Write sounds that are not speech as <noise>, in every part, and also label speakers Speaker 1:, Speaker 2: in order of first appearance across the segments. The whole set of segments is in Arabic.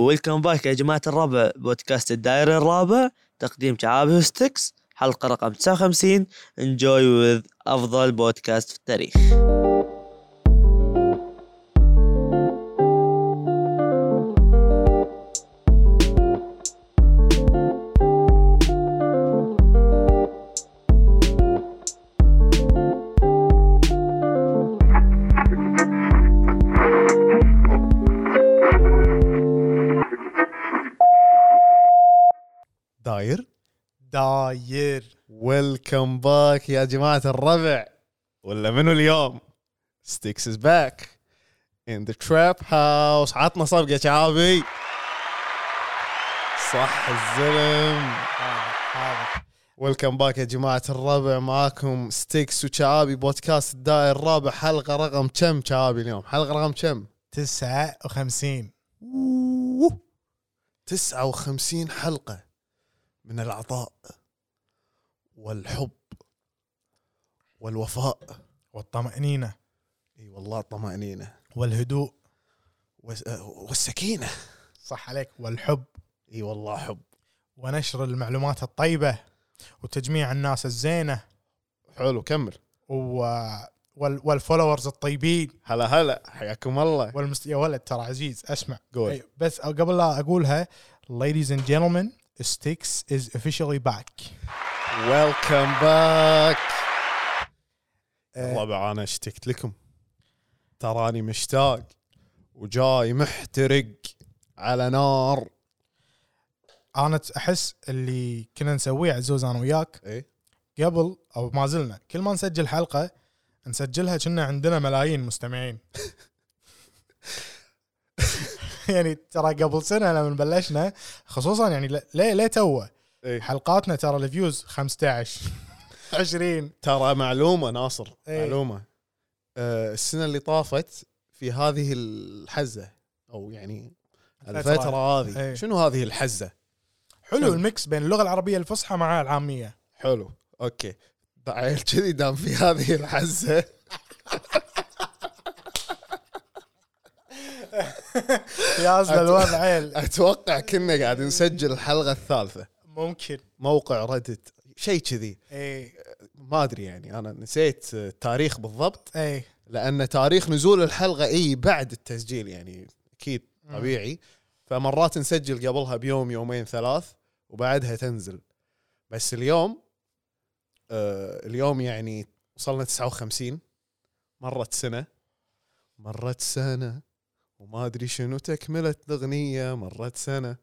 Speaker 1: ويلكم باك يا جماعة الربع بودكاست الدائرة الرابع تقديم شعابي وستكس حلقة رقم 59 انجوي وذ أفضل بودكاست في التاريخ
Speaker 2: داير
Speaker 3: داير
Speaker 2: ويلكم باك يا جماعة الربع ولا منو اليوم ستيكس از باك ان ذا تراب هاوس عطنا صفقة شعابي صح الزلم ويلكم باك يا جماعة الربع معاكم ستيكس وشعابي بودكاست الدائر الرابع حلقة رقم كم شعابي اليوم حلقة رقم كم
Speaker 3: 59
Speaker 2: أوه. 59 حلقة من العطاء والحب والوفاء
Speaker 3: والطمأنينة
Speaker 2: اي والله الطمأنينة
Speaker 3: والهدوء
Speaker 2: والس- آه، والسكينة
Speaker 3: صح عليك والحب
Speaker 2: اي والله حب
Speaker 3: ونشر المعلومات الطيبة وتجميع الناس الزينة
Speaker 2: حلو كمل
Speaker 3: و... وال... والفولورز الطيبين
Speaker 2: هلا هلا حياكم الله
Speaker 3: والمست... يا ولد ترى عزيز اسمع
Speaker 2: قول.
Speaker 3: أي، بس قبل لا اقولها ladies and gentlemen Styx is officially back
Speaker 2: ويلكم باك
Speaker 3: آه.
Speaker 2: والله انا اشتقت لكم تراني مشتاق وجاي محترق على نار
Speaker 3: انا ت- احس اللي كنا نسويه عزوز انا وياك
Speaker 2: اي
Speaker 3: قبل او ما زلنا كل ما نسجل حلقه نسجلها كنا عندنا ملايين مستمعين <laughs> يعني ترى قبل سنه لما بلشنا خصوصا يعني ل- ليه ليه توه
Speaker 2: اي
Speaker 3: حلقاتنا ترى الفيوز 15 20
Speaker 2: ترى معلومه ناصر
Speaker 3: إيه.
Speaker 2: معلومه آه السنه اللي طافت في هذه الحزه او يعني
Speaker 3: الفترة.
Speaker 2: الفتره هذه
Speaker 3: إيه.
Speaker 2: شنو هذه الحزه
Speaker 3: حلو الميكس بين اللغه العربيه الفصحى
Speaker 2: <laughs>
Speaker 3: مع العاميه
Speaker 2: حلو اوكي عيل كذي دام في هذه الحزه
Speaker 3: يا أصل الوضع
Speaker 2: إيه.
Speaker 3: عيل
Speaker 2: اتوقع كنا قاعد نسجل الحلقه الثالثه
Speaker 3: <laughs> ممكن إيه،
Speaker 2: موقع ردت شيء كذي
Speaker 3: اي
Speaker 2: ما ادري يعني انا نسيت التاريخ بالضبط
Speaker 3: اي
Speaker 2: لان تاريخ نزول الحلقه اي بعد التسجيل يعني اكيد طبيعي فمرات نسجل قبلها بيوم يومين ثلاث وبعدها تنزل بس اليوم آه اليوم يعني وصلنا 59 مرت سنه مرت سنه وما ادري شنو تكمله الاغنيه مرت سنه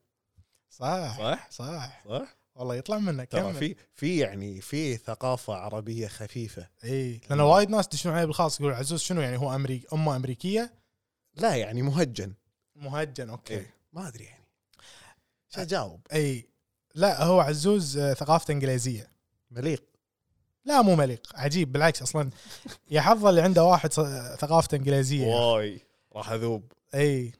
Speaker 3: صح
Speaker 2: صح
Speaker 3: صح
Speaker 2: صح
Speaker 3: والله يطلع منك
Speaker 2: ترى في في يعني في ثقافه عربيه خفيفه
Speaker 3: اي لان إيه، وايد ناس يدشون علي بالخاص يقول عزوز شنو يعني هو امريكي امه امريكيه
Speaker 2: لا يعني مهجن
Speaker 3: مهجن اوكي
Speaker 2: إيه. ما ادري يعني شو اجاوب
Speaker 3: اي لا هو عزوز آه، ثقافته انجليزيه
Speaker 2: مليق
Speaker 3: لا مو مليق عجيب
Speaker 2: <laughs>
Speaker 3: بالعكس اصلا يا حظ اللي عنده واحد ص- ثقافته انجليزيه
Speaker 2: واي راح اذوب
Speaker 3: اي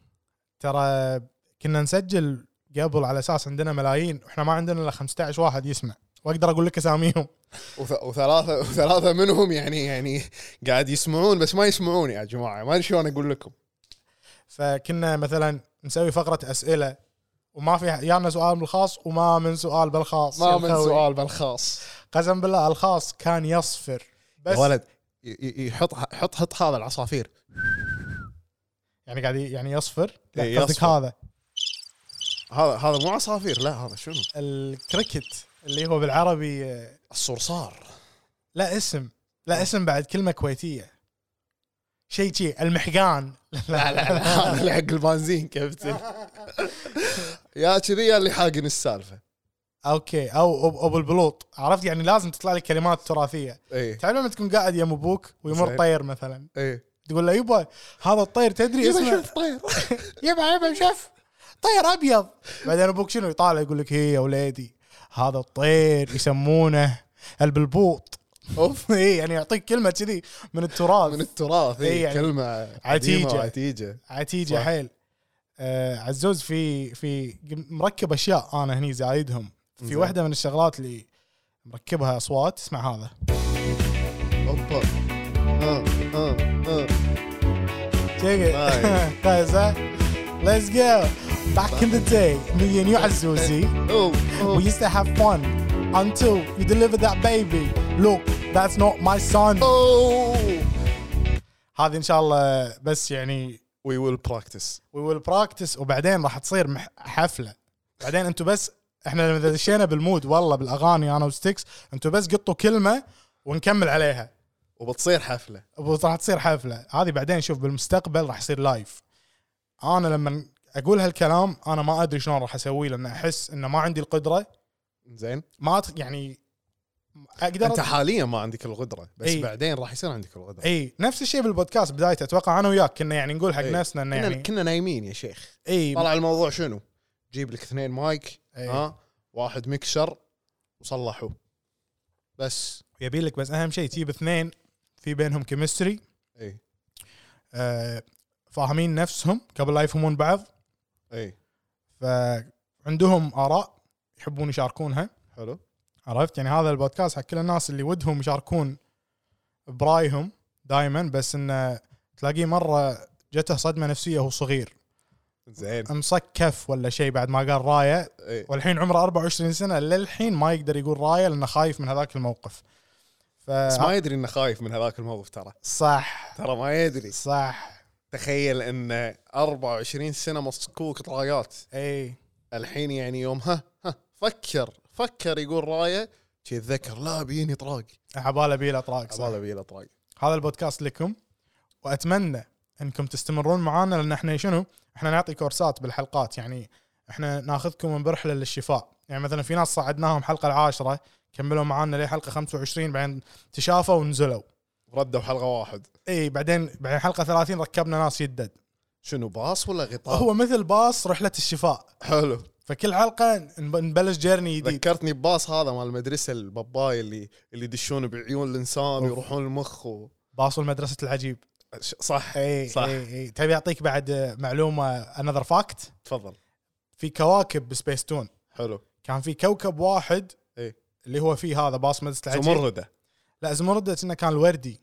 Speaker 3: ترى كنا نسجل قبل على اساس عندنا ملايين واحنا ما عندنا الا 15 واحد يسمع واقدر اقول لك اساميهم
Speaker 2: وث- <laughs> وثلاثه وثلاثه منهم يعني يعني قاعد يسمعون بس ما يسمعون يا جماعه ما ادري شلون اقول لكم
Speaker 3: فكنا مثلا نسوي فقره اسئله وما في يانا سؤال بالخاص وما من سؤال بالخاص يا
Speaker 2: ما من
Speaker 3: خوي.
Speaker 2: سؤال بالخاص
Speaker 3: قسم بالله الخاص كان يصفر
Speaker 2: يا
Speaker 3: بس
Speaker 2: ولد ي- ي- يحط حط حط هذا العصافير
Speaker 3: يعني قاعد ي- يعني يصفر
Speaker 2: إيه،
Speaker 3: لا قصدك
Speaker 2: يصفر.
Speaker 3: هذا
Speaker 2: هذا هذا مو عصافير لا هذا شنو
Speaker 3: الكريكت اللي هو بالعربي آه،
Speaker 2: الصرصار
Speaker 3: لا اسم لا اسم بعد كلمه كويتيه شيء شيء المحقان
Speaker 2: لا لا <laughs> لا هذا اللي حق البنزين <laughs> كابتن يا كذي يا اللي حاقن السالفه
Speaker 3: اوكي او أب- ابو البلوط عرفت يعني لازم تطلع لك كلمات تراثيه
Speaker 2: ايه
Speaker 3: تعرف لما تكون قاعد يم ابوك ويمر
Speaker 2: زين.
Speaker 3: طير مثلا
Speaker 2: ايه
Speaker 3: تقول له يبا هذا الطير تدري اسمه
Speaker 2: طير
Speaker 3: يبا يبا شف طير ابيض بعدين ابوك شنو يطالع يقول لك هي يا ولادي هذا الطير يسمونه البلبوط <laughs> اوف اي يعني يعطيك كلمه كذي من
Speaker 2: من
Speaker 3: التراث
Speaker 2: التراث
Speaker 3: إيه،
Speaker 2: اي
Speaker 3: يعني
Speaker 2: كلمه
Speaker 3: عتيجة.
Speaker 2: عتيجه عتيجه
Speaker 3: عتيجه
Speaker 2: صح.
Speaker 3: حيل آه عزوز في في مركب اشياء انا هني زايدهم في
Speaker 2: زين.
Speaker 3: واحده من الشغلات اللي مركبها اصوات اسمع هذا
Speaker 2: اوبا آه، آه، آه.
Speaker 3: <laughs> ليتس جو Back in the day, me and you had Zuzi,
Speaker 2: Oh,
Speaker 3: we used to have fun until you delivered that baby. Look, that's not my son.
Speaker 2: oh.
Speaker 3: هذه ان شاء الله بس يعني
Speaker 2: وي ويل براكتس
Speaker 3: وي ويل براكتس وبعدين راح تصير مح- حفله بعدين انتم بس احنا اذا دشينا بالمود والله بالاغاني انا وستكس انتم بس قطوا كلمه ونكمل عليها
Speaker 2: وبتصير حفله
Speaker 3: راح تصير حفله هذه بعدين شوف بالمستقبل راح يصير لايف انا لما اقول هالكلام انا ما ادري شلون راح اسويه لان احس انه ما عندي القدره
Speaker 2: زين
Speaker 3: ما أت- يعني اقدر
Speaker 2: انت حاليا ما عندك القدره بس
Speaker 3: إي.
Speaker 2: ايه؟ بعدين راح يصير عندك القدره ايه؟
Speaker 3: اي نفس الشيء بالبودكاست بدايته اتوقع انا وياك كنا يعني نقول حق
Speaker 2: إي.
Speaker 3: نفسنا انه
Speaker 2: كنا,
Speaker 3: يعني إيه.
Speaker 2: كنا نايمين يا شيخ
Speaker 3: اي
Speaker 2: طلع الموضوع شنو؟ جيب لك اثنين مايك
Speaker 3: إي.
Speaker 2: ايه؟ ها واحد مكشر وصلحوه بس
Speaker 3: يبي لك بس اهم شيء تجيب اثنين في بينهم كيمستري
Speaker 2: اي
Speaker 3: آه، فاهمين نفسهم قبل لا يفهمون بعض
Speaker 2: اي
Speaker 3: فعندهم اراء يحبون يشاركونها
Speaker 2: حلو
Speaker 3: عرفت يعني هذا البودكاست حق كل الناس اللي ودهم يشاركون برايهم دائما بس انه تلاقيه مره جته صدمه نفسيه وهو صغير
Speaker 2: زين إيه.
Speaker 3: مسكف ولا شيء بعد ما قال رايه
Speaker 2: اي
Speaker 3: والحين عمره 24 سنه للحين ما يقدر يقول رايه لانه خايف من هذاك الموقف ف
Speaker 2: بس ما يدري انه خايف من هذاك الموقف ترى
Speaker 3: صح
Speaker 2: ترى ما يدري
Speaker 3: صح
Speaker 2: تخيل انه 24 سنه مصكوك طرايات
Speaker 3: اي
Speaker 2: الحين يعني يوم ها ها فكر فكر يقول رايه شي يتذكر لا بيني طراق
Speaker 3: عباله بيلا طراق صح.
Speaker 2: عباله بيلا طراق
Speaker 3: هذا البودكاست لكم واتمنى انكم تستمرون معانا لان احنا شنو؟ احنا نعطي كورسات بالحلقات يعني احنا ناخذكم من برحله للشفاء، يعني مثلا في ناس صعدناهم حلقه العاشره كملوا معانا لحلقه 25 بعدين تشافوا ونزلوا.
Speaker 2: ردوا حلقه واحد
Speaker 3: اي بعدين بعدين حلقه 30 ركبنا ناس يدد.
Speaker 2: شنو باص ولا غطاء
Speaker 3: هو مثل باص رحله الشفاء،
Speaker 2: حلو
Speaker 3: فكل حلقه نب- نبلش جيرني جديد.
Speaker 2: ذكرتني بباص هذا مال المدرسه الباباي اللي اللي يدشون بعيون الانسان
Speaker 3: أوف.
Speaker 2: ويروحون المخ و...
Speaker 3: باص مدرسه العجيب.
Speaker 2: ش- صح
Speaker 3: اي
Speaker 2: صح.
Speaker 3: اي اي تبي اعطيك بعد آه، معلومه انذر فاكت
Speaker 2: تفضل
Speaker 3: في كواكب بسبيستون
Speaker 2: حلو
Speaker 3: كان في كوكب واحد
Speaker 2: إيه.
Speaker 3: اللي هو فيه هذا باسمة العجيب
Speaker 2: زمرده
Speaker 3: لا زمرده انه كان الوردي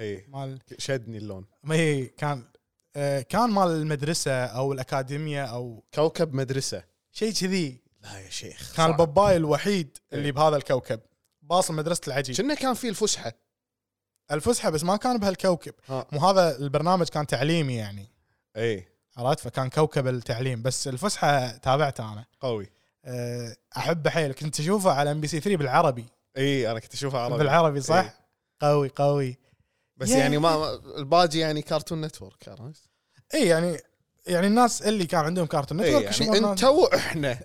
Speaker 2: اي
Speaker 3: مال
Speaker 2: إيه. شدني اللون
Speaker 3: ما هي كان آه كان مال المدرسه او الاكاديميه او
Speaker 2: كوكب مدرسه
Speaker 3: شيء كذي
Speaker 2: لا يا شيخ
Speaker 3: كان
Speaker 2: صعب.
Speaker 3: الباباي الوحيد اللي
Speaker 2: إيه.
Speaker 3: بهذا الكوكب باص مدرسه العجيب
Speaker 2: كنا كان في الفسحه
Speaker 3: الفسحه بس ما كان بهالكوكب
Speaker 2: ها.
Speaker 3: مو هذا البرنامج كان تعليمي يعني
Speaker 2: اي
Speaker 3: عرفت فكان كوكب التعليم بس الفسحه تابعتها انا
Speaker 2: قوي
Speaker 3: آه، احبه حيل كنت اشوفه على ام بي سي 3 بالعربي
Speaker 2: اي انا إيه، كنت اشوفها عربي
Speaker 3: بالعربي صح؟
Speaker 2: إيه.
Speaker 3: قوي قوي
Speaker 2: بس
Speaker 3: يا
Speaker 2: يعني ما ما- الباجي يعني كارتون نتورك عرفت؟
Speaker 3: اي يعني يعني الناس اللي كان عندهم كارتون
Speaker 2: اي
Speaker 3: نتورك
Speaker 2: يعني
Speaker 3: يشوفون
Speaker 2: انت واحنا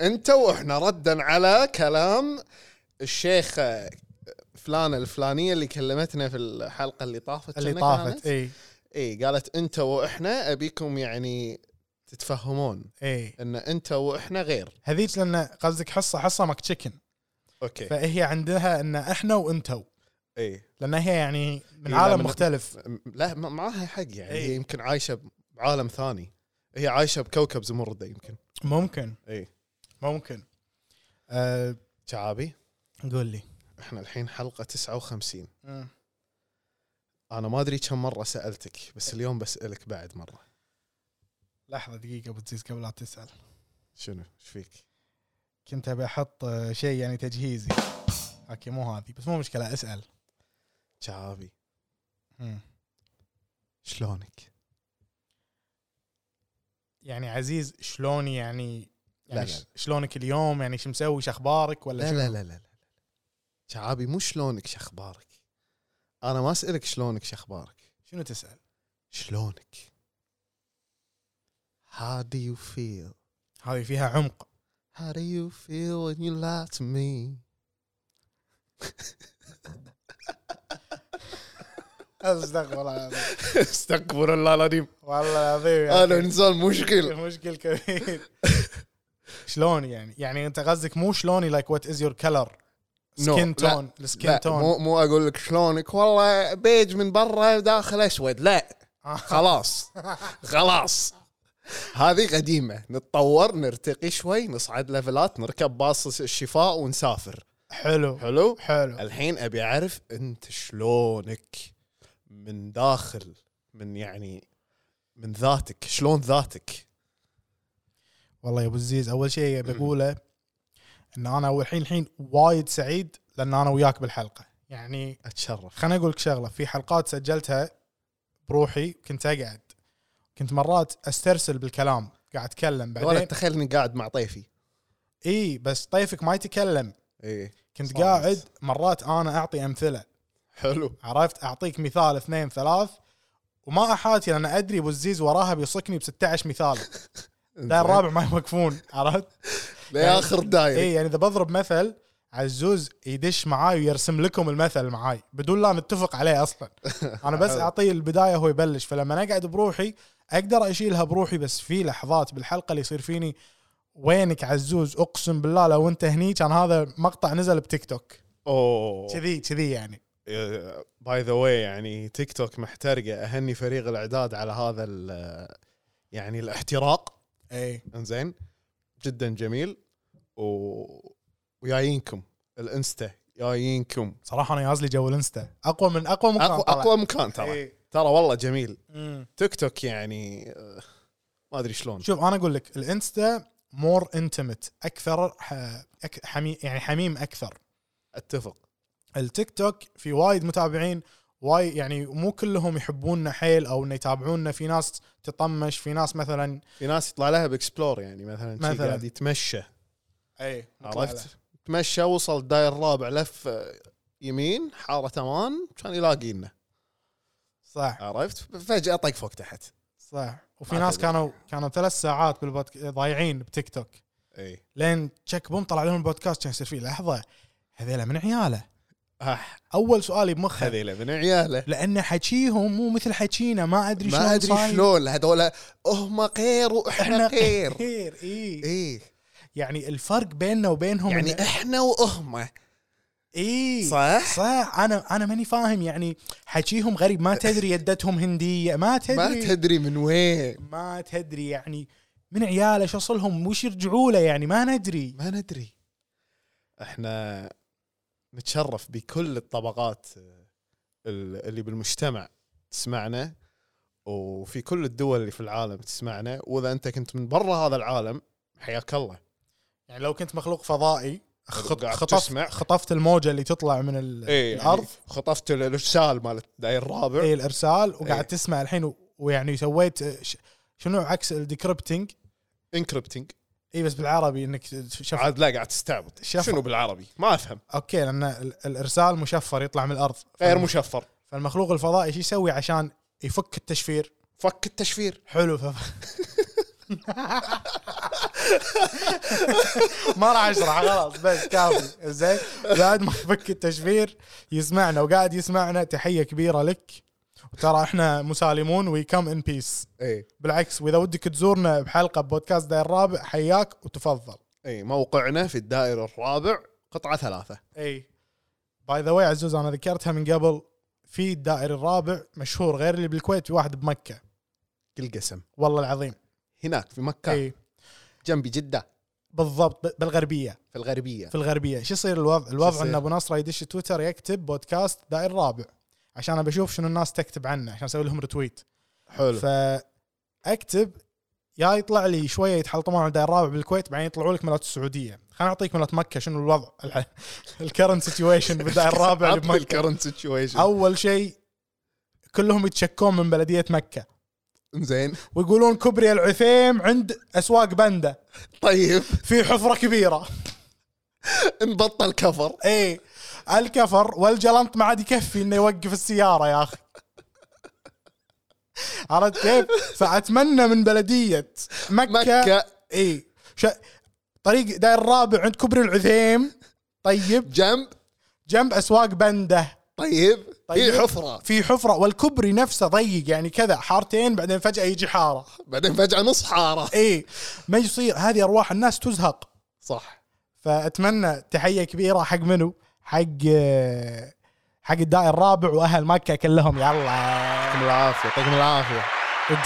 Speaker 2: انت واحنا ردا على كلام الشيخ آه، فلانه الفلانيه اللي كلمتنا في الحلقه اللي طافت
Speaker 3: اللي
Speaker 2: كنا
Speaker 3: طافت إيه.
Speaker 2: كانت؟
Speaker 3: اي
Speaker 2: اي قالت انت واحنا ابيكم يعني تتفهمون
Speaker 3: اي
Speaker 2: ان انت واحنا غير
Speaker 3: إيه. هذيك لان قصدك حصه حصه ماك تشيكن
Speaker 2: اوكي
Speaker 3: فهي عندها ان احنا وانتو
Speaker 2: اي
Speaker 3: لان هي يعني من
Speaker 2: إي،
Speaker 3: عالم
Speaker 2: لما-
Speaker 3: مختلف
Speaker 2: م- إيه. لا ما- معاها حق يعني
Speaker 3: إي.
Speaker 2: هي يمكن عايشه بعالم ثاني هي عايشه بكوكب زمرده يمكن
Speaker 3: ممكن
Speaker 2: اي
Speaker 3: ممكن أه
Speaker 2: شعابي
Speaker 3: قول لي
Speaker 2: احنا الحين حلقه 59 انا ما ادري كم مره سالتك بس اليوم بسالك بعد مره
Speaker 3: لحظه دقيقه ابو تزيز قبل لا تسال
Speaker 2: شنو ايش فيك
Speaker 3: كنت ابي احط آه، شيء يعني تجهيزي اوكي مو هذه بس مو مشكله اسال
Speaker 2: شعابي
Speaker 3: مم.
Speaker 2: شلونك
Speaker 3: يعني عزيز شلون يعني
Speaker 2: لا،
Speaker 3: يعني
Speaker 2: لا.
Speaker 3: شلونك اليوم يعني شو مسوي شو اخبارك ولا
Speaker 2: لا
Speaker 3: شو
Speaker 2: لا لا لا شعابي مو شلونك شخبارك انا ما اسالك شلونك شخبارك
Speaker 3: شنو تسال
Speaker 2: شلونك How do you feel
Speaker 3: هذه فيها عمق
Speaker 2: How do you feel when you lie to me
Speaker 3: استغفر الله العظيم
Speaker 2: <laughs> استغفر الله العظيم
Speaker 3: والله العظيم
Speaker 2: انا
Speaker 3: يعني
Speaker 2: انسان مشكل
Speaker 3: مشكل كبير <laughs> شلون يعني؟ يعني انت قصدك مو شلوني لايك وات از يور كلر سكين
Speaker 2: لا.
Speaker 3: تون السكين
Speaker 2: لا
Speaker 3: تون
Speaker 2: مو مو اقول لك شلونك والله بيج من برا وداخل اسود لا
Speaker 3: آه،
Speaker 2: خلاص خلاص هذه قديمه نتطور نرتقي شوي نصعد ليفلات نركب باص الشفاء ونسافر
Speaker 3: حلو
Speaker 2: حلو
Speaker 3: حلو
Speaker 2: الحين ابي اعرف انت شلونك من داخل من يعني من ذاتك شلون ذاتك
Speaker 3: والله يا ابو الزيز اول شيء بقوله ان انا اول الحين الحين وايد سعيد لان انا وياك بالحلقه يعني
Speaker 2: اتشرف
Speaker 3: خليني اقول لك شغله في حلقات سجلتها بروحي كنت اقعد كنت مرات استرسل بالكلام قاعد اتكلم
Speaker 2: وانا
Speaker 3: بعدين
Speaker 2: اتخيل اني قاعد مع طيفي
Speaker 3: اي بس طيفك ما يتكلم
Speaker 2: اي
Speaker 3: كنت
Speaker 2: صامت.
Speaker 3: قاعد مرات انا اعطي امثله
Speaker 2: حلو
Speaker 3: عرفت اعطيك مثال اثنين ثلاث وما احاتي لان ادري ابو الزيز وراها بيصكني ب 16 مثال لا الرابع ما يوقفون عرفت؟
Speaker 2: لاخر داير
Speaker 3: اي يعني اذا بضرب مثل عزوز يدش معاي ويرسم لكم المثل معاي بدون لا نتفق عليه اصلا انا بس اعطيه البدايه هو يبلش فلما اقعد بروحي اقدر اشيلها بروحي بس في لحظات بالحلقه اللي يصير فيني وينك عزوز اقسم بالله لو انت هني كان هذا مقطع نزل بتيك توك
Speaker 2: اوه
Speaker 3: كذي كذي يعني
Speaker 2: باي ذا واي يعني تيك توك محترقه اهني فريق الاعداد على هذا ال- يعني الاحتراق
Speaker 3: اي
Speaker 2: انزين جدا جميل و... ويايينكم الانستا جايينكم
Speaker 3: صراحه انا يازلي جو الانستا اقوى من اقوى مقطع
Speaker 2: اقوى
Speaker 3: طلع.
Speaker 2: اقوى مكان ترى
Speaker 3: إيه.
Speaker 2: ترى والله جميل
Speaker 3: أمم.
Speaker 2: تيك توك يعني آه، ما ادري شلون
Speaker 3: شوف انا اقول لك الانستا مور انتمت اكثر ح... أك... حمي... يعني حميم اكثر
Speaker 2: اتفق
Speaker 3: التيك توك في وايد متابعين وايد يعني مو كلهم يحبوننا حيل او انه يتابعوننا في ناس تطمش في ناس مثلا
Speaker 2: في ناس يطلع لها باكسبلور يعني مثلا شي
Speaker 3: مثلاً.
Speaker 2: قاعد يتمشى إيه،
Speaker 3: اي
Speaker 2: عرفت تمشى وصل الداير الرابع لف آه، يمين حاره امان كان يلاقي لنا
Speaker 3: صح
Speaker 2: عرفت فجاه طق فوق تحت
Speaker 3: صح وفي
Speaker 2: ما
Speaker 3: ناس
Speaker 2: تدري.
Speaker 3: كانوا كانوا ثلاث ساعات بالبودك... ضايعين بتيك توك
Speaker 2: اي
Speaker 3: لين تشك بوم طلع لهم البودكاست كان يصير فيه لحظه هذيلا من عياله
Speaker 2: اح
Speaker 3: اول سؤالي بمخه
Speaker 2: هذيله من عياله
Speaker 3: لان حكيهم مو مثل حكينا ما ادري شلون
Speaker 2: نعم، ما ادري
Speaker 3: صاير.
Speaker 2: شلون هذول هم غير واحنا
Speaker 3: <laughs>
Speaker 2: غير إيه.
Speaker 3: خير اي
Speaker 2: اي
Speaker 3: يعني الفرق بيننا وبينهم إيه.
Speaker 2: يعني إيه.
Speaker 3: إن-
Speaker 2: احنا وهم
Speaker 3: اي
Speaker 2: صح
Speaker 3: صح انا انا ماني فاهم يعني حكيهم غريب ما تدري يدتهم هنديه ما تدري
Speaker 2: ما تدري من وين
Speaker 3: ما تدري يعني من عياله شو اصلهم وش يرجعوا له يعني ما ندري
Speaker 2: ما ندري احنا نتشرف بكل الطبقات آه، ال- اللي بالمجتمع تسمعنا وفي كل الدول اللي في العالم تسمعنا واذا انت كنت من برا هذا العالم حياك الله
Speaker 3: يعني لو كنت مخلوق فضائي خط-
Speaker 2: قاعد
Speaker 3: خطفت
Speaker 2: تسمع.
Speaker 3: خطفت الموجه اللي تطلع من ال-
Speaker 2: إيه
Speaker 3: الارض
Speaker 2: يعني خطفت الارسال مال الداير الرابع
Speaker 3: اي الارسال وقاعد
Speaker 2: إيه.
Speaker 3: تسمع الحين و- ويعني سويت آه، ش- شنو عكس الديكربتنج
Speaker 2: انكربتنج
Speaker 3: اي بس بالعربي انك شفت
Speaker 2: عاد لا قاعد تستعبط
Speaker 3: شفر.
Speaker 2: شنو بالعربي ما افهم
Speaker 3: اوكي لان ال- الارسال مشفر يطلع من الارض
Speaker 2: غير
Speaker 3: فالم-
Speaker 2: مشفر
Speaker 3: فالمخلوق الفضائي شو يسوي عشان يفك التشفير
Speaker 2: فك التشفير
Speaker 3: حلو ف... ما راح اشرح خلاص بس كافي زين بعد ما يفك التشفير يسمعنا وقاعد يسمعنا تحيه كبيره لك وترى احنا مسالمون وي كم ان بيس
Speaker 2: اي
Speaker 3: بالعكس واذا ودك تزورنا بحلقه بودكاست داير الرابع حياك وتفضل
Speaker 2: اي موقعنا في الدائر الرابع قطعه ثلاثه
Speaker 3: اي باي ذا واي عزوز انا ذكرتها من قبل في الدائري الرابع مشهور غير اللي بالكويت في واحد بمكه
Speaker 2: كل قسم
Speaker 3: والله العظيم
Speaker 2: هناك في مكه
Speaker 3: اي
Speaker 2: جنبي جده
Speaker 3: بالضبط ب- بالغربيه
Speaker 2: في الغربيه
Speaker 3: في الغربيه شو يصير الوضع؟ الوضع
Speaker 2: يصير؟
Speaker 3: ان ابو نصره يدش تويتر يكتب بودكاست دائري الرابع عشان ابى اشوف شنو الناس تكتب عنه عشان اسوي لهم رتويت
Speaker 2: حلو
Speaker 3: فاكتب يا يطلع لي شويه يتحلطمون على الدائري الرابع بالكويت بعدين يطلعوا لك ملات السعوديه خليني اعطيك ملات مكه شنو الوضع <laughs> الكرنت
Speaker 2: <laughs>
Speaker 3: سيتويشن بالدائري الرابع اللي
Speaker 2: عطني
Speaker 3: بمكه
Speaker 2: الكرنت سيتويشن
Speaker 3: اول شيء كلهم يتشكون من بلديه مكه
Speaker 2: زين
Speaker 3: ويقولون كبري العثيم عند اسواق بندا
Speaker 2: طيب <laughs>
Speaker 3: في حفره كبيره
Speaker 2: نبطل كفر
Speaker 3: اي إيه. الكفر والجلنط ما عاد يكفي انه يوقف السياره يا اخي عرفت كيف؟ فاتمنى من بلديه مكه, مكة.
Speaker 2: مكه
Speaker 3: اي ش... طريق داير الرابع عند كبري العثيم طيب
Speaker 2: جنب
Speaker 3: جنب اسواق بنده
Speaker 2: طيب
Speaker 3: طيب.
Speaker 2: في حفره
Speaker 3: في حفره والكبري نفسه ضيق يعني كذا حارتين بعدين فجاه يجي حاره
Speaker 2: بعدين فجاه نص حاره
Speaker 3: اي ما يصير هذه ارواح الناس تزهق
Speaker 2: صح
Speaker 3: فاتمنى تحيه كبيره حق منو؟ حق آه، حق الدائر الرابع واهل مكه كلهم يلا
Speaker 2: يعطيكم العافيه يعطيكم العافيه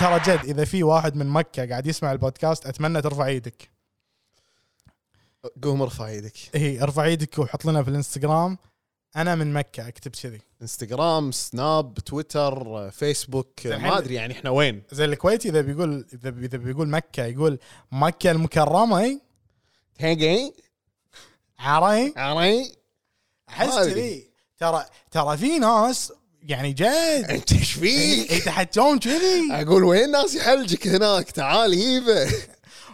Speaker 3: ترى جد اذا في واحد من مكه قاعد يسمع البودكاست اتمنى ترفع ايدك
Speaker 2: قوم ارفع يدك
Speaker 3: إيه، اي ارفع ايدك وحط لنا في الانستغرام انا من مكه اكتب كذي
Speaker 2: انستغرام سناب تويتر آه، فيسبوك آه،
Speaker 3: الحين-
Speaker 2: ما ادري يعني احنا وين
Speaker 3: زي الكويتي اذا بيقول اذا بي- اذا بيقول مكه يقول إيه؟ مكه المكرمه اي
Speaker 2: هاجي
Speaker 3: عري
Speaker 2: عري
Speaker 3: احس
Speaker 2: ما أدري.
Speaker 3: كذي ترى ترى في ناس يعني جد
Speaker 2: <laughs> انت ايش فيك؟
Speaker 3: يتحجون كذي
Speaker 2: اقول وين ناس يحلجك هناك تعال هيبه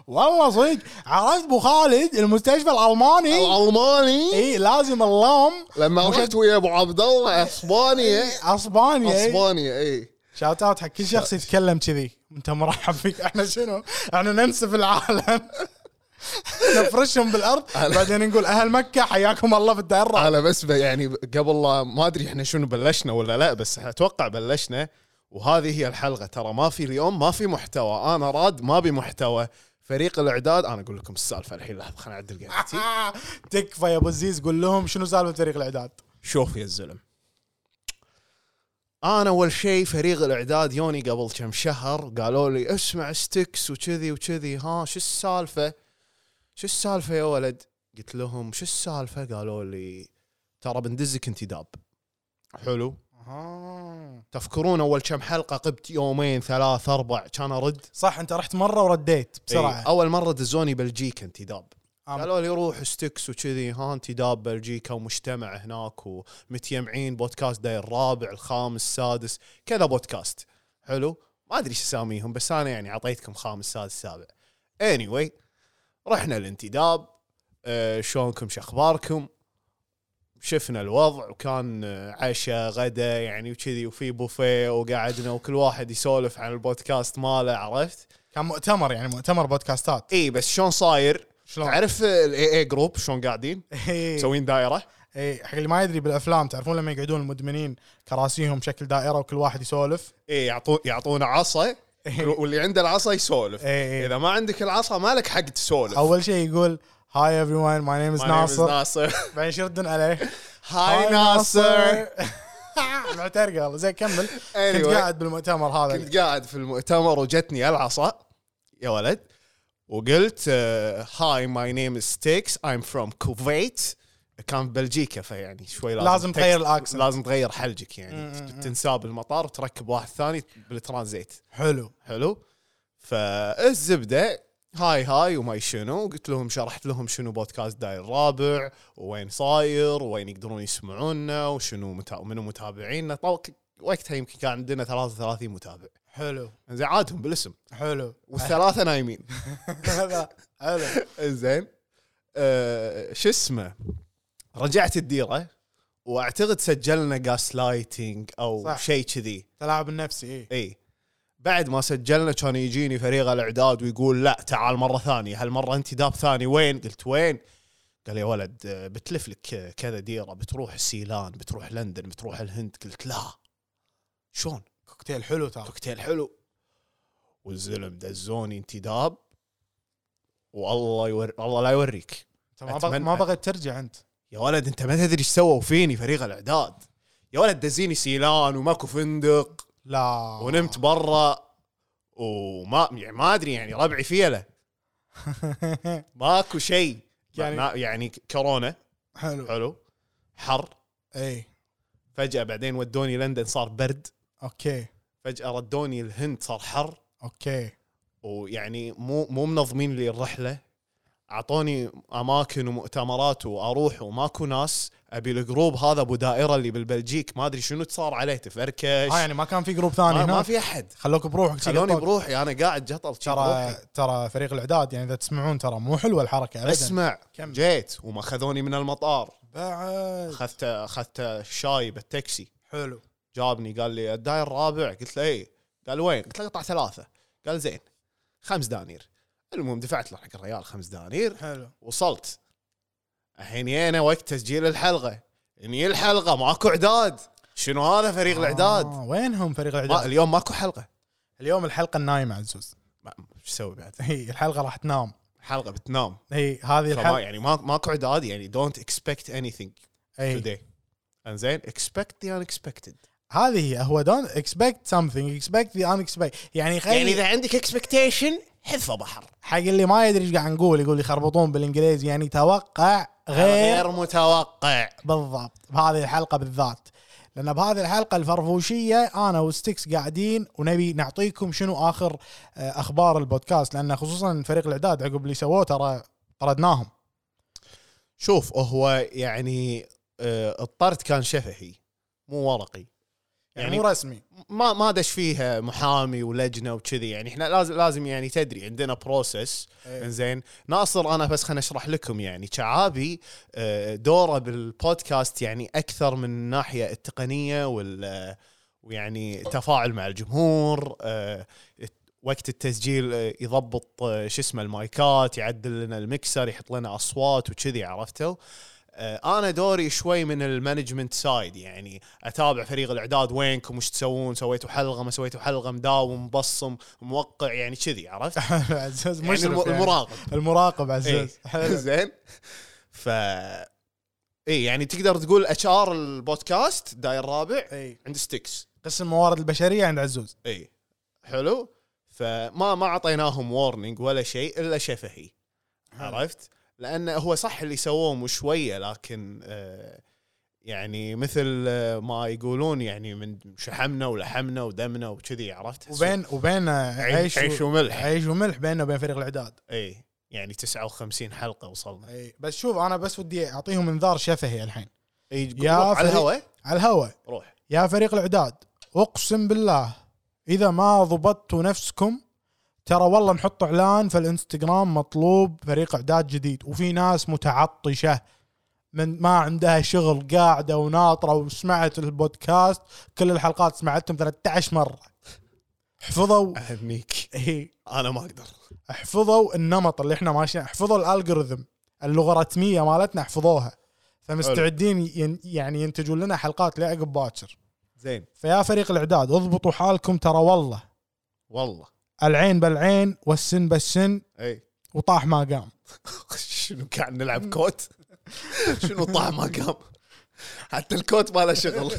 Speaker 3: والله صدق عرفت ابو خالد المستشفى الالماني
Speaker 2: الالماني
Speaker 3: اي لازم اللام
Speaker 2: لما
Speaker 3: مش-
Speaker 2: رحت ويا ابو عبد الله إيه. اسبانيا
Speaker 3: اسبانيا إي.
Speaker 2: اسبانيا اي
Speaker 3: شاوت اوت حق كل شخص يتكلم كذي انت مرحب فيك احنا شنو؟ احنا ننسف العالم <laughs> نفرشهم بالارض بعدين نقول اهل مكه حياكم الله في الدائره
Speaker 2: انا بس ب- يعني قبل لا- ما ادري احنا شنو بلشنا ولا لا بس اتوقع بلشنا وهذه هي الحلقه ترى ما في اليوم ما في محتوى انا راد ما بي محتوى فريق الاعداد انا اقول لكم السالفه الحين لحظه خليني اعدل قعدتي
Speaker 3: آه، تكفى يا ابو الزيز قول لهم شنو سالفه فريق الاعداد
Speaker 2: شوف يا الزلم انا اول شيء فريق الاعداد يوني قبل كم شهر قالوا لي اسمع ستكس وكذي وكذي ها شو السالفه شو السالفه يا ولد قلت لهم شو السالفه قالوا لي ترى بندزك انتداب حلو تذكرون اول كم حلقه قبت يومين ثلاث اربع كان ارد
Speaker 3: صح انت رحت مره ورديت آه،
Speaker 2: إي،
Speaker 3: بسرعه
Speaker 2: اول مره دزوني بلجيكا انتداب
Speaker 3: آم.
Speaker 2: قالوا لي روح ستكس وكذي ها انتداب بلجيكا ومجتمع هناك ومتيمعين بودكاست داير الرابع الخامس السادس كذا بودكاست حلو ما ادري شو اساميهم بس انا يعني اعطيتكم خامس سادس سابع anyway رحنا الانتداب آه، شلونكم شو اخباركم شفنا الوضع وكان آه، عشاء غدا يعني وكذي وفي بوفيه وقعدنا وكل واحد يسولف عن البودكاست ماله عرفت
Speaker 3: كان مؤتمر يعني مؤتمر بودكاستات
Speaker 2: اي بس شلون صاير
Speaker 3: شلون؟
Speaker 2: تعرف الاي اي جروب شلون قاعدين
Speaker 3: إي.
Speaker 2: مسوين دائره
Speaker 3: اي إيه، حق اللي ما يدري بالافلام تعرفون لما يقعدون المدمنين كراسيهم شكل دائره وكل واحد يسولف
Speaker 2: اي يعطون إيه، يعطونا عصا
Speaker 3: إي.
Speaker 2: واللي عنده العصا يسولف
Speaker 3: إي إي.
Speaker 2: اذا ما عندك العصا مالك حق تسولف
Speaker 3: اول إيه، شيء يقول هاي ايفري ون ماي نيم از
Speaker 2: My name is
Speaker 3: ناصر
Speaker 2: ناصر
Speaker 3: <laughs> بعدين شو يردون عليه
Speaker 2: هاي ناصر
Speaker 3: <laughs> معترقه والله زين كمل كنت
Speaker 2: Anyway.
Speaker 3: قاعد بالمؤتمر هذا
Speaker 2: كنت قاعد في المؤتمر وجتني العصا يا ولد وقلت آه، هاي ماي نيم از ستيكس ايم فروم كوفيت كان بلجيكا فيعني شوي لازم
Speaker 3: لازم
Speaker 2: تك-
Speaker 3: تغير الأكسنت.
Speaker 2: لازم تغير حلجك يعني تنساه بالمطار وتركب واحد ثاني بالترانزيت
Speaker 3: حلو
Speaker 2: حلو فالزبده هاي هاي وما شنو قلت لهم شرحت لهم شنو بودكاست داير الرابع وين صاير وين يقدرون يسمعونا وشنو متا... منو متابعينا طو... وقتها يمكن كان عندنا 33 متابع <laughs>
Speaker 3: حلو
Speaker 2: زين عادهم بالاسم
Speaker 3: حلو
Speaker 2: والثلاثه نايمين
Speaker 3: <laughs>
Speaker 2: <laughs>
Speaker 3: هذا حلو
Speaker 2: زين أه شو اسمه رجعت الديره واعتقد سجلنا جاس لايتنج او
Speaker 3: صح.
Speaker 2: شيء كذي
Speaker 3: تلاعب النفسي إيه.
Speaker 2: اي
Speaker 3: اي
Speaker 2: إيه. بعد ما سجلنا كان يجيني فريق الاعداد ويقول لا تعال مره ثانيه هالمره انتداب ثاني وين؟ قلت وين؟ قال يا ولد آه، بتلف لك آه، كذا ديره بتروح السيلان بتروح لندن بتروح الهند قلت لا شلون؟
Speaker 3: كوكتيل حلو ترى
Speaker 2: كوكتيل حلو والزلم دزوني انتداب والله يور... الله لا يوريك
Speaker 3: أنت ما بغ-
Speaker 2: أتمنى.
Speaker 3: ما بغيت ترجع انت
Speaker 2: يا ولد انت ما تدري ايش سووا فيني فريق الاعداد يا ولد دزيني سيلان وماكو فندق
Speaker 3: لا
Speaker 2: ونمت برا وما يعني ما ادري يعني ربعي فيله ماكو شيء يعني
Speaker 3: يعني-
Speaker 2: ما يعني كورونا
Speaker 3: <laughs> حلو إيه.
Speaker 2: حلو حر
Speaker 3: اي
Speaker 2: فجاه بعدين ودوني لندن صار برد
Speaker 3: اوكي
Speaker 2: فجاه ردوني الهند صار حر
Speaker 3: اوكي
Speaker 2: ويعني مو مو منظمين لي الرحله اعطوني اماكن ومؤتمرات واروح وماكو ناس ابي الجروب هذا ابو دائره اللي بالبلجيك ما ادري شنو صار عليه تفركش
Speaker 3: اه يعني ما كان في جروب ثاني
Speaker 2: ما,
Speaker 3: هناك
Speaker 2: ما في احد
Speaker 3: خلوك بروحك شي
Speaker 2: خلوني
Speaker 3: قطوك.
Speaker 2: بروحي انا قاعد جطل شي
Speaker 3: ترى
Speaker 2: بروحي.
Speaker 3: ترى فريق الاعداد يعني اذا تسمعون ترى مو حلوه الحركه ابدا
Speaker 2: اسمع
Speaker 3: كمل.
Speaker 2: جيت وما خذوني من المطار
Speaker 3: بعد
Speaker 2: اخذت اخذت شاي بالتاكسي
Speaker 3: حلو
Speaker 2: جابني قال لي الداير الرابع قلت له اي قال وين؟ قلت له قطع ثلاثه قال زين خمس دنانير المهم دفعت له حق الريال خمس دنانير
Speaker 3: حلو
Speaker 2: وصلت الحين جينا وقت تسجيل الحلقه اني الحلقه ماكو اعداد شنو هذا فريق الاعداد؟
Speaker 3: آه وينهم فريق
Speaker 2: ما
Speaker 3: الاعداد؟
Speaker 2: اليوم ماكو حلقه
Speaker 3: اليوم الحلقه النايمه عزوز
Speaker 2: ما- شو اسوي بعد؟
Speaker 3: هي الحلقه راح تنام
Speaker 2: حلقه بتنام
Speaker 3: هي هذه
Speaker 2: فما
Speaker 3: الحلقه
Speaker 2: يعني ما ماكو اعداد يعني دونت اكسبكت anything
Speaker 3: هي
Speaker 2: today انزين expect the unexpected
Speaker 3: هذه هي هو دون اكسبكت سمثينج اكسبكت ذا ان اكسبكت يعني خلي
Speaker 2: يعني اذا عندك expectation حذفه بحر
Speaker 3: حق اللي ما يدري ايش قاعد نقول يقول يخربطون بالانجليزي يعني توقع غير
Speaker 2: غير متوقع
Speaker 3: بالضبط بهذه الحلقه بالذات لان بهذه الحلقه الفرفوشيه انا وستيكس قاعدين ونبي نعطيكم شنو اخر آه، اخبار البودكاست لان خصوصا فريق الاعداد عقب اللي سووه ترى طردناهم
Speaker 2: شوف هو يعني آه، الطرد كان شفهي مو ورقي
Speaker 3: يعني,
Speaker 2: يعني-
Speaker 3: مو <laughs> رسمي
Speaker 2: ما ما دش فيها محامي ولجنه وكذي يعني احنا لازم لازم يعني تدري عندنا بروسس
Speaker 3: إيه.
Speaker 2: زين ناصر انا بس خليني اشرح لكم يعني شعابي آه، دوره بالبودكاست يعني اكثر من الناحيه التقنيه وال ويعني تفاعل مع الجمهور آه، وقت التسجيل آه، يضبط آه، شو اسمه المايكات يعدل لنا المكسر يحط لنا اصوات وكذي عرفتوا آه، انا دوري شوي من المانجمنت سايد يعني اتابع فريق الاعداد وينكم وش تسوون سويتوا حلقه ما سويتوا حلقه مداوم مبصم موقع يعني كذي عرفت <laughs>
Speaker 3: <laughs> عزوز
Speaker 2: يعني
Speaker 3: مشرف
Speaker 2: الم-
Speaker 3: يعني
Speaker 2: المراقب
Speaker 3: المراقب عزوز
Speaker 2: إيه. زين ف اي يعني تقدر تقول اتش ار البودكاست داير الرابع
Speaker 3: إيه.
Speaker 2: عند ستيكس
Speaker 3: قسم الموارد البشريه عند عزوز
Speaker 2: اي حلو فما ما اعطيناهم وورنينج ولا شيء الا شفهي عرفت لان هو صح اللي سووه مو شويه لكن آه يعني مثل آه ما يقولون يعني من شحمنا ولحمنا ودمنا وكذي عرفت
Speaker 3: وبين وبين آه،
Speaker 2: عيش,
Speaker 3: عيش
Speaker 2: عيش
Speaker 3: و-
Speaker 2: وملح
Speaker 3: عيش وملح بيننا وبين فريق الاعداد
Speaker 2: اي يعني 59 حلقه وصلنا
Speaker 3: إيه. بس شوف انا بس ودي اعطيهم انذار شفهي الحين
Speaker 2: اي
Speaker 3: يا
Speaker 2: روح على
Speaker 3: فريق-
Speaker 2: الهواء
Speaker 3: على الهواء
Speaker 2: روح
Speaker 3: يا فريق الاعداد اقسم بالله اذا ما ضبطتوا نفسكم ترى والله نحط اعلان في الانستغرام مطلوب فريق اعداد جديد وفي ناس متعطشه من ما عندها شغل قاعده وناطره وسمعت البودكاست كل الحلقات سمعتهم 13 مره حفظوا
Speaker 2: اهنيك
Speaker 3: إيه،
Speaker 2: انا ما اقدر
Speaker 3: حفظوا النمط اللي احنا ماشيين حفظوا الالغوريثم اللوغاريتميه مالتنا حفظوها فمستعدين ين- يعني ينتجون لنا حلقات لعقب باكر
Speaker 2: زين
Speaker 3: فيا فريق الاعداد اضبطوا حالكم ترى والله
Speaker 2: والله
Speaker 3: العين بالعين والسن بالسن
Speaker 2: اي
Speaker 3: وطاح ما قام
Speaker 2: <laughs> شنو قاعد نلعب كوت <laughs> شنو طاح ما قام حتى الكوت ما له شغل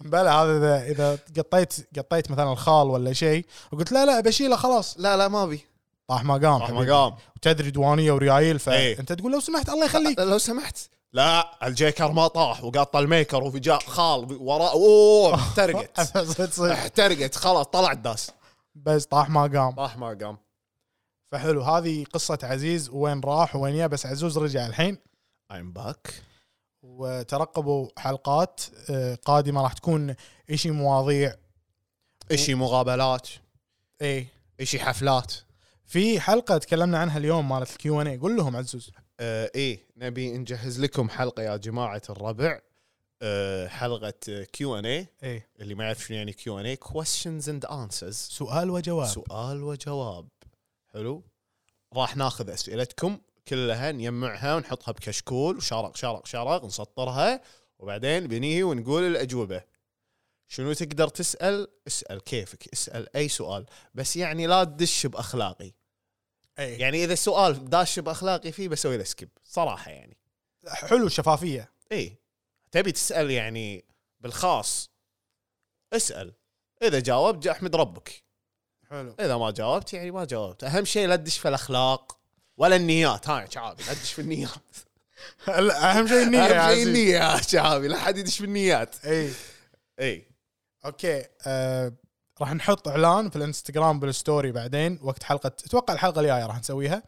Speaker 3: بلا هذا اذا اذا قطيت قطيت مثلا الخال ولا شيء وقلت لا لا بشيله خلاص
Speaker 2: <laughs> لا لا ما ابي
Speaker 3: طاح ما قام
Speaker 2: طاح
Speaker 3: حبيبي.
Speaker 2: ما قام
Speaker 3: وتدري دوانيه وريايل
Speaker 2: إيه.
Speaker 3: فانت تقول لو سمحت الله
Speaker 2: <laughs>
Speaker 3: يخليك <laughs>
Speaker 2: لو سمحت لا الجيكر ما طاح وقاطه الميكر وفي جاء خال وراء <laughs> اوه احترقت
Speaker 3: صدق صدق.
Speaker 2: احترقت خلاص طلعت داس
Speaker 3: بس طاح ما قام
Speaker 2: طاح ما قام
Speaker 3: فحلو هذه قصه عزيز وين راح وين يا بس عزوز رجع الحين
Speaker 2: I'm back
Speaker 3: وترقبوا حلقات آه، قادمه راح تكون شيء مواضيع
Speaker 2: اشي مقابلات
Speaker 3: ايه
Speaker 2: اشي حفلات
Speaker 3: في حلقه تكلمنا عنها اليوم مالت الكيو ان اي قول لهم عزوز
Speaker 2: آه ايه نبي نجهز لكم حلقه يا جماعه الربع آه حلقه كيو ان اي
Speaker 3: ايه
Speaker 2: اللي ما يعرف شنو يعني كيو ان اي questions and answers
Speaker 3: سؤال وجواب
Speaker 2: سؤال وجواب حلو راح ناخذ اسئلتكم كلها نجمعها ونحطها بكشكول وشرق شرق شرق نسطرها وبعدين بنيجي ونقول الاجوبه شنو تقدر تسال اسال كيفك اسال اي سؤال بس يعني لا تدش باخلاقي
Speaker 3: ايه
Speaker 2: يعني اذا السؤال داش باخلاقي فيه بسوي له سكيب صراحه يعني
Speaker 3: حلو الشفافيه
Speaker 2: اي تبي تسال يعني بالخاص اسال اذا جاوبت احمد ربك
Speaker 3: حلو
Speaker 2: اذا ما جاوبت يعني ما جاوبت اهم شيء لا تدش في الاخلاق ولا النيات هاي شعابي لا تدش في النيات
Speaker 3: اهم شيء النيه يا
Speaker 2: اهم شيء
Speaker 3: عزيز.
Speaker 2: النية يا شعابي لا حد يدش في النيات
Speaker 3: ايه
Speaker 2: اي
Speaker 3: اوكي آه راح نحط اعلان في الانستغرام بالستوري بعدين وقت حلقه اتوقع الحلقه الجايه راح نسويها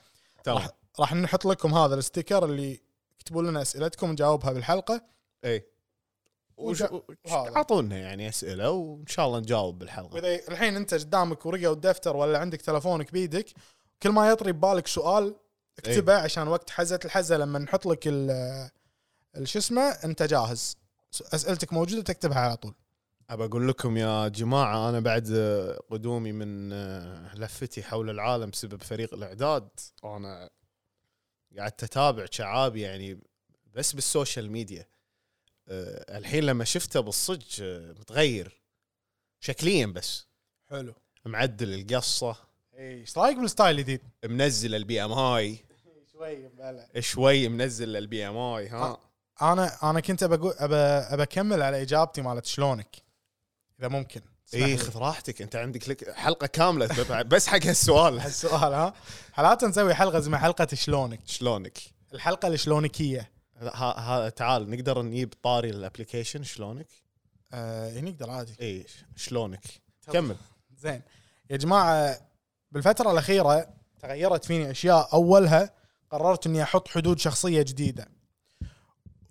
Speaker 2: تمام
Speaker 3: راح نحط لكم هذا الستيكر اللي اكتبوا لنا اسئلتكم نجاوبها بالحلقه
Speaker 2: اي وش-
Speaker 3: وجا-
Speaker 2: وش-
Speaker 3: وهذا.
Speaker 2: اعطونا يعني اسئله وان شاء الله نجاوب بالحلقه
Speaker 3: واذا الحين انت قدامك ورقه ودفتر ولا عندك تلفونك بيدك كل ما يطري ببالك سؤال اكتبه أيه. عشان وقت حزه الحزه لما نحط لك ال- ال- شو اسمه انت جاهز اسئلتك موجوده تكتبها على طول
Speaker 2: ابى اقول لكم يا جماعه انا بعد آه، قدومي من آه، لفتي حول العالم بسبب فريق الاعداد انا قعدت اتابع شعاب يعني بس بالسوشيال ميديا آه، الحين لما شفته بالصج آه، متغير شكليا بس
Speaker 3: حلو
Speaker 2: معدل القصه
Speaker 3: ايش رايك إيه، بالستايل الجديد؟
Speaker 2: منزل البي ام اي
Speaker 3: إيه، شوي بلا
Speaker 2: شوي منزل البي ام اي ها
Speaker 3: انا انا كنت بقول ابى اكمل على اجابتي مالت شلونك اذا ممكن تسمح
Speaker 2: اي
Speaker 3: لي.
Speaker 2: إيه،
Speaker 3: <laughs>
Speaker 2: خذ راحتك انت عندك لك حلقه كامله بس حق هالسؤال <laughs>
Speaker 3: هالسؤال ها حالات نسوي حلقه اسمها حلقه شلونك
Speaker 2: شلونك
Speaker 3: الحلقه الشلونكيه
Speaker 2: لا، ها ها تعال نقدر نجيب طاري الابلكيشن شلونك؟
Speaker 3: آه إيه، نقدر عادي
Speaker 2: اي شلونك؟
Speaker 3: تفضل.
Speaker 2: كمل
Speaker 3: زين يا جماعه بالفتره الاخيره تغيرت فيني اشياء اولها قررت اني احط حدود شخصيه جديده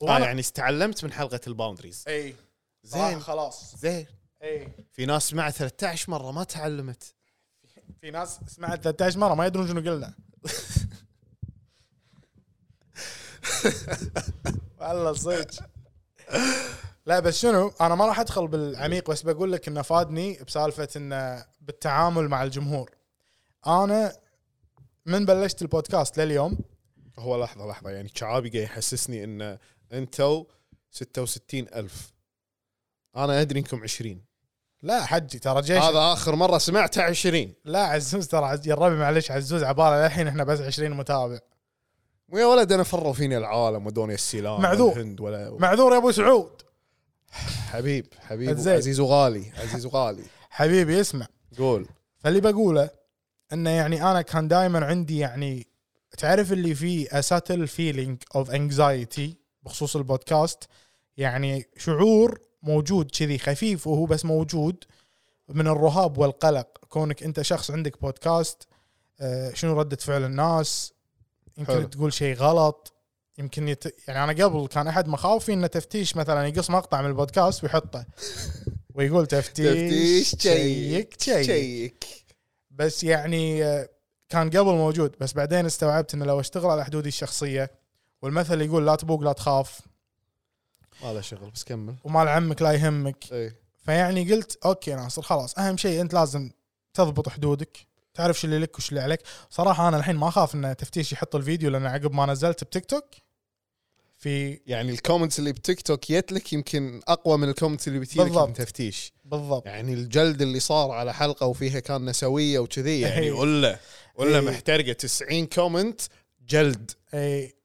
Speaker 2: آه يعني استعلمت من حلقه الباوندريز
Speaker 3: اي
Speaker 2: زين
Speaker 3: خلاص
Speaker 2: زين
Speaker 3: اي
Speaker 2: في ناس سمعت 13 مره ما تعلمت
Speaker 3: في ناس سمعت 13 مره ما يدرون شنو قلنا والله صدق لا بس شنو انا ما راح ادخل بالعميق بس بقول لك انه فادني بسالفه انه بالتعامل مع الجمهور انا من بلشت البودكاست لليوم
Speaker 2: هو لحظه لحظه يعني شعابي قاعد يحسسني ان انتو 66 ألف انا ادري انكم 20
Speaker 3: لا حجي ترى جيش
Speaker 2: هذا اخر مره سمعتها 20
Speaker 3: لا عزوز ترى عز- يا الربي معلش عزوز عباره للحين احنا بس 20 متابع
Speaker 2: ويا ولد انا فروا فيني العالم ودوني السيلان
Speaker 3: معذور.
Speaker 2: الهند ولا
Speaker 3: معذور يا ابو سعود
Speaker 2: حبيب حبيب
Speaker 3: زين.
Speaker 2: عزيز وغالي عزيز وغالي
Speaker 3: حبيبي اسمع
Speaker 2: قول
Speaker 3: فاللي بقوله انه يعني انا كان دائما عندي يعني تعرف اللي فيه ساتل فيلينج اوف انكزايتي بخصوص البودكاست يعني شعور موجود كذي خفيف وهو بس موجود من الرهاب والقلق كونك انت شخص عندك بودكاست آه، شنو ردة فعل الناس يمكن
Speaker 2: حلو.
Speaker 3: حلو. تقول شيء غلط يمكن يت... يعني انا قبل كان احد مخاوفي انه تفتيش مثلا يقص مقطع من البودكاست ويحطه ويقول تفتيش شيك بس يعني آه، كان قبل موجود بس بعدين استوعبت انه لو اشتغل على حدودي الشخصيه والمثل يقول لا تبوق لا تخاف
Speaker 2: ما له شغل بس كمل إيه،
Speaker 3: ومال عمك لا يهمك
Speaker 2: اي
Speaker 3: فيعني قلت اوكي ناصر خلاص اهم شيء انت لازم تضبط حدودك تعرف شو اللي لك وش اللي عليك صراحه انا الحين ما اخاف ان تفتيش يحط الفيديو لان عقب ما نزلت بتيك توك في
Speaker 2: يعني الكومنتس اللي بتيك توك جت لك يمكن اقوى من الكومنتس اللي بتجي لك
Speaker 3: بالضبط.
Speaker 2: من تفتيش
Speaker 3: بالضبط
Speaker 2: يعني الجلد اللي صار على حلقه وفيها كان نسويه وكذي يعني
Speaker 3: إيه.
Speaker 2: ولا ولا
Speaker 3: إيه.
Speaker 2: محترقه 90 كومنت جلد
Speaker 3: اي إيه،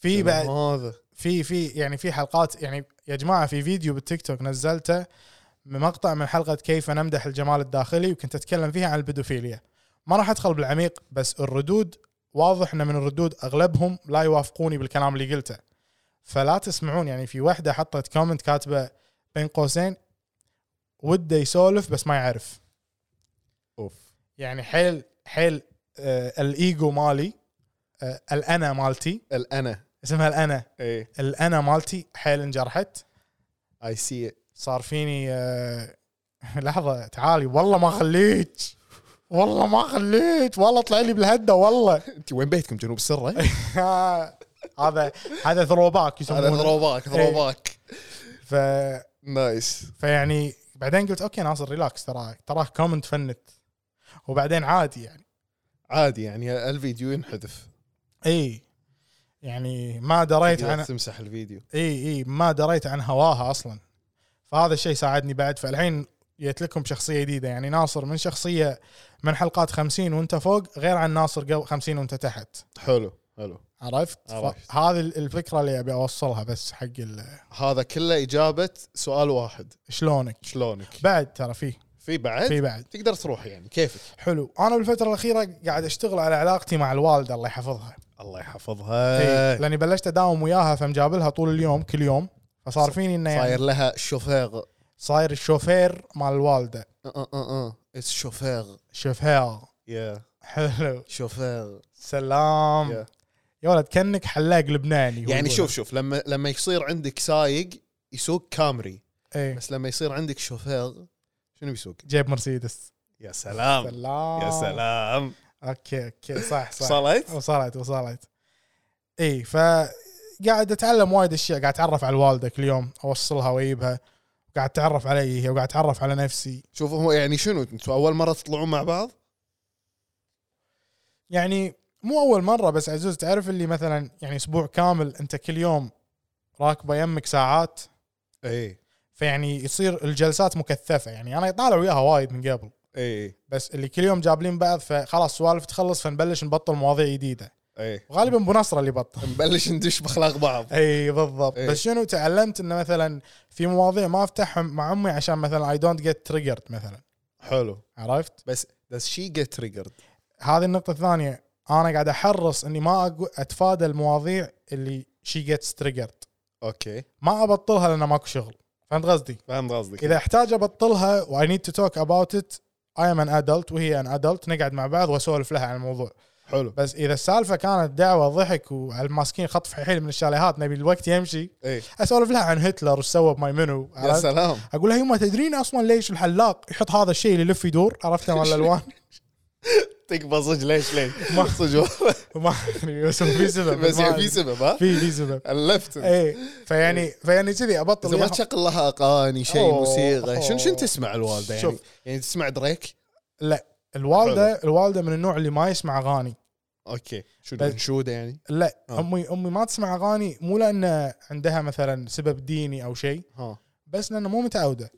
Speaker 3: في بعد
Speaker 2: هذا
Speaker 3: في في يعني في حلقات يعني يا جماعه في فيديو بالتيك توك نزلته من مقطع من حلقه كيف نمدح الجمال الداخلي وكنت اتكلم فيها عن البيدوفيليا ما راح ادخل بالعميق بس الردود واضح ان من الردود اغلبهم لا يوافقوني بالكلام اللي قلته فلا تسمعون يعني في واحده حطت كومنت كاتبه بين قوسين وده يسولف بس ما يعرف
Speaker 2: اوف
Speaker 3: يعني حيل حيل آه الايجو مالي آه الانا مالتي
Speaker 2: الانا
Speaker 3: اسمها الانا
Speaker 2: اي
Speaker 3: الانا مالتي حيل انجرحت
Speaker 2: اي سي
Speaker 3: صار فيني آه، <laughs> لحظه تعالي والله ما خليك والله ما خليك <laughs> والله طلع لي بالهده
Speaker 2: <laughs>
Speaker 3: والله إيه،
Speaker 2: انت وين بيتكم جنوب سره؟
Speaker 3: هذا هذا ثروباك
Speaker 2: هذا
Speaker 3: يسمونه
Speaker 2: ثروباك ثروباك
Speaker 3: ف...
Speaker 2: نايس
Speaker 3: فيعني بعدين قلت اوكي ناصر ريلاكس ترى تراه كومنت فنت وبعدين عادي يعني
Speaker 2: عادي يعني الفيديو ينحذف
Speaker 3: اي يعني ما دريت عن
Speaker 2: تقدر تمسح الفيديو
Speaker 3: اي اي ما دريت عن هواها اصلا فهذا الشيء ساعدني بعد فالحين جيت لكم بشخصيه جديده يعني ناصر من شخصيه من حلقات 50 وانت فوق غير عن ناصر قبل 50 وانت تحت
Speaker 2: حلو حلو
Speaker 3: عرفت؟
Speaker 2: عرفت.
Speaker 3: ف- هذه ال- الفكره اللي ابي اوصلها بس حق ال-
Speaker 2: هذا كله اجابه سؤال واحد
Speaker 3: شلونك
Speaker 2: شلونك؟
Speaker 3: بعد ترى في
Speaker 2: في بعد
Speaker 3: في بعد
Speaker 2: تقدر تروح يعني كيفك
Speaker 3: حلو انا بالفتره الاخيره قاعد اشتغل على علاقتي مع الوالده الله يحفظها
Speaker 2: الله
Speaker 3: إي،
Speaker 2: يحفظها
Speaker 3: لاني بلشت اداوم وياها فمجابلها طول اليوم كل يوم فصار فيني انه
Speaker 2: صاير
Speaker 3: يعني
Speaker 2: لها أه، شوفير
Speaker 3: صاير الشوفير مال الوالده
Speaker 2: اه اه اه اتس شوفير
Speaker 3: شوفير
Speaker 2: يا
Speaker 3: حلو
Speaker 2: شوفير
Speaker 3: سلام
Speaker 2: يا.
Speaker 3: يا ولد كانك حلاق لبناني هو
Speaker 2: يعني
Speaker 3: يقول.
Speaker 2: شوف شوف لما لما يصير عندك سايق يسوق كامري
Speaker 3: ايه
Speaker 2: بس لما يصير عندك شوفير شنو بيسوق؟
Speaker 3: جيب مرسيدس
Speaker 2: يا سلام
Speaker 3: سلام
Speaker 2: يا سلام
Speaker 3: اوكي اوكي صح صح
Speaker 2: وصلت؟
Speaker 3: وصلت وصلت اي فقاعد اتعلم وايد اشياء قاعد اتعرف على الوالده كل يوم اوصلها واجيبها قاعد اتعرف علي هي وقاعد اتعرف على نفسي
Speaker 2: شوف هو يعني شنو انتوا اول مره تطلعون مع بعض؟
Speaker 3: يعني مو اول مره بس عزوز تعرف اللي مثلا يعني اسبوع كامل انت كل يوم راكبه يمك ساعات
Speaker 2: اي
Speaker 3: فيعني يصير الجلسات مكثفه يعني انا طالع وياها وايد من قبل
Speaker 2: اي
Speaker 3: بس اللي كل يوم جابلين بعض فخلاص سوالف تخلص فنبلش نبطل مواضيع جديده
Speaker 2: اي
Speaker 3: وغالبا ابو نصر اللي بطل
Speaker 2: نبلش ندش باخلاق بعض
Speaker 3: اي بالضبط
Speaker 2: إي.
Speaker 3: بس شنو تعلمت انه مثلا في مواضيع ما افتحها مع امي عشان مثلا اي دونت جيت تريجرد مثلا
Speaker 2: حلو
Speaker 3: عرفت
Speaker 2: بس does she get triggered
Speaker 3: هذه النقطه الثانيه انا قاعد احرص اني ما أقو- اتفادى المواضيع اللي شي جيتس تريجرد
Speaker 2: اوكي
Speaker 3: ما ابطلها لان ماكو شغل فهمت قصدي؟
Speaker 2: فهمت قصدك
Speaker 3: اذا احتاج ابطلها واي نيد تو توك اباوت ات اي ام ان ادلت وهي ان ادلت نقعد مع بعض واسولف لها عن الموضوع
Speaker 2: حلو
Speaker 3: بس اذا السالفه كانت دعوه ضحك والماسكين خطف حيل من الشاليهات نبي الوقت يمشي
Speaker 2: اي
Speaker 3: اسولف لها عن هتلر وش سوى بماي منو
Speaker 2: يا
Speaker 3: عرفت؟
Speaker 2: إيه، سلام
Speaker 3: اقول لها يما تدرين اصلا ليش الحلاق يحط هذا الشيء اللي يلف يدور
Speaker 2: <laughs>
Speaker 3: عرفته مال الالوان
Speaker 2: تقبل صدق ليش
Speaker 3: <laughs>
Speaker 2: ليش صدق والله.
Speaker 3: ما أدري، بس هو في سبب
Speaker 2: بس
Speaker 3: ما
Speaker 2: يعني
Speaker 3: أدري.
Speaker 2: في سبب ها
Speaker 3: في في سبب
Speaker 2: الفت
Speaker 3: ايه فيعني فيعني كذي ابطل
Speaker 2: اذا ما
Speaker 3: إياها.
Speaker 2: تشغل لها اغاني شيء
Speaker 3: أوه،
Speaker 2: موسيقى شنو شنو
Speaker 3: أوه.
Speaker 2: تسمع الوالده يعني
Speaker 3: شوف.
Speaker 2: يعني تسمع دريك
Speaker 3: لا الوالده الوالده من النوع اللي ما يسمع اغاني
Speaker 2: اوكي شنو
Speaker 3: بس-
Speaker 2: منشوده يعني
Speaker 3: لا
Speaker 2: آه.
Speaker 3: امي امي ما تسمع اغاني مو لان عندها مثلا سبب ديني او شيء
Speaker 2: ها
Speaker 3: بس لانه مو متعوده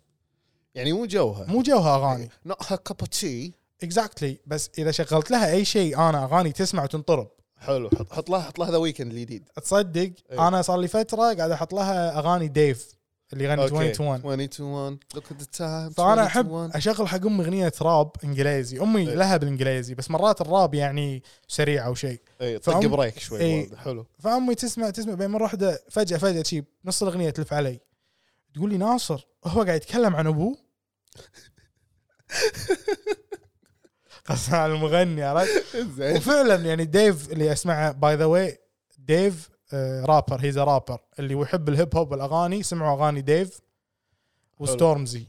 Speaker 2: يعني مو جوها
Speaker 3: مو جوها اغاني
Speaker 2: نوت هير كاب تي
Speaker 3: اكزاكتلي exactly. بس اذا شغلت لها اي شيء انا اغاني تسمع وتنطرب
Speaker 2: حلو حط حط لها حط لها ذا ويكند الجديد
Speaker 3: تصدق
Speaker 2: إيه.
Speaker 3: انا صار لي فتره قاعد احط لها اغاني ديف اللي يغني 21
Speaker 2: 21 لوك ات ذا تايم
Speaker 3: فانا احب اشغل حق امي اغنيه راب انجليزي امي
Speaker 2: إيه.
Speaker 3: لها بالانجليزي بس مرات الراب يعني سريع او شيء
Speaker 2: اي إيه، طق
Speaker 3: فأم- إيه.
Speaker 2: بريك شوي
Speaker 3: إي.
Speaker 2: الوالدة. حلو <laughs>
Speaker 3: فامي تسمع تسمع بين مره واحده فجاه فجاه شي نص الاغنيه تلف علي تقول لي ناصر هو قاعد يتكلم عن ابوه قصدي عن المغني عرفت
Speaker 2: زين
Speaker 3: وفعلا يعني ديف اللي اسمعه باي ذا واي ديف آه، رابر هيز رابر اللي يحب الهيب هوب والاغاني سمعوا اغاني ديف وستورمزي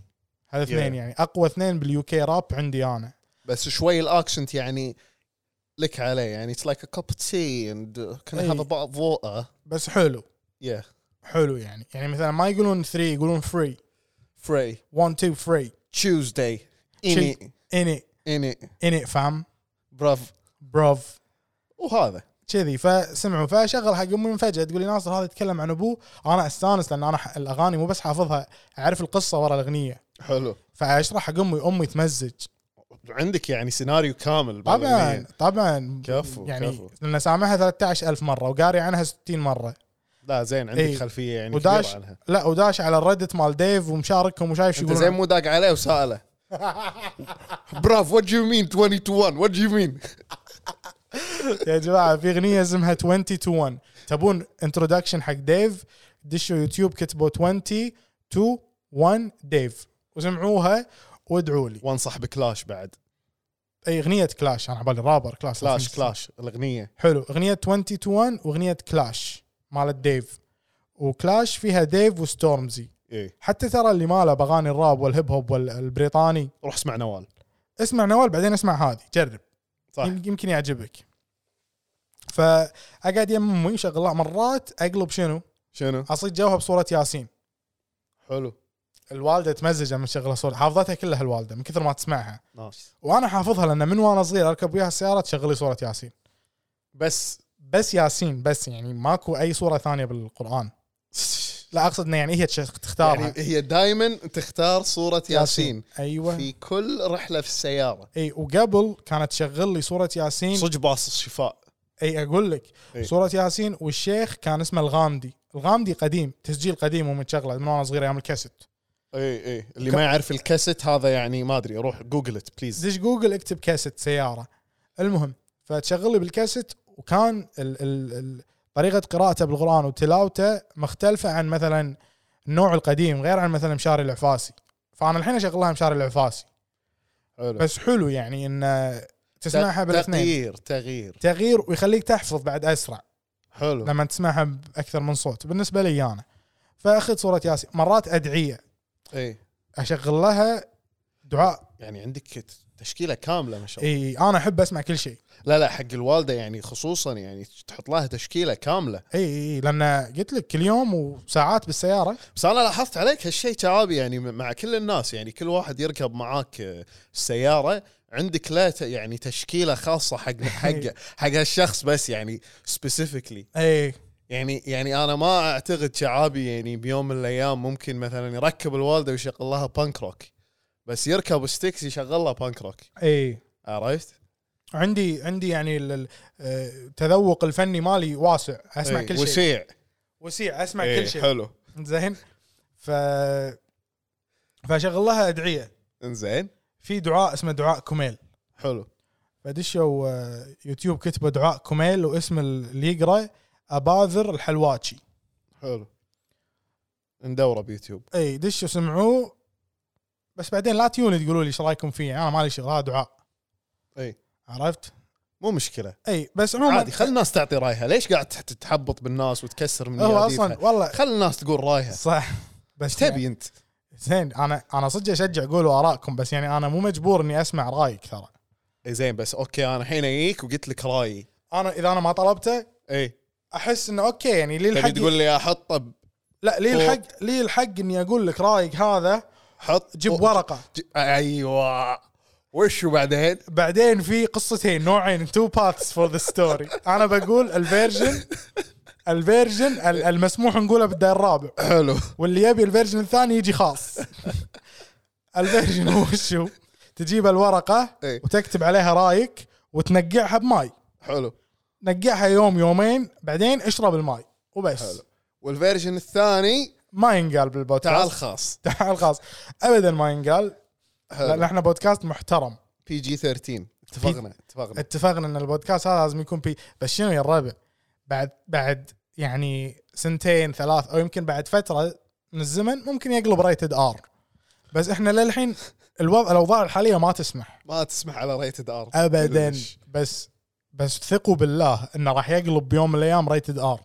Speaker 3: هذا اثنين
Speaker 2: Yeah.
Speaker 3: يعني اقوى اثنين باليو كي راب عندي انا
Speaker 2: بس شوي الاكشنت يعني لك عليه يعني اتس لايك ا كاب تي اند كان
Speaker 3: إي.
Speaker 2: هذا بعض ضوءه
Speaker 3: بس حلو
Speaker 2: يا
Speaker 3: حلو يعني يعني مثلا ما يقولون 3 يقولون فري
Speaker 2: فري
Speaker 3: 1 2 فري
Speaker 2: تشوزداي اني
Speaker 3: اني
Speaker 2: اني
Speaker 3: اني فاهم
Speaker 2: براف
Speaker 3: بروف
Speaker 2: وهذا
Speaker 3: كذي فسمعوا فشغل حق امي من فجاه تقول لي ناصر هذا يتكلم عن ابوه انا استانس لان انا ح- الاغاني مو بس حافظها اعرف القصه ورا الاغنيه
Speaker 2: حلو
Speaker 3: فاشرح حق امي امي تمزج
Speaker 2: عندك يعني سيناريو كامل
Speaker 3: طبعا
Speaker 2: بالأغنية.
Speaker 3: طبعا
Speaker 2: كفو،
Speaker 3: يعني
Speaker 2: كفو.
Speaker 3: لان سامعها 13000 مره وقاري عنها 60 مره
Speaker 2: لا زين عندك
Speaker 3: إي.
Speaker 2: خلفيه يعني
Speaker 3: وداش-
Speaker 2: كبيرة عنها
Speaker 3: لا وداش على الريدت مال ديف ومشاركهم وشايف شو
Speaker 2: انت زين
Speaker 3: يقولون
Speaker 2: مو داق عليه <laughs> وساله براف وات يو مين 21 وات يو مين
Speaker 3: يا جماعه في اغنيه اسمها 20 تو 1 تبون انتروداكشن حق ديف دشوا يوتيوب كتبوا 20 تو 1 ديف وسمعوها وادعوا لي
Speaker 2: وانصح بكلاش بعد
Speaker 3: اي اغنيه كلاش انا عبالي رابر كلاش
Speaker 2: كلاش كلاش الاغنيه
Speaker 3: حلو اغنيه 20 تو 1 واغنيه كلاش مالت ديف وكلاش فيها ديف وستورمزي
Speaker 2: اي
Speaker 3: حتى ترى اللي ماله باغاني الراب والهيب هوب والبريطاني
Speaker 2: روح اسمع نوال
Speaker 3: اسمع نوال بعدين اسمع هذه جرب
Speaker 2: صح
Speaker 3: يم- يمكن يعجبك فاقعد يم امي شغلها مرات اقلب شنو؟
Speaker 2: شنو
Speaker 3: اصيد جوها بصوره ياسين
Speaker 2: حلو
Speaker 3: الوالده تمزجه من شغلها صوره حافظتها كلها الوالده من كثر ما تسمعها
Speaker 2: نايس
Speaker 3: وانا حافظها لان من وانا صغير اركب وياها السياره تشغلي صوره ياسين
Speaker 2: بس
Speaker 3: بس ياسين بس يعني ماكو اي صوره ثانيه بالقران لا اقصد انه يعني هي تش- تختارها
Speaker 2: يعني
Speaker 3: يعني
Speaker 2: هي دائما تختار صوره ياسين
Speaker 3: ايوه
Speaker 2: في كل رحله في السياره
Speaker 3: اي إيه، وقبل كانت تشغل لي صوره ياسين
Speaker 2: صدق باصص شفاء
Speaker 3: اي اقول لك
Speaker 2: إي.
Speaker 3: صوره ياسين والشيخ كان اسمه الغامدي الغامدي قديم تسجيل قديم ومتشغله من وانا صغير ايام الكاسيت
Speaker 2: اي اي اللي ما يعرف الكاسيت هذا يعني ما ادري روح جوجل ات بليز
Speaker 3: دش جوجل اكتب كاسيت سياره المهم فتشغل لي بالكاسيت وكان ال ال ال طريقه قراءته بالقران وتلاوته مختلفه عن مثلا النوع القديم غير عن مثلا مشاري العفاسي فانا الحين اشغلها مشاري العفاسي
Speaker 2: حلو
Speaker 3: بس حلو يعني ان تسمعها بالاثنين
Speaker 2: تغيير تغيير
Speaker 3: تغيير ويخليك تحفظ بعد اسرع
Speaker 2: حلو
Speaker 3: لما تسمعها باكثر من صوت بالنسبه لي انا فاخذ صوره ياسين مرات ادعيه
Speaker 2: اي
Speaker 3: اشغل لها دعاء
Speaker 2: يعني عندك تشكيله كامله ما شاء الله
Speaker 3: اي انا احب اسمع كل شيء
Speaker 2: لا لا حق الوالده يعني خصوصا يعني تحط لها تشكيله كامله
Speaker 3: اي اي إي، لان قلت لك كل يوم وساعات بالسياره
Speaker 2: بس انا لاحظت عليك هالشيء شعابي يعني مع كل الناس يعني كل واحد يركب معاك آه، السياره عندك لا ت- يعني تشكيله خاصه
Speaker 3: <laughs>
Speaker 2: حق حق حق هالشخص بس يعني سبيسيفيكلي
Speaker 3: اي
Speaker 2: يعني يعني انا ما اعتقد شعابي يعني بيوم من الايام ممكن مثلا يركب الوالده ويشغل لها بانك روك بس يركب ستيكس يشغل لها بانك روك
Speaker 3: اي
Speaker 2: عرفت؟
Speaker 3: عندي عندي يعني ال- ال- آه، التذوق الفني مالي واسع اسمع
Speaker 2: إي،
Speaker 3: كل شيء
Speaker 2: وسيع
Speaker 3: وسيع اسمع
Speaker 2: إي،
Speaker 3: كل شيء
Speaker 2: إيه، حلو
Speaker 3: زين ف فاشغل لها ادعيه
Speaker 2: انزين
Speaker 3: في دعاء اسمه دعاء كميل
Speaker 2: حلو
Speaker 3: فدشوا آه، يوتيوب كتبوا دعاء كوميل واسم اللي يقرا اباذر الحلواتشي
Speaker 2: حلو ندوره بيوتيوب
Speaker 3: اي دشوا سمعوه بس بعدين لا تيوني تقولوا لي ايش رايكم فيه انا مالي شغل هذا دعاء
Speaker 2: اي
Speaker 3: عرفت؟
Speaker 2: إيه، مو مشكله
Speaker 3: اي بس عموما
Speaker 2: عادي خل الناس تعطي رايها ليش قاعد تحت- تحبط بالناس وتكسر من
Speaker 3: هو
Speaker 2: مياديفها؟
Speaker 3: اصلا والله
Speaker 2: خل الناس تقول رايها
Speaker 3: صح بس
Speaker 2: ايش
Speaker 3: يعني،
Speaker 2: تبي انت
Speaker 3: زين انا انا صدق اشجع قولوا ارائكم بس يعني انا مو مجبور اني اسمع رايك ترى
Speaker 2: إي إيه، زين بس اوكي انا الحين اجيك وقلت لك رايي
Speaker 3: انا اذا انا ما طلبته
Speaker 2: اي
Speaker 3: احس انه اوكي يعني لي الحق
Speaker 2: تبي تقول لي احطه ب-
Speaker 3: لا لي الحق لي الحق اني اقول لك رايك هذا
Speaker 2: حط
Speaker 3: جيب
Speaker 2: أو-
Speaker 3: ورقه
Speaker 2: ج- ايوه وش وبعدين
Speaker 3: بعدين في قصتين نوعين تو باثس فور ذا ستوري انا بقول الفيرجن الفيرجن ال- المسموح نقوله بالداير الرابع
Speaker 2: <clears throat> حلو
Speaker 3: واللي يبي الفيرجن الثاني يجي خاص الفيرجن هو شو تجيب الورقه
Speaker 2: إيه.
Speaker 3: وتكتب عليها رايك وتنقعها بماي
Speaker 2: حلو
Speaker 3: نقعها يوم يومين بعدين اشرب الماي وبس
Speaker 2: حلو. والفيرجن الثاني
Speaker 3: ما ينقال بالبودكاست
Speaker 2: تعال خاص
Speaker 3: تعال خاص ابدا ما ينقال لان احنا بودكاست محترم
Speaker 2: بي جي 13 اتفقنا اتفقنا
Speaker 3: اتفقنا ان البودكاست هذا لازم يكون بي بس شنو يا الربع بعد بعد يعني سنتين ثلاث او يمكن بعد فتره من الزمن ممكن يقلب ريتد ار بس احنا للحين الوضع الاوضاع الحاليه ما تسمح
Speaker 2: ما تسمح على ريتد ار
Speaker 3: ابدا بس بس ثقوا بالله انه راح يقلب بيوم من الايام ريتد ار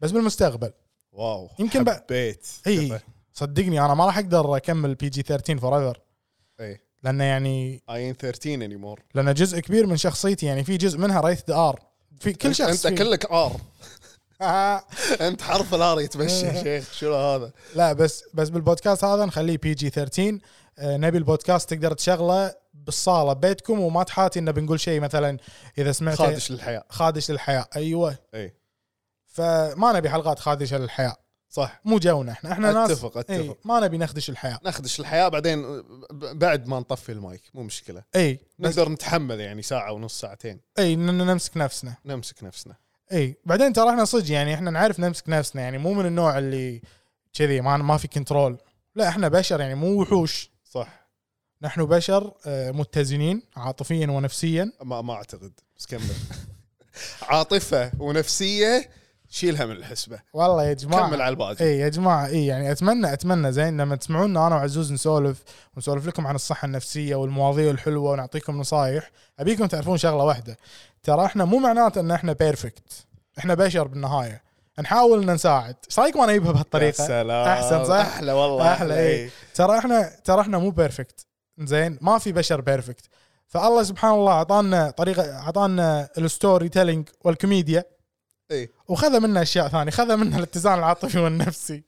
Speaker 3: بس بالمستقبل
Speaker 2: واو
Speaker 3: يمكن إيه. بع-
Speaker 2: حبيت
Speaker 3: اي صدقني انا ما راح اقدر اكمل بي جي 13 فور ايفر
Speaker 2: اي
Speaker 3: لانه يعني
Speaker 2: اين 13 اني مور
Speaker 3: لان جزء كبير من شخصيتي يعني في جزء منها ريتد ار في كل شخص
Speaker 2: انت
Speaker 3: فيه.
Speaker 2: كلك ار
Speaker 3: <laughs> آه.
Speaker 2: انت حرف الار يتمشى
Speaker 3: إيه.
Speaker 2: يا شيخ شنو هذا
Speaker 3: لا بس بس بالبودكاست هذا نخليه بي جي 13 آه، نبي البودكاست تقدر تشغله بالصاله ببيتكم وما تحاتي انه بنقول شيء مثلا اذا سمعت
Speaker 2: خادش للحياه
Speaker 3: خادش للحياه ايوه
Speaker 2: اي
Speaker 3: فما نبي حلقات خادشه للحياه
Speaker 2: صح
Speaker 3: مو جونا احنا احنا ناس إيه.
Speaker 2: أتفق- أتفق.
Speaker 3: اي ما نبي نخدش الحياه
Speaker 2: نخدش الحياه بعدين ب- بعد ما نطفي المايك مو مشكله
Speaker 3: اي بس
Speaker 2: نقدر نتحمل يعني ساعه ونص ساعتين
Speaker 3: اي ن- ن- نمسك نفسنا
Speaker 2: نمسك نفسنا
Speaker 3: اي بعدين ترى احنا صدق يعني احنا نعرف نمسك نفسنا يعني مو من النوع اللي كذي ما ما في كنترول لا احنا بشر يعني مو وحوش
Speaker 2: صح
Speaker 3: نحن بشر آه، متزنين عاطفيا ونفسيا
Speaker 2: ما ما اعتقد بس
Speaker 3: <laughs>
Speaker 2: كمل عاطفه ونفسيه شيلها من الحسبه
Speaker 3: والله يا جماعه
Speaker 2: كمل على الباقي
Speaker 3: اي يا جماعه اي يعني اتمنى اتمنى زين لما تسمعونا انا وعزوز نسولف ونسولف لكم عن الصحه النفسيه والمواضيع الحلوه ونعطيكم نصايح ابيكم تعرفون شغله واحده ترى احنا مو معناته ان احنا بيرفكت احنا بشر بالنهايه نحاول ان نساعد ايش رايكم انا اجيبها
Speaker 2: يا
Speaker 3: بهالطريقه
Speaker 2: سلام
Speaker 3: احسن صح
Speaker 2: احلى والله إيه.
Speaker 3: أحلى، إيه. إي.
Speaker 2: إي.
Speaker 3: ترى احنا ترى احنا مو بيرفكت زين ما في بشر بيرفكت فالله سبحان الله اعطانا طريقه اعطانا الستوري تيلينج والكوميديا
Speaker 2: إي.
Speaker 3: وخذ منا اشياء ثانيه خذ منا الاتزان العاطفي والنفسي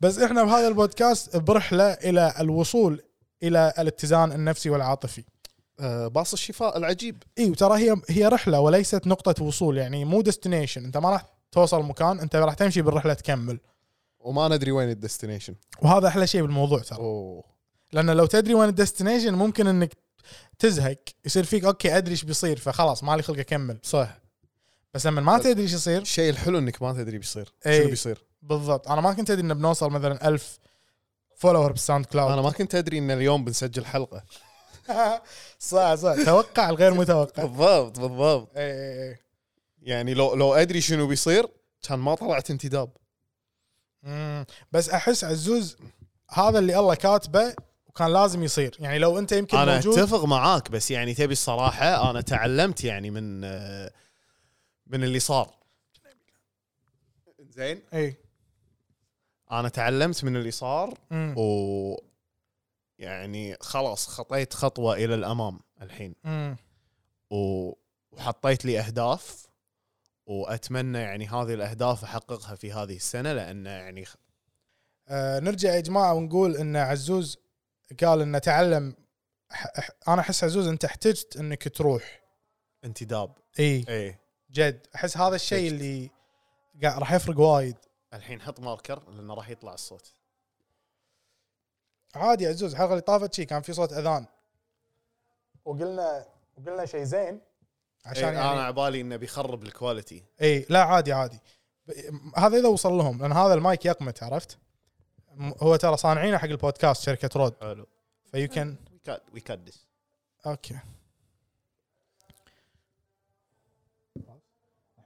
Speaker 3: بس احنا بهذا البودكاست برحله الى الوصول الى الاتزان النفسي والعاطفي
Speaker 2: آه، باص الشفاء العجيب
Speaker 3: اي وترى هي هي رحله وليست نقطه وصول يعني مو ديستنيشن انت ما راح توصل مكان انت راح تمشي بالرحله تكمل
Speaker 2: وما ندري وين الديستنيشن
Speaker 3: وهذا احلى شيء بالموضوع ترى
Speaker 2: اوه
Speaker 3: لان لو تدري وين الديستنيشن ممكن انك تزهق يصير فيك اوكي ادري ايش بيصير فخلاص مالي خلق اكمل
Speaker 2: صح
Speaker 3: بس لما ما تدري ايش يصير
Speaker 2: الشيء الحلو انك ما تدري بيصير
Speaker 3: إي.
Speaker 2: شنو بيصير
Speaker 3: بالضبط انا ما كنت ادري انه بنوصل مثلا ألف فولور بالساوند كلاود
Speaker 2: انا ما كنت ادري ان اليوم بنسجل حلقه
Speaker 3: <laughs> صح صح توقع الغير متوقع إيه،
Speaker 2: بالضبط بالضبط
Speaker 3: إي إي إي.
Speaker 2: يعني لو لو ادري شنو بيصير كان ما طلعت انتداب
Speaker 3: مم. بس احس عزوز هذا اللي الله كاتبه وكان لازم يصير يعني لو انت يمكن
Speaker 2: انا
Speaker 3: موجود
Speaker 2: اتفق معاك بس يعني تبي الصراحه انا تعلمت يعني من آه، من اللي صار زين
Speaker 3: اي
Speaker 2: انا تعلمت من اللي صار
Speaker 3: مم.
Speaker 2: و يعني خلاص خطيت خطوه الى الامام الحين
Speaker 3: مم.
Speaker 2: و... وحطيت لي اهداف واتمنى يعني هذه الاهداف احققها في هذه السنه لان يعني خ-
Speaker 3: آه، نرجع يا جماعه ونقول ان عزوز قال انه تعلم ح- ح- انا احس عزوز انت احتجت انك تروح
Speaker 2: انتداب
Speaker 3: اي
Speaker 2: اي
Speaker 3: جد احس هذا الشيء
Speaker 2: احتجت.
Speaker 3: اللي قا- راح يفرق وايد
Speaker 2: الحين حط ماركر لانه راح يطلع الصوت
Speaker 3: عادي يا عزوز الحلقه اللي طافت شي كان في صوت اذان وقلنا وقلنا شيء زين
Speaker 2: عشان
Speaker 3: عشان
Speaker 2: يعني انا
Speaker 3: يعني
Speaker 2: عبالي انه بيخرب الكواليتي
Speaker 3: اي لا عادي عادي ب- هذا اذا وصل لهم لان هذا المايك يقمت عرفت م- هو ترى صانعينه حق البودكاست شركه رود
Speaker 2: حلو
Speaker 3: فيو كان
Speaker 2: وي كاد وي كاد ذس
Speaker 3: اوكي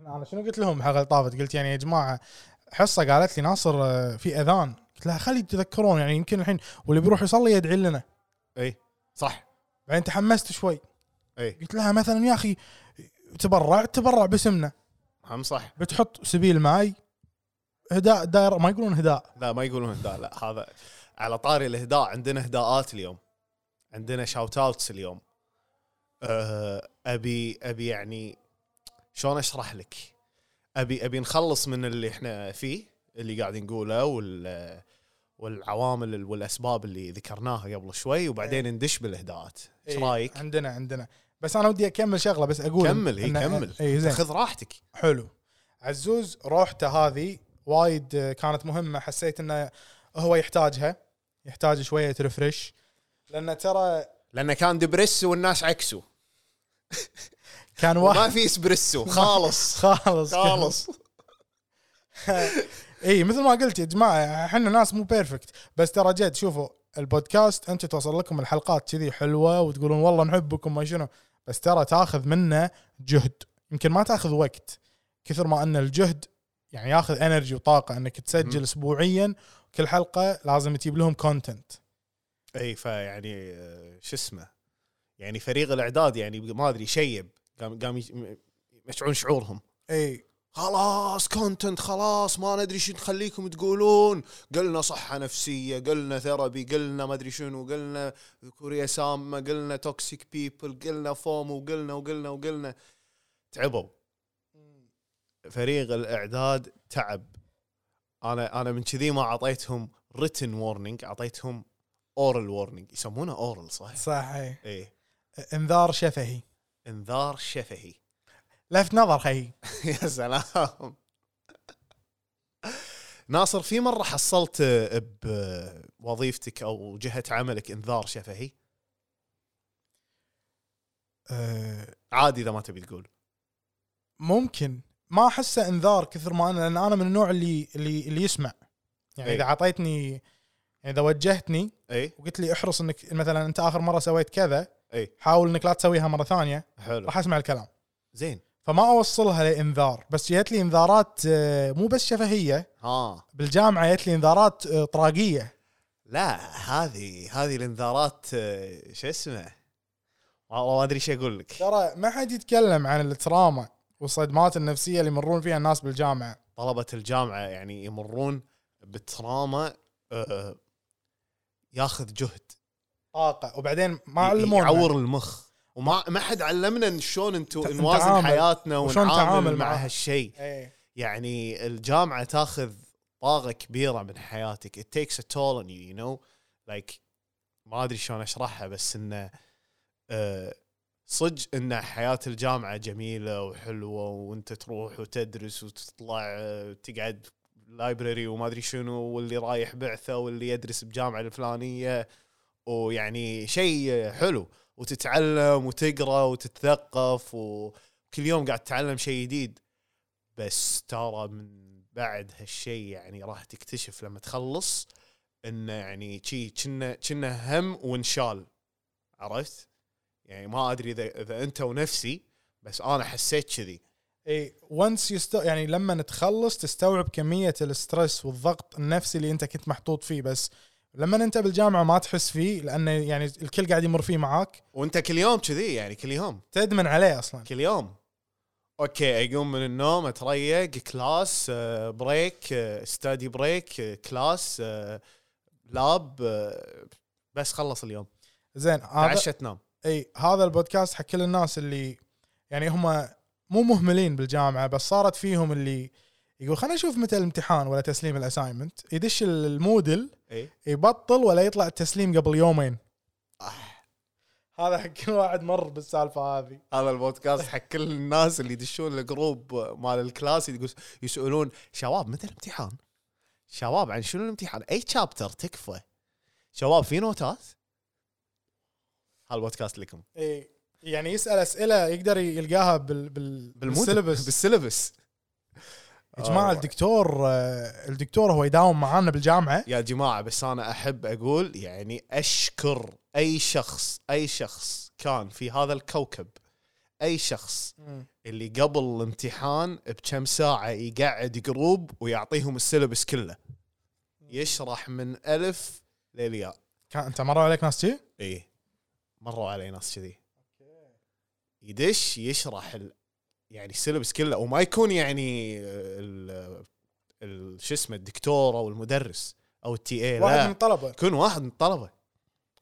Speaker 3: انا شنو قلت لهم الحلقه اللي طافت قلت يعني يا جماعه حصه قالت لي ناصر آه، في اذان قلت لها خلي تذكرون يعني يمكن الحين واللي بيروح يصلي يدعي لنا
Speaker 2: اي صح
Speaker 3: بعدين تحمست شوي
Speaker 2: اي
Speaker 3: قلت لها مثلا يا اخي تبرع تبرع باسمنا
Speaker 2: هم صح
Speaker 3: بتحط سبيل ماي هداء دار ما يقولون هداء
Speaker 2: لا ما يقولون اهداء لا هذا على طاري الاهداء عندنا اهداءات اليوم عندنا شاوت اوتس اليوم أه، ابي ابي يعني شلون اشرح لك ابي ابي نخلص من اللي احنا فيه اللي قاعد نقوله وال والعوامل والاسباب اللي ذكرناها قبل شوي وبعدين ندش بالاهداءات ايش
Speaker 3: إيه،
Speaker 2: رايك
Speaker 3: عندنا عندنا بس انا ودي اكمل شغله بس اقول
Speaker 2: كمل اي
Speaker 3: إن-
Speaker 2: كمل
Speaker 3: اي زين
Speaker 2: خذ راحتك
Speaker 3: حلو عزوز روحته هذه وايد آه، كانت مهمه حسيت انه هو يحتاجها يحتاج شويه ريفرش
Speaker 2: <laughs>
Speaker 3: لان ترى
Speaker 2: لانه كان دبرسو والناس <laughs> عكسوا
Speaker 3: كان
Speaker 2: ما
Speaker 3: واحد
Speaker 2: في <laughs> اسبرسو خالص
Speaker 3: <laughs> خالص
Speaker 2: خالص
Speaker 3: اي مثل ما قلت يا جماعه احنا ناس مو بيرفكت بس ترى جد شوفوا البودكاست انت توصل لكم الحلقات كذي حلوه وتقولون والله نحبكم ما شنو بس ترى تاخذ منه جهد يمكن ما تاخذ وقت كثر ما ان الجهد يعني ياخذ انرجي وطاقه انك تسجل
Speaker 2: مم.
Speaker 3: اسبوعيا كل حلقه لازم تجيب لهم كونتنت
Speaker 2: اي إيه، فيعني آه، شو اسمه يعني فريق الاعداد يعني ما ادري شيب قام قام يش- م- يمشعون شعورهم
Speaker 3: اي
Speaker 2: خلاص كونتنت خلاص ما ندري شو نخليكم تقولون قلنا صحه نفسيه قلنا ثيرابي قلنا ما ادري شنو قلنا كوريا سامه قلنا توكسيك بيبل قلنا فوم وقلنا وقلنا وقلنا تعبوا فريق الاعداد تعب انا انا من كذي ما اعطيتهم ريتن وورنينج اعطيتهم اورال وورنينج يسمونه اورال صح؟
Speaker 3: صحيح
Speaker 2: ايه
Speaker 3: انذار شفهي
Speaker 2: انذار شفهي
Speaker 3: لفت نظر خيي
Speaker 2: يا سلام ناصر في مره حصلت آه، بوظيفتك او جهه عملك انذار شفهي
Speaker 3: أه،
Speaker 2: عادي اذا ما تبي تقول
Speaker 3: ممكن ما احسه انذار كثر ما انا لان انا من النوع اللي اللي, اللي يسمع يعني
Speaker 2: إي.
Speaker 3: اذا اعطيتني يعني اذا وجهتني
Speaker 2: اي
Speaker 3: وقلت لي احرص انك مثلا انت اخر مره سويت كذا
Speaker 2: إي.
Speaker 3: حاول انك لا تسويها مره ثانيه
Speaker 2: حلو
Speaker 3: راح اسمع الكلام
Speaker 2: زين
Speaker 3: فما اوصلها لانذار بس جت لي انذارات آه، مو بس شفهيه
Speaker 2: ها
Speaker 3: بالجامعه جت لي انذارات آه، طراقيه
Speaker 2: لا هذه هذه الانذارات آه، شو اسمه ما ما ادري شو اقول لك
Speaker 3: ترى ما حد يتكلم عن التراما والصدمات النفسيه اللي يمرون فيها الناس بالجامعه
Speaker 2: طلبه الجامعه يعني يمرون بتراما آه، ياخذ جهد
Speaker 3: طاقه وبعدين ما
Speaker 2: يعور
Speaker 3: علمونا
Speaker 2: المخ وما ما حد علمنا إن شلون انتو
Speaker 3: ت-
Speaker 2: نوازن
Speaker 3: نتعامل.
Speaker 2: حياتنا
Speaker 3: وشلون نتعامل
Speaker 2: ونتعامل مع
Speaker 3: معاه.
Speaker 2: هالشيء
Speaker 3: ايه
Speaker 2: يعني الجامعه تاخذ طاقه كبيره من حياتك it takes a toll on you you know like ما ادري شلون اشرحها بس انه آه، صدق ان حياه الجامعه جميله وحلوه وانت تروح وتدرس وتطلع آه، تقعد لايبرري وما ادري شنو واللي رايح بعثه واللي يدرس بجامعه الفلانيه ويعني شيء حلو وتتعلم وتقرا وتتثقف وكل يوم قاعد تتعلم شيء جديد بس ترى من بعد هالشيء يعني راح تكتشف لما تخلص انه يعني شي كنا كنا هم وانشال عرفت؟ يعني ما ادري اذا اذا انت ونفسي بس انا حسيت كذي
Speaker 3: اي ونس يست... يعني لما تخلص تستوعب كميه الاسترس والضغط النفسي اللي انت كنت محطوط فيه بس لما انت بالجامعه ما تحس فيه لانه يعني الكل قاعد يمر فيه معاك
Speaker 2: وانت كل يوم كذي يعني كل يوم
Speaker 3: تدمن عليه اصلا
Speaker 2: كل يوم اوكي اقوم من النوم اتريق كلاس آه، بريك آه، ستادي بريك آه، كلاس آه، لاب آه، بس خلص اليوم
Speaker 3: زين هذا
Speaker 2: تعشى تنام
Speaker 3: اي هذا البودكاست حق كل الناس اللي يعني هم مو مهملين بالجامعه بس صارت فيهم اللي يقول خلينا نشوف متى الامتحان ولا تسليم الاساينمنت يدش المودل
Speaker 2: اي
Speaker 3: يبطل ولا يطلع التسليم قبل يومين هذا حق كل واحد مر بالسالفه هذه
Speaker 2: هذا البودكاست حق كل الناس اللي يدشون الجروب مال الكلاس يقول يسالون شباب متى الامتحان؟ شباب عن شنو الامتحان؟ اي شابتر تكفى؟ شباب في نوتات؟ هالبودكاست لكم
Speaker 3: اي يعني يسال اسئله يقدر يلقاها بال بال
Speaker 2: بالسلبس
Speaker 3: بالسيلبس
Speaker 2: بالسلبس
Speaker 3: يا جماعه الدكتور آه، الدكتور هو يداوم معانا بالجامعه
Speaker 2: يا جماعه بس انا احب اقول يعني اشكر اي شخص اي شخص كان في هذا الكوكب اي شخص
Speaker 3: مم.
Speaker 2: اللي قبل الامتحان بكم ساعه يقعد جروب ويعطيهم السيلبس كله يشرح من الف للياء
Speaker 3: كان انت مروا عليك ناس شي؟
Speaker 2: ايه مروا علي ناس كذي يدش يشرح ال... يعني السيلبس كله وما يكون يعني ال... ال... شو اسمه الدكتور او المدرس او التي اي
Speaker 3: واحد من
Speaker 2: لا
Speaker 3: الطلبه
Speaker 2: يكون واحد من الطلبه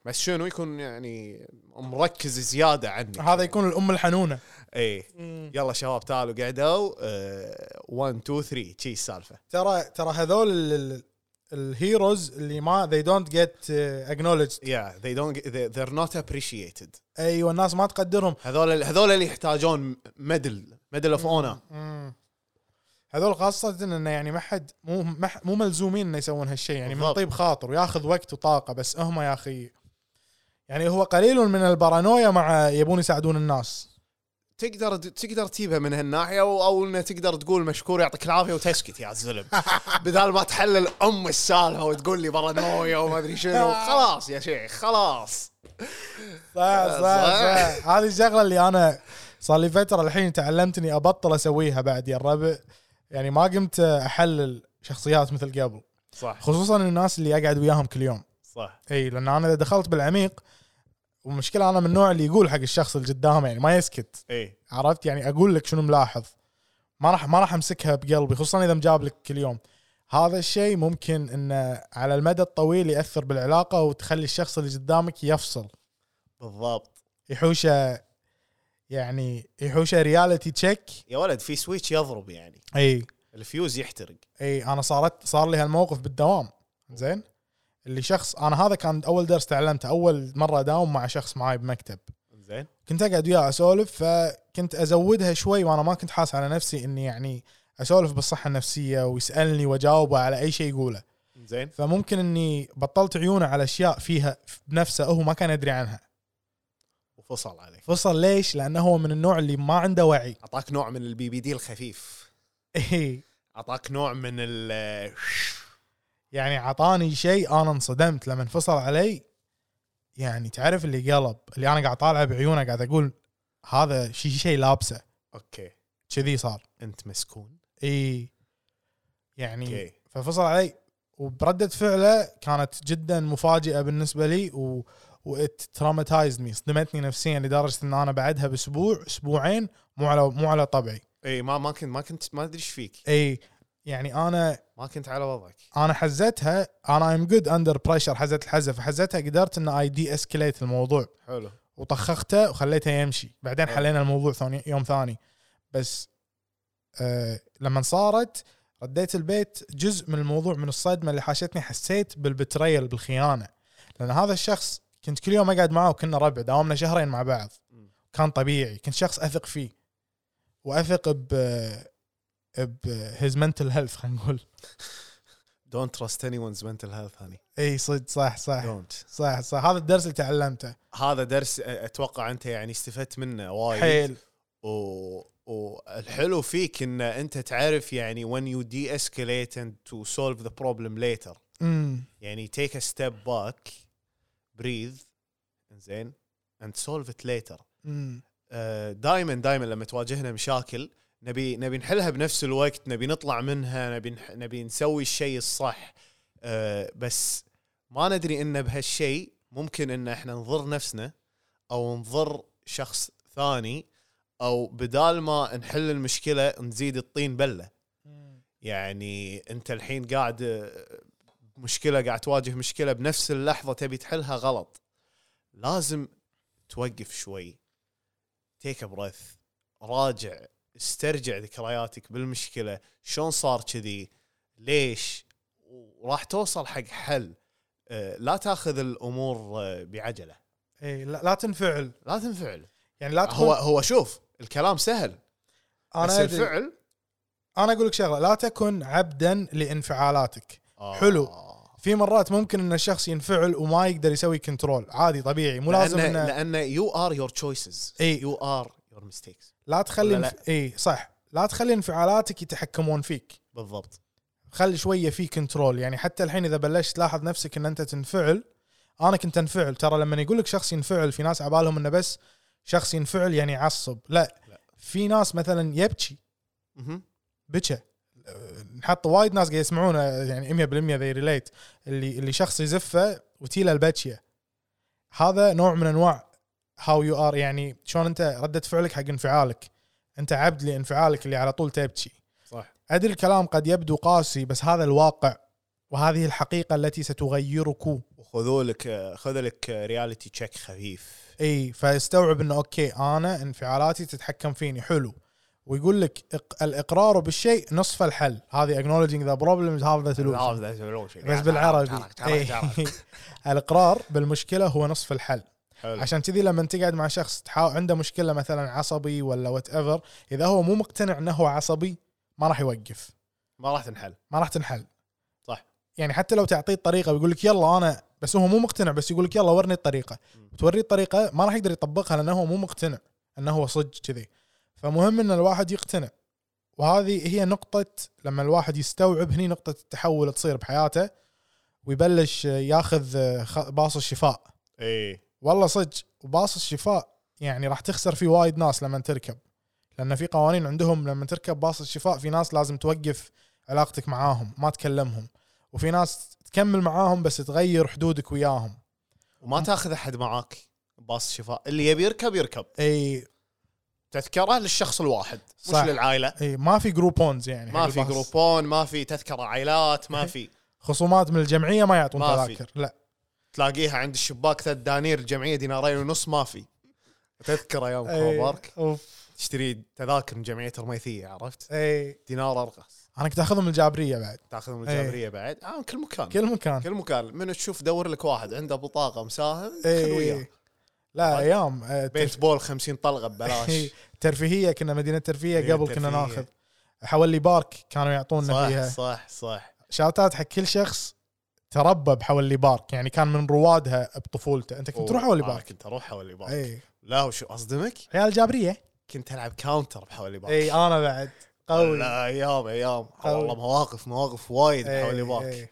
Speaker 2: بس شنو يكون يعني مركز زياده عني
Speaker 3: هذا يكون الام الحنونه
Speaker 2: ايه يلا شباب تعالوا قعدوا آه، 1 2 3 شي السالفه
Speaker 3: ترى ترى هذول ال- ال- الهيروز اللي ما they don't get uh, acknowledged
Speaker 2: يا they don't they- they're not appreciated
Speaker 3: ايوه الناس ما تقدرهم
Speaker 2: هذول هذول اللي يحتاجون ميدل ميدل اوف اونر
Speaker 3: مم. هذول خاصة انه يعني ما حد مو ما ح- مو ملزومين انه يسوون هالشيء يعني من
Speaker 2: بالضبط.
Speaker 3: طيب خاطر وياخذ وقت وطاقة بس هم يا اخي يعني هو قليل من البارانويا مع يبون يساعدون الناس
Speaker 2: تقدر تقدر تجيبها من هالناحيه او او انه تقدر تقول مشكور يعطيك العافيه وتسكت يا الزلم <laughs> بدال ما تحلل ام السالفه وتقول لي بارانويا وما ادري <laughs> شنو خلاص يا شيخ خلاص
Speaker 3: صح صح صح هذه الشغلة اللي انا صار لي فترة الحين تعلمت اني ابطل اسويها بعد يا الربع يعني ما قمت احلل شخصيات مثل قبل
Speaker 2: صح
Speaker 3: خصوصا الناس اللي اقعد وياهم كل يوم
Speaker 2: صح
Speaker 3: اي لان انا اذا دخلت بالعميق والمشكله انا من النوع اللي يقول حق الشخص اللي قدامه يعني ما يسكت
Speaker 2: اي
Speaker 3: عرفت يعني اقول لك شنو ملاحظ ما راح ما راح امسكها بقلبي خصوصا اذا مجاب لك كل يوم هذا الشيء ممكن انه على المدى الطويل ياثر بالعلاقه وتخلي الشخص اللي قدامك يفصل
Speaker 2: بالضبط
Speaker 3: يحوشه يعني يحوشه رياليتي تشيك
Speaker 2: يا ولد في سويتش يضرب يعني
Speaker 3: اي
Speaker 2: الفيوز يحترق
Speaker 3: اي انا صارت صار لي هالموقف بالدوام زين اللي شخص انا هذا كان اول درس تعلمته اول مره اداوم مع شخص معاي بمكتب
Speaker 2: زين
Speaker 3: كنت اقعد وياه اسولف فكنت ازودها شوي وانا ما كنت حاس على نفسي اني يعني اسولف بالصحه النفسيه ويسالني واجاوبه على اي شيء يقوله
Speaker 2: زين
Speaker 3: فممكن اني بطلت عيونه على اشياء فيها بنفسه هو ما كان يدري عنها
Speaker 2: وفصل عليك
Speaker 3: فصل ليش لانه هو من النوع اللي ما عنده وعي <laughs>
Speaker 2: اعطاك نوع من البي بي دي الخفيف
Speaker 3: إيه.
Speaker 2: اعطاك نوع من ال <laughs>
Speaker 3: يعني عطاني شيء انا انصدمت لما انفصل علي يعني تعرف اللي قلب اللي انا قاعد طالعه بعيونه قاعد اقول هذا شيء شيء لابسه
Speaker 2: اوكي
Speaker 3: كذي صار
Speaker 2: انت مسكون
Speaker 3: اي يعني
Speaker 2: اوكي
Speaker 3: ففصل علي وبردة فعله كانت جدا مفاجئة بالنسبة لي و وات تراماتايزد مي صدمتني نفسيا لدرجة ان انا بعدها باسبوع اسبوعين مو على مو على طبعي
Speaker 2: اي ما ما كنت ما كنت ما ادري ايش فيك
Speaker 3: اي يعني انا
Speaker 2: ما كنت على وضعك
Speaker 3: انا حزتها انا ام جود اندر بريشر حزت الحزه فحزتها قدرت ان اي دي اسكليت الموضوع
Speaker 2: حلو
Speaker 3: وطخخته وخليته يمشي بعدين
Speaker 2: حلو.
Speaker 3: حلينا الموضوع ثاني يوم ثاني بس آه لما صارت رديت البيت جزء من الموضوع من الصدمه اللي حاشتني حسيت بالبتريل بالخيانه لان هذا الشخص كنت كل يوم اقعد معه وكنا ربع داومنا شهرين مع بعض
Speaker 2: مم.
Speaker 3: كان طبيعي كنت شخص اثق فيه واثق ب ب هيز منتل هيلث خلينا نقول
Speaker 2: دونت تراست اني ونز منتل هيلث هاني
Speaker 3: اي صدق صح صح
Speaker 2: دونت
Speaker 3: صح صح هذا الدرس اللي تعلمته
Speaker 2: هذا درس أ- اتوقع انت يعني استفدت منه وايد
Speaker 3: حيل
Speaker 2: و... والحلو فيك ان انت تعرف يعني when you de-escalate and to solve the problem later
Speaker 3: امم
Speaker 2: يعني take a step back breathe زين and solve it later
Speaker 3: امم
Speaker 2: دائما دائما آه، لما تواجهنا مشاكل نبي نبي نحلها بنفس الوقت نبي نطلع منها نبي نح- نبي نسوي الشيء الصح آه، بس ما ندري ان بهالشيء ممكن ان احنا نضر نفسنا او نضر شخص ثاني او بدال ما نحل المشكله نزيد الطين بله يعني انت الحين قاعد آه، مشكله قاعد تواجه مشكله بنفس اللحظه تبي تحلها غلط لازم توقف شوي تيك بريث راجع استرجع ذكرياتك بالمشكله شلون صار كذي ليش وراح توصل حق حل آه، لا تاخذ الامور آه، بعجله
Speaker 3: اي إيه، لا, لا تنفعل
Speaker 2: لا تنفعل
Speaker 3: يعني لا تكون
Speaker 2: هو هو شوف الكلام سهل بس
Speaker 3: انا أدري.
Speaker 2: الفعل
Speaker 3: انا اقول لك شغله لا تكن عبدا لانفعالاتك حلو.
Speaker 2: آه.
Speaker 3: في مرات ممكن ان الشخص ينفعل وما يقدر يسوي كنترول عادي طبيعي مو لازم
Speaker 2: لان
Speaker 3: انه
Speaker 2: لان يو ار يور تشويسز
Speaker 3: إي.
Speaker 2: يو ار يور ميستيكس
Speaker 3: لا تخلي
Speaker 2: ولا لا.
Speaker 3: انف... اي صح لا تخلي انفعالاتك يتحكمون فيك
Speaker 2: بالضبط
Speaker 3: خلي شويه في كنترول يعني حتى الحين اذا بلشت تلاحظ نفسك ان انت تنفعل انا كنت انفعل ترى لما يقول لك شخص ينفعل في ناس عبالهم انه بس شخص ينفعل يعني يعصب لا,
Speaker 2: لا.
Speaker 3: في ناس مثلا يبكي
Speaker 2: مهم.
Speaker 3: بكى نحط وايد ناس قاعد يسمعونه يعني 100% ذي ريليت اللي اللي شخص يزفه وتيله البكيه هذا نوع من انواع هاو يو ار يعني شلون انت رده فعلك حق انفعالك انت عبد لانفعالك اللي على طول تبكي
Speaker 2: صح
Speaker 3: ادري الكلام قد يبدو قاسي بس هذا الواقع وهذه الحقيقه التي ستغيرك
Speaker 2: وخذوا لك خذ لك رياليتي تشيك خفيف
Speaker 3: اي فاستوعب انه اوكي انا انفعالاتي تتحكم فيني حلو ويقول لك إق... الاقرار بالشيء نصف الحل هذه acknowledging ذا بروبلم هاف ذا solution بس بالعربي إي. <laughs> الاقرار بالمشكله هو نصف الحل
Speaker 2: حلو
Speaker 3: عشان كذي لما تقعد مع شخص تحاول عنده مشكله مثلا عصبي ولا وات ايفر اذا هو مو مقتنع انه هو عصبي ما راح يوقف
Speaker 2: ما راح تنحل
Speaker 3: ما راح تنحل
Speaker 2: صح.
Speaker 3: يعني حتى لو تعطيه الطريقه ويقول لك يلا انا بس هو مو مقتنع بس يقول لك يلا ورني الطريقه
Speaker 2: م.
Speaker 3: توريه الطريقه ما راح يقدر يطبقها لانه هو مو مقتنع انه هو صدق كذي فمهم ان الواحد يقتنع وهذه هي نقطة لما الواحد يستوعب هني نقطة التحول تصير بحياته ويبلش ياخذ خ- باص الشفاء
Speaker 2: اي
Speaker 3: والله صدق وباص الشفاء يعني راح تخسر فيه وايد ناس لما تركب لان في قوانين عندهم لما تركب باص الشفاء في ناس لازم توقف علاقتك معاهم ما تكلمهم وفي ناس تكمل معاهم بس تغير حدودك وياهم
Speaker 2: وما تاخذ احد معاك باص شفاء اللي يبي يركب يركب
Speaker 3: اي
Speaker 2: تذكره للشخص الواحد مش
Speaker 3: صح.
Speaker 2: للعائله
Speaker 3: اي ما في جروبونز يعني
Speaker 2: ما
Speaker 3: حق
Speaker 2: في
Speaker 3: الباص.
Speaker 2: جروبون ما في تذكره عائلات ما في
Speaker 3: خصومات من الجمعيه ما يعطون
Speaker 2: ما في.
Speaker 3: تذاكر لا
Speaker 2: تلاقيها عند الشباك ثلاث دنانير الجمعيه دينارين ونص ما في تذكره يوم
Speaker 3: إي،
Speaker 2: مبارك
Speaker 3: اوف
Speaker 2: تشتري تذاكر من جمعيه الميثيه عرفت
Speaker 3: اي
Speaker 2: دينار ارخص
Speaker 3: انا كنت اخذهم من الجابريه بعد
Speaker 2: تاخذهم من
Speaker 3: إي.
Speaker 2: الجمعيه بعد آه كل مكان
Speaker 3: إيه. كل مكان
Speaker 2: كل مكان من تشوف دور لك واحد عنده بطاقه مساهل خل
Speaker 3: إيه.
Speaker 2: وياه
Speaker 3: اي لا ايام آه،
Speaker 2: طيب. بيت بول 50 طلقه
Speaker 3: إيه.
Speaker 2: ببلاش
Speaker 3: ترفيهيه كنا مدينه ترفيهيه قبل كنا
Speaker 2: ترفيهية.
Speaker 3: ناخذ حولي بارك كانوا يعطونا
Speaker 2: صح
Speaker 3: فيها
Speaker 2: صح صح
Speaker 3: شاوتات حق كل شخص تربى بحولي بارك يعني كان من روادها بطفولته انت كنت تروح حولي
Speaker 2: أنا
Speaker 3: بارك
Speaker 2: آه،
Speaker 3: إيه.
Speaker 2: كنت اروح حولي بارك
Speaker 3: اي
Speaker 2: لا وشو اصدمك
Speaker 3: عيال جابريه
Speaker 2: كنت العب كاونتر بحولي بارك
Speaker 3: اي انا بعد قوي
Speaker 2: لا ايام ايام
Speaker 3: قوي.
Speaker 2: والله مواقف مواقف وايد بحولي
Speaker 3: إي،
Speaker 2: بارك
Speaker 3: إي.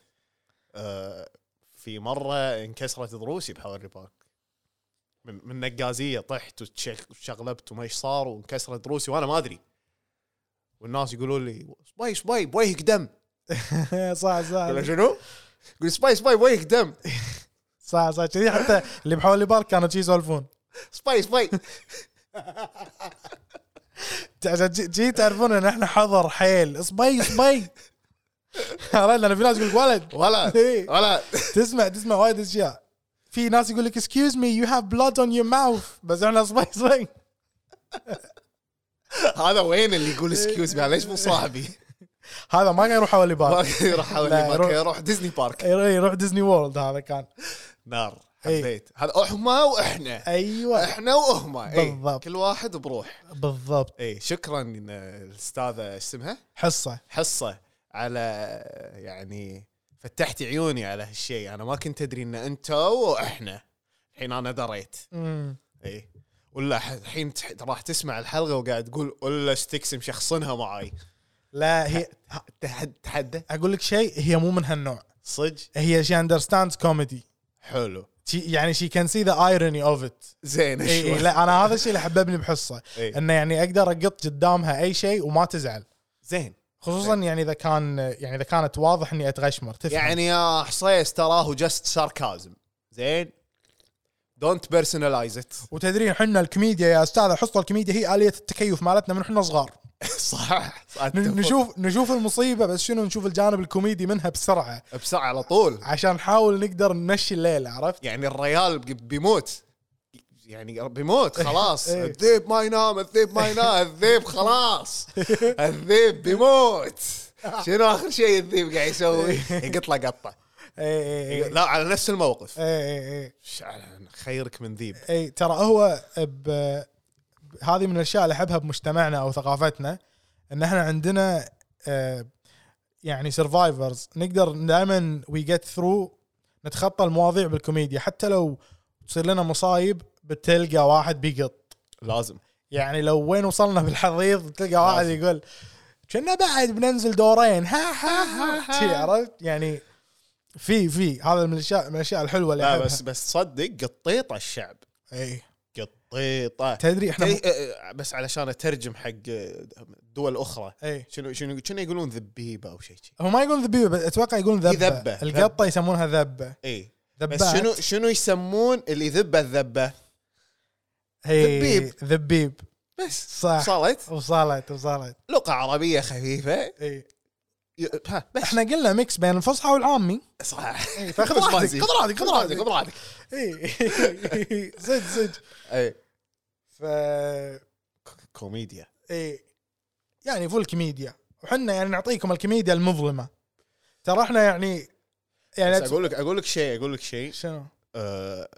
Speaker 2: آه، في مره انكسرت ضروسي بحولي بارك من من نقازيه طحت وتشق- وشقلبت وما ايش صار وانكسرت ضروسي وانا ما ادري والناس يقولون لي سباي سباي بويهك دم
Speaker 3: إيه. <laughs> صح
Speaker 2: اقول له
Speaker 3: صح
Speaker 2: شنو؟ يقول سباي سباي بويهك دم
Speaker 3: صح صح كذي حتى اللي بحولي بارك كانوا شي يسولفون
Speaker 2: سباي سباي
Speaker 3: عشان جي- جي تعرفون ان احنا حضر حيل صبي
Speaker 2: <laughs>
Speaker 3: صبي عرفت لان في ناس يقول لك ولد إيه.
Speaker 2: ولا
Speaker 3: إي.
Speaker 2: ولا
Speaker 3: تسمع تسمع وايد اشياء في ناس يقول لك اكسكيوز مي يو هاف بلاد اون يور ماوث بس احنا صبي صبي
Speaker 2: هذا وين اللي يقول اكسكيوز مي ليش مو صاحبي؟ <laughs>
Speaker 3: هذا ما كان يروح حوالي بارك
Speaker 2: ما يروح
Speaker 3: لا،
Speaker 2: حولي
Speaker 3: روح. إيه.
Speaker 2: بارك يروح ديزني بارك
Speaker 3: يروح ديزني وورلد هذا كان
Speaker 2: نار
Speaker 3: إي.
Speaker 2: حبيت هذا احما واحنا
Speaker 3: ايوه
Speaker 2: احنا واهما اي
Speaker 3: بالضبط.
Speaker 2: إيه. كل واحد بروح
Speaker 3: بالضبط
Speaker 2: اي شكرا إيه، إن الاستاذه اسمها
Speaker 3: حصه
Speaker 2: حصه على يعني فتحتي عيوني على هالشيء انا ما كنت ادري ان انت واحنا الحين انا دريت
Speaker 3: أمم.
Speaker 2: اي ولا ح- الحين تح- راح تسمع الحلقه وقاعد تقول ولا ستكس مشخصنها معاي
Speaker 3: لا هي
Speaker 2: تحدى تحدى
Speaker 3: اقول لك شيء هي مو من هالنوع
Speaker 2: صدق
Speaker 3: هي شي اندرستاندز كوميدي
Speaker 2: حلو
Speaker 3: يعني شي كان سي ذا ايروني اوف ات
Speaker 2: زين <laughs>
Speaker 3: اي
Speaker 2: شوي إيه.
Speaker 3: إي، إيه، لا انا هذا الشيء اللي حببني بحصه
Speaker 2: إي.
Speaker 3: انه يعني اقدر اقط قدامها اي شيء وما تزعل
Speaker 2: زين
Speaker 3: خصوصا يعني اذا كان يعني اذا كانت واضح اني اتغشمر تفهم يعني
Speaker 2: إيه. يعني يا حصيص تراه جاست ساركازم زين دونت بيرسوناليز ات
Speaker 3: وتدرين حنا الكوميديا يا استاذه حصه الكوميديا هي اليه التكيف مالتنا من حنا صغار
Speaker 2: <laughs> صح
Speaker 3: ن- نشوف نشوف المصيبه بس شنو نشوف الجانب الكوميدي منها بسرعه
Speaker 2: بسرعه على طول
Speaker 3: عشان نحاول نقدر نمشي الليله عرفت؟
Speaker 2: يعني الريال بي- بيموت يعني بيموت خلاص
Speaker 3: <laughs> إيه.
Speaker 2: الذيب ما ينام الذيب ما ينام الذيب
Speaker 3: <laughs>
Speaker 2: خلاص الذيب بيموت شنو اخر شيء الذيب قاعد يسوي؟
Speaker 3: إيه.
Speaker 2: يقط له قطه
Speaker 3: اي اي اي
Speaker 2: لا على نفس الموقف
Speaker 3: اي اي
Speaker 2: ش- على- خيرك من ذيب
Speaker 3: اي إيه، ترى هو ب... ب- هذه من الاشياء اللي احبها بمجتمعنا او ثقافتنا ان احنا عندنا آه، يعني سرفايفرز نقدر دائما وي جيت ثرو نتخطى المواضيع بالكوميديا حتى لو تصير لنا مصايب بتلقى واحد بيقط
Speaker 2: لازم
Speaker 3: يعني لو وين وصلنا بالحضيض تلقى واحد يقول كنا بعد بننزل دورين ها ها ها شي عرفت يعني في في هذا من الاشياء من الاشياء الحلوه اللي
Speaker 2: لا
Speaker 3: أحبها.
Speaker 2: بس بس صدق قطيط على الشعب
Speaker 3: اي
Speaker 2: قطيط طي طا
Speaker 3: تدري احنا
Speaker 2: تدري-
Speaker 3: م...
Speaker 2: آه، آه، بس علشان اترجم حق آه، دول الاخرى
Speaker 3: ايه
Speaker 2: شنو شنو شنو يقولون ذبيبه او شيء شي.
Speaker 3: هم ما يقولون ذبيبه بس اتوقع يقولون ذبه
Speaker 2: ذبة.
Speaker 3: القطه يسمونها ذبه
Speaker 2: اي
Speaker 3: ذبات
Speaker 2: إيه. بس شنو شنو يسمون اللي ذبه الذبه
Speaker 3: هي-
Speaker 2: ذبيب.
Speaker 3: ذبيب
Speaker 2: بس
Speaker 3: صح
Speaker 2: صارت
Speaker 3: وصلت وصلت
Speaker 2: لغه عربيه خفيفه
Speaker 3: ايه
Speaker 2: ي- ها بس
Speaker 3: احنا قلنا ميكس بين الفصحى والعامي
Speaker 2: صح <laughs>
Speaker 3: إيه، فخذ راحتك خذ راحتك
Speaker 2: خذ راحتك خذ راحتك
Speaker 3: <laughs> اي صدق صدق
Speaker 2: اي
Speaker 3: ف
Speaker 2: ك- كوميديا
Speaker 3: اي إيه. يعني فول كوميديا وحنا يعني نعطيكم الكوميديا المظلمه ترى احنا يعني يعني
Speaker 2: بس اقول لك اقول لك شيء اقول لك شيء
Speaker 3: شنو
Speaker 2: أه،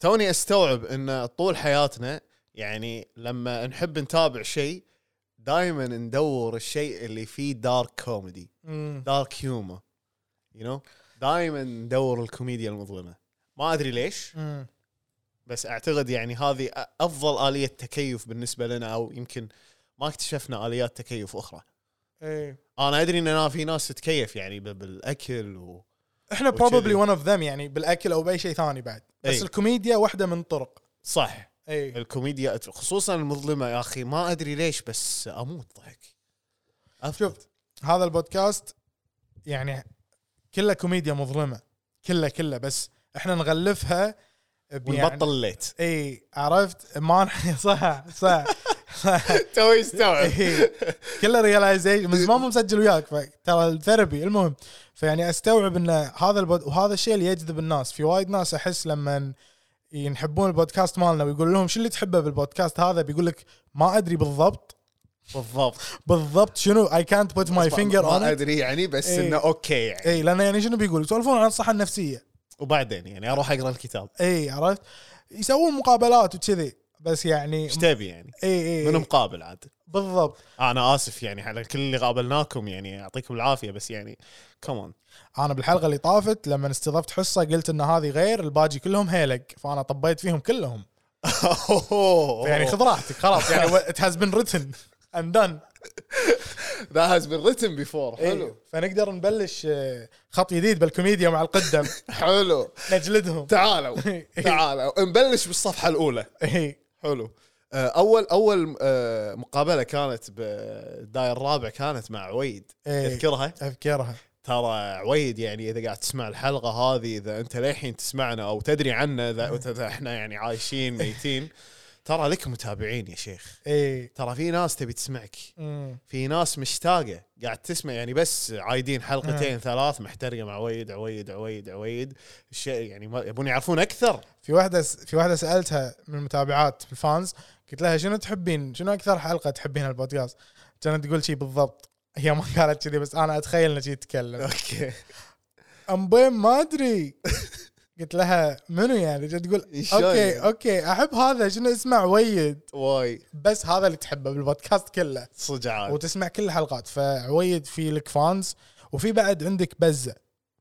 Speaker 2: توني استوعب ان طول حياتنا يعني لما نحب نتابع شيء دائما ندور الشيء اللي فيه دارك كوميدي
Speaker 3: مم.
Speaker 2: دارك هيومر يو نو دائما ندور الكوميديا المظلمه ما ادري ليش
Speaker 3: مم.
Speaker 2: بس اعتقد يعني هذه أ- افضل اليه تكيف بالنسبه لنا او يمكن ما اكتشفنا اليات تكيف اخرى
Speaker 3: اي
Speaker 2: انا ادري ان أنا في ناس تتكيف يعني ب- بالاكل و
Speaker 3: احنا
Speaker 2: وكذي.
Speaker 3: probably one of them يعني بالاكل او باي شيء ثاني بعد بس
Speaker 2: إي.
Speaker 3: الكوميديا واحده من طرق إيه.
Speaker 2: صح
Speaker 3: اي
Speaker 2: الكوميديا أت- خصوصا المظلمه يا اخي ما ادري ليش بس اموت ضحك أفقد.
Speaker 3: شوف. هذا البودكاست يعني كله كوميديا مظلمه كله كله بس احنا نغلفها ب- يعني-
Speaker 2: ونبطل الليت
Speaker 3: اي عرفت ما <laughs> نح- صح صح,
Speaker 2: <laughs>
Speaker 3: صح.
Speaker 2: <laughs> توي استوعب
Speaker 3: إي. كله ريلايزيشن من زمان مو مسجل وياك ترى الثيرابي المهم فيعني استوعب ان هذا البود وهذا الشيء اللي يجذب الناس في وايد ناس احس لما ينحبون البودكاست مالنا ويقول لهم شو اللي تحبه بالبودكاست هذا بيقول لك ما ادري بالضبط
Speaker 2: <laughs> بالضبط
Speaker 3: بالضبط شنو اي كانت بوت ماي فينجر اون
Speaker 2: ما
Speaker 3: ات
Speaker 2: ادري يعني بس
Speaker 3: إي.
Speaker 2: انه اوكي يعني
Speaker 3: اي لانه يعني شنو بيقول يسولفون عن الصحه النفسيه
Speaker 2: وبعدين يعني اروح اقرا الكتاب
Speaker 3: اي عرفت يسوون مقابلات وكذي بس يعني
Speaker 2: ايش تبي يعني
Speaker 3: اي
Speaker 2: من
Speaker 3: اي
Speaker 2: مقابل عاد
Speaker 3: بالضبط
Speaker 2: انا اسف يعني على كل اللي قابلناكم يعني يعطيكم العافيه بس يعني كمان
Speaker 3: انا بالحلقه اللي طافت لما استضفت حصه قلت ان هذه غير الباجي كلهم هيلق فانا طبيت فيهم كلهم <laughs> يعني
Speaker 2: <laughs>
Speaker 3: خذ راحتك خلاص يعني it has been written and done
Speaker 2: ذا هاز بين ريتن بيفور
Speaker 3: إيه. فنقدر نبلش آه، خط جديد بالكوميديا مع القدم
Speaker 2: حلو
Speaker 3: نجلدهم <laughs>
Speaker 2: تعالوا
Speaker 3: إي.
Speaker 2: تعالوا نبلش بالصفحه الاولى
Speaker 3: اي
Speaker 2: حلو آه، اول اول آه، مقابله كانت بالداير الرابع كانت مع عويد
Speaker 3: إي.
Speaker 2: تذكرها
Speaker 3: اذكرها
Speaker 2: ترى عويد يعني اذا قاعد تسمع الحلقه هذه اذا انت للحين تسمعنا او تدري عنا
Speaker 3: إيه.
Speaker 2: اذا إذا احنا يعني عايشين ميتين ترى لك متابعين يا شيخ
Speaker 3: اي
Speaker 2: ترى في ناس تبي تسمعك
Speaker 3: أمم.
Speaker 2: في ناس مشتاقه قاعد تسمع يعني بس عايدين
Speaker 3: آه.
Speaker 2: حلقتين ثلاث محترقه مع عويد عويد عويد عويد الشيء يعني ما- يبون يعرفون
Speaker 3: <laughs>
Speaker 2: اكثر
Speaker 3: في واحده س- في واحده سالتها من المتابعات في الفانز قلت لها شنو تحبين شنو اكثر حلقه تحبينها البودكاست كانت تقول شي بالضبط هي ما <laughs> قالت كذي بس انا اتخيل انها
Speaker 2: <laughs>
Speaker 3: شي تتكلم
Speaker 2: اوكي
Speaker 3: امبين ما ادري قلت لها منو يعني جت تقول
Speaker 2: شلون
Speaker 3: اوكي
Speaker 2: يعني؟
Speaker 3: اوكي احب هذا شنو اسمع ويد
Speaker 2: واي
Speaker 3: بس هذا اللي تحبه بالبودكاست كله
Speaker 2: صدق عاد
Speaker 3: وتسمع كل الحلقات فعويد في لك فانز وفي بعد عندك بزه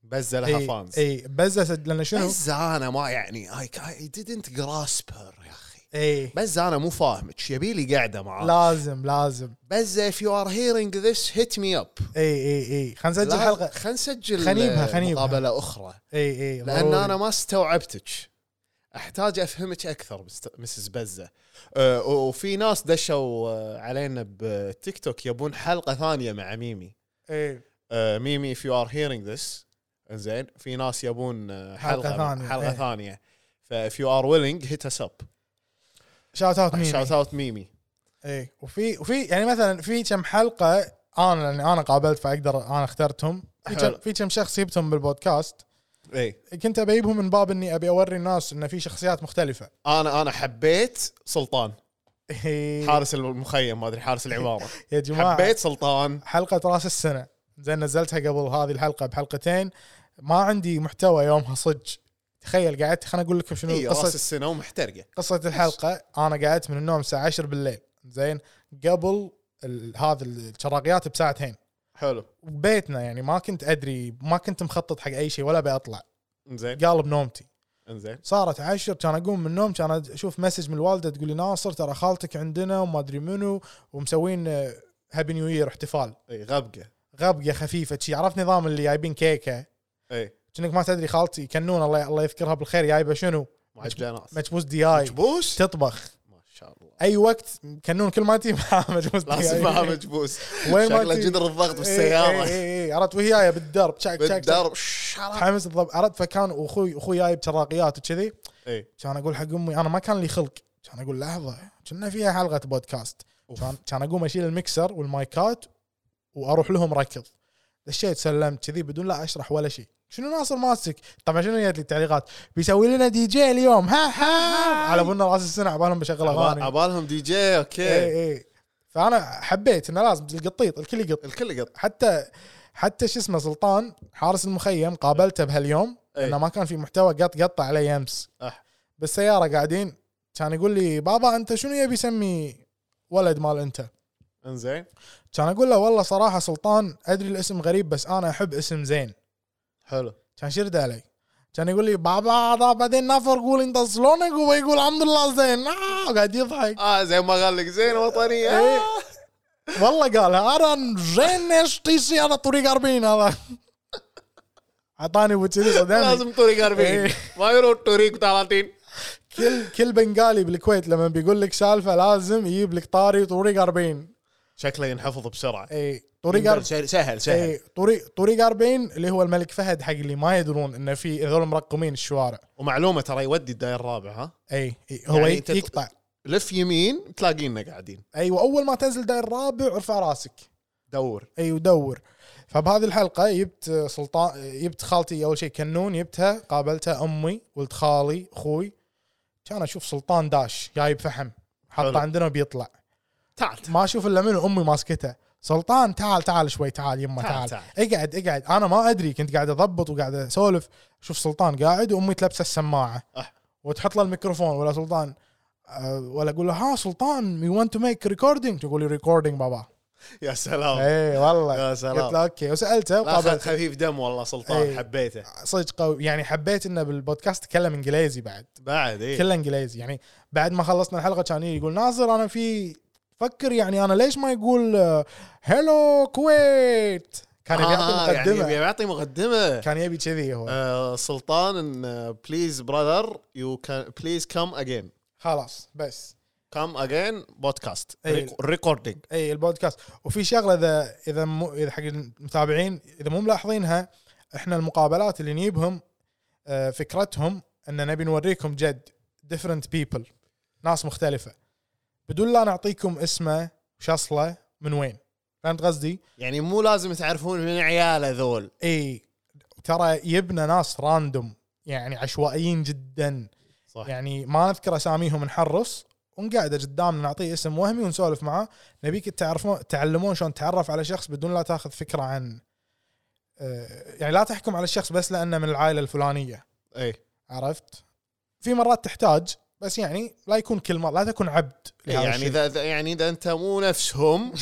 Speaker 2: بزه لها
Speaker 3: اي
Speaker 2: فانز
Speaker 3: اي بزه سد- لان إيه، شنو؟
Speaker 2: بزه انا ما يعني I, I didn't grasp her يا اخي
Speaker 3: اي
Speaker 2: بزه انا مو فاهمك شو يبي لي قاعده معاه
Speaker 3: لازم لازم
Speaker 2: بزه if you are hearing this hit me up
Speaker 3: اي اي اي خلينا نسجل حلقه
Speaker 2: خلينا نسجل
Speaker 3: خنيبها- خنيبها.
Speaker 2: مقابله اخرى
Speaker 3: اي اي
Speaker 2: لان
Speaker 3: ضروري.
Speaker 2: انا ما استوعبتك احتاج افهمك اكثر مست- مسز بزه أه وفي ناس دشوا آه، علينا بتيك توك يبون حلقه ثانيه مع ميمي
Speaker 3: اي
Speaker 2: أه ميمي if you are hearing this زين في ناس يبون آه، حلقه
Speaker 3: حلقة ثانية،
Speaker 2: حلقه
Speaker 3: إيه.
Speaker 2: ثانيه فاف you are willing hit us up
Speaker 3: شاوت اوت مين
Speaker 2: شاوت اوت ميمي
Speaker 3: اي وفي وفي يعني مثلا في كم حلقه انا لان انا قابلت فاقدر انا اخترتهم في كم
Speaker 2: حلو.
Speaker 3: في كم شخص جبتهم بالبودكاست
Speaker 2: اي
Speaker 3: كنت ابيبهم من باب اني ابي اوري الناس ان في شخصيات مختلفه
Speaker 2: انا انا حبيت سلطان
Speaker 3: إي.
Speaker 2: حارس المخيم ما ادري حارس
Speaker 3: <laughs>
Speaker 2: العماره
Speaker 3: يا جماعه
Speaker 2: حبيت سلطان
Speaker 3: حلقة راس السنة زين نزلتها قبل هذه الحلقة بحلقتين ما عندي محتوى يومها صج تخيل قعدت خليني اقول لكم
Speaker 2: اي
Speaker 3: شنو
Speaker 2: إيه، راس
Speaker 3: قصة
Speaker 2: السنه ومحترقه
Speaker 3: قصة الحلقة انا قعدت من النوم الساعة 10 بالليل زين قبل ال- هذا الشراقيات بساعتين
Speaker 2: حلو
Speaker 3: وبيتنا يعني ما كنت ادري ما كنت مخطط حق اي شيء ولا بأطلع
Speaker 2: انزين
Speaker 3: قالب نومتي
Speaker 2: انزين
Speaker 3: صارت عشر كان اقوم من النوم كان اشوف مسج من الوالده تقول لي ناصر ترى خالتك عندنا وما ادري منو ومسوين آه، هابي نيو يير احتفال
Speaker 2: اي غبقه
Speaker 3: غبقه خفيفه شي عرفت نظام اللي جايبين كيكه
Speaker 2: اي
Speaker 3: كأنك ما تدري خالتي كنون الله الله يذكرها بالخير جايبه شنو
Speaker 2: معجنات
Speaker 3: مكبوس دياي
Speaker 2: مجبوس
Speaker 3: تطبخ
Speaker 2: شاء الله
Speaker 3: اي وقت كنون كل ما تجي معاه <laughs> مجبوس
Speaker 2: لازم
Speaker 3: <laughs>
Speaker 2: معاه مجبوس
Speaker 3: وين إيه، ما
Speaker 2: شكله
Speaker 3: تي-
Speaker 2: جدر الضغط
Speaker 3: اي
Speaker 2: بالسياره
Speaker 3: اي اي إيه، عرفت وهي جايه بالدرب شاك شاك شاك
Speaker 2: <laughs> بالدرب شرف.
Speaker 3: حمس الضب عرفت فكان واخوي اخوي جايب شراقيات وكذي
Speaker 2: إيه.
Speaker 3: كان اقول حق امي انا ما كان لي خلق كان اقول لحظه كنا فيها حلقه بودكاست
Speaker 2: أوف.
Speaker 3: كان كان اقوم اشيل المكسر والمايكات واروح لهم ركض دشيت سلمت كذي بدون لا اشرح ولا شيء شنو ناصر ماسك طبعا شنو جت لي التعليقات بيسوي لنا دي جي اليوم ها ها على بنا راس السنه عبالهم بشغل
Speaker 2: عبال-
Speaker 3: اغاني
Speaker 2: عبالهم دي جي اوكي
Speaker 3: اي اي فانا حبيت انه لازم القطيط الكل يقط
Speaker 2: الكل قط
Speaker 3: حتى حتى شو اسمه سلطان حارس المخيم قابلته بهاليوم
Speaker 2: إيه.
Speaker 3: انه ما كان في محتوى قط قطه علي امس
Speaker 2: أح.
Speaker 3: بالسياره قاعدين كان يقول لي بابا انت شنو يبي يسمي ولد مال انت؟
Speaker 2: انزين
Speaker 3: كان اقول له والله صراحه سلطان ادري الاسم غريب بس انا احب اسم زين
Speaker 2: حلو
Speaker 3: كان شرد علي كان يقول لي بابا ده بعدين نفر قول انت سلونك وهو يقول الحمد لله زين آه قاعد يضحك
Speaker 2: اه زي ما قال لك زين وطني
Speaker 3: إيه.
Speaker 2: آه.
Speaker 3: والله قالها انا زين ايش تيسي على طريق 40 هذا <laughs> اعطاني ابو
Speaker 2: <laughs>
Speaker 3: كذي صدمني
Speaker 2: لازم طريق 40
Speaker 3: إيه.
Speaker 2: ما يروح طريق 30
Speaker 3: كل كل بنغالي بالكويت لما بيقول لك سالفه لازم يجيب لك طاري طريق 40
Speaker 2: شكله ينحفظ بسرعه
Speaker 3: اي إيه، طريق إيه. أر-
Speaker 2: سهل سهل سهل
Speaker 3: اي طريق طريق 40 اللي هو الملك فهد حق اللي ما يدرون انه في هذول مرقمين الشوارع
Speaker 2: ومعلومه ترى يودي الداير الرابع ها
Speaker 3: اي إي، هو
Speaker 2: يعني
Speaker 3: يعني
Speaker 2: أنت-
Speaker 3: يقطع
Speaker 2: لف يمين تلاقينا قاعدين
Speaker 3: ايوه اول ما تنزل داير رابع ارفع راسك
Speaker 2: دور
Speaker 3: اي ودور فبهذه الحلقه جبت سلطان جبت خالتي اول شيء كنون جبتها قابلتها امي ولد خالي اخوي كان اشوف سلطان داش جايب فحم
Speaker 2: حلو.
Speaker 3: حطه عندنا وبيطلع
Speaker 2: تعال تعال.
Speaker 3: ما اشوف الا من امي ماسكته سلطان تعال تعال شوي تعال يما
Speaker 2: تعال،
Speaker 3: تعال, تعال, اقعد اقعد انا ما ادري كنت قاعد اضبط وقاعد اسولف شوف سلطان قاعد وامي تلبسه السماعه
Speaker 2: أح.
Speaker 3: وتحط له الميكروفون ولا سلطان أه، ولا اقول له ها سلطان يو ونت تو ميك ريكوردينج تقول لي ريكوردينج بابا
Speaker 2: يا سلام
Speaker 3: اي والله
Speaker 2: أه. يا سلام.
Speaker 3: قلت له اوكي وسالته
Speaker 2: لا، خ-
Speaker 3: وقابلته
Speaker 2: خفيف دم والله سلطان
Speaker 3: إيه.
Speaker 2: حبيته
Speaker 3: صدق قوي يعني حبيت انه بالبودكاست تكلم انجليزي بعد
Speaker 2: بعد ايه
Speaker 3: كله انجليزي يعني بعد ما خلصنا الحلقه كان يجي يقول ناصر انا في فكر يعني انا ليش ما يقول آه، هلو كويت كان يبي
Speaker 2: آه،
Speaker 3: يعطي
Speaker 2: يعني
Speaker 3: مقدمه
Speaker 2: يبي يعطي مقدمه
Speaker 3: كان يبي كذي هو
Speaker 2: آه، سلطان آه، بليز براذر يو كان بليز كم اجين
Speaker 3: خلاص بس
Speaker 2: كم اجين بودكاست
Speaker 3: إيه.
Speaker 2: ريكوردينج
Speaker 3: اي البودكاست وفي شغله اذا اذا مو اذا حق المتابعين اذا مو ملاحظينها احنا المقابلات اللي نجيبهم آه، فكرتهم ان نبي نوريكم جد ديفرنت بيبل ناس مختلفه بدون لا نعطيكم اسمه وشصله من وين فهمت قصدي؟
Speaker 2: يعني مو لازم تعرفون من عياله ذول
Speaker 3: اي ترى يبنى ناس راندوم يعني عشوائيين جدا
Speaker 2: صح
Speaker 3: يعني ما نذكر اساميهم نحرص ونقعده قدامنا نعطيه اسم وهمي ونسولف معاه نبيك تعرفون تعلمون شلون تتعرف على شخص بدون لا تاخذ فكره عن آه، يعني لا تحكم على الشخص بس لانه من العائله الفلانيه
Speaker 2: اي
Speaker 3: عرفت؟ في مرات تحتاج بس يعني لا يكون كل مره لا تكون عبد لهذا
Speaker 2: يعني
Speaker 3: الشيء.
Speaker 2: اذا إذا- يعني اذا انت مو نفسهم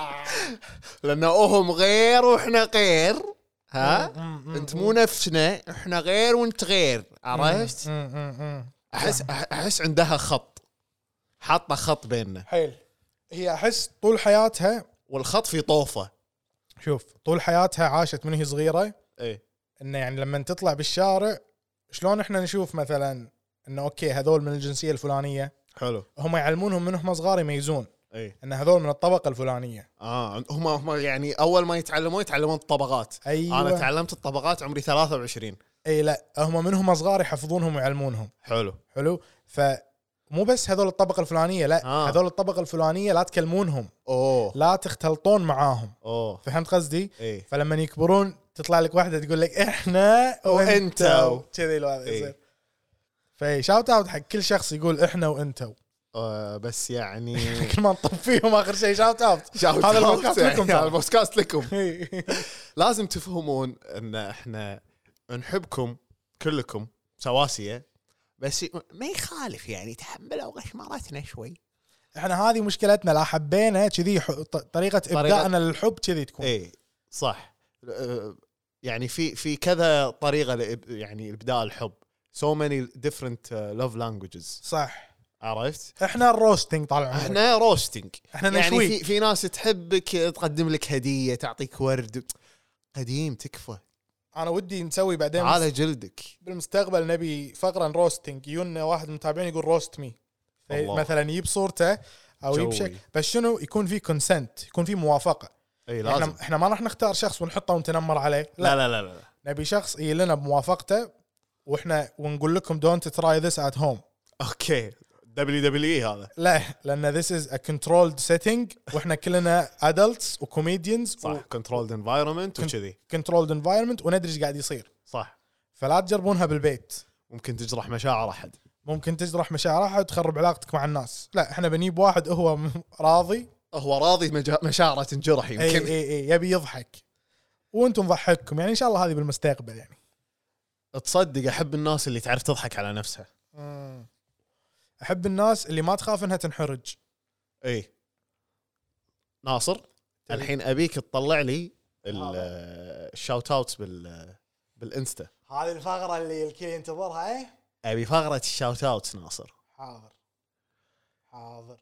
Speaker 2: <laughs> لان هم غير واحنا غير ها
Speaker 3: م- م-
Speaker 2: انت مو نفسنا احنا غير وانت غير
Speaker 3: إيه.
Speaker 2: عرفت
Speaker 3: م- م- م-
Speaker 2: احس احس عندها خط حاطه خط بيننا
Speaker 3: حيل هي احس طول حياتها
Speaker 2: والخط في طوفه
Speaker 3: شوف طول حياتها عاشت من هي صغيره
Speaker 2: اي
Speaker 3: انه يعني لما تطلع بالشارع شلون احنا نشوف مثلا انه اوكي هذول من الجنسيه الفلانيه
Speaker 2: حلو
Speaker 3: هم يعلمونهم من هم صغار يميزون
Speaker 2: اي
Speaker 3: ان هذول من الطبقه الفلانيه
Speaker 2: اه هم هم يعني اول ما يتعلمون يتعلمون الطبقات
Speaker 3: ايوه
Speaker 2: انا تعلمت الطبقات عمري 23
Speaker 3: اي لا هم من هم صغار يحفظونهم ويعلمونهم
Speaker 2: حلو
Speaker 3: حلو فمو بس هذول الطبقه الفلانيه لا
Speaker 2: آه.
Speaker 3: آه. هذول الطبقه الفلانيه لا تكلمونهم
Speaker 2: اوه
Speaker 3: لا تختلطون معاهم
Speaker 2: اوه
Speaker 3: فهمت قصدي
Speaker 2: اي
Speaker 3: فلما يكبرون تطلع لك واحده تقول لك احنا وانتو
Speaker 2: <laughs> وإنتو. إيه.
Speaker 3: كذي الوضع
Speaker 2: إي.
Speaker 3: يصير فاي شاوت اوت حق كل شخص يقول احنا وانتو
Speaker 2: آه، بس يعني
Speaker 3: <laughs> كل ما نطفيهم اخر شيء شاوت <laughs> اوت
Speaker 2: شاوت
Speaker 3: هذا
Speaker 2: أوت
Speaker 3: البودكاست
Speaker 2: يعني،
Speaker 3: لكم
Speaker 2: هذا
Speaker 3: ترى.
Speaker 2: البودكاست لكم لازم تفهمون ان احنا نحبكم كلكم سواسيه بس ما يخالف يعني تحملوا غشمرتنا شوي
Speaker 3: احنا هذه مشكلتنا لا حبينا كذي ح- ط- طريقه ابدائنا للحب كذي تكون
Speaker 2: اي صح أه، إيه. يعني في في كذا طريقه لإب- يعني ابداء الحب سو ماني ديفرنت لاف لانجوجز
Speaker 3: صح
Speaker 2: آه، عرفت؟
Speaker 3: احنا الروستنج طال عمرك احنا
Speaker 2: احنا روستنج
Speaker 3: احنا
Speaker 2: يعني
Speaker 3: نشويك.
Speaker 2: في في ناس تحبك تقدم لك هديه تعطيك ورد قديم تكفى
Speaker 3: انا ودي نسوي بعدين
Speaker 2: على جلدك
Speaker 3: بالمستقبل نبي فقره روستنج يجونا واحد من المتابعين يقول روست مي في-
Speaker 2: الله.
Speaker 3: مثلا يجيب صورته او يجيب
Speaker 2: جوي.
Speaker 3: شك بس شنو يكون في كونسنت يكون في موافقه
Speaker 2: اي إيه، لازم
Speaker 3: احنا احنا ما راح نختار شخص ونحطه ونتنمر عليه لا,
Speaker 2: لا لا لا لا, لا.
Speaker 3: نبي شخص يجي لنا بموافقته واحنا ونقول لكم دونت تراي ذس ات هوم
Speaker 2: اوكي دبليو دبليو اي هذا
Speaker 3: لا لان ذس از ا كنترولد سيتنج واحنا كلنا ادلتس وكوميديانز
Speaker 2: صح كنترولد انفايرمنت وكذي
Speaker 3: وكنترولد انفايرمنت وندري ايش قاعد يصير
Speaker 2: صح
Speaker 3: فلا تجربونها بالبيت
Speaker 2: ممكن تجرح مشاعر احد
Speaker 3: ممكن تجرح مشاعرها وتخرب علاقتك مع الناس لا احنا بنجيب واحد هو <laughs> م- راضي
Speaker 2: هو راضي مجا- مشاعره تنجرح
Speaker 3: اي
Speaker 2: يمكن
Speaker 3: اي اي يبي يضحك وانتم ضحككم يعني ان شاء الله هذه بالمستقبل يعني
Speaker 2: تصدق احب الناس اللي تعرف تضحك على نفسها
Speaker 3: احب الناس اللي ما تخاف انها تنحرج
Speaker 2: اي ناصر الحين ابيك تطلع لي الشاوت اوتس بال بالانستا
Speaker 3: هذه الفقره اللي الكل ينتظرها ايه
Speaker 2: ابي فقره الشاوت اوتس ناصر
Speaker 3: حاضر حاضر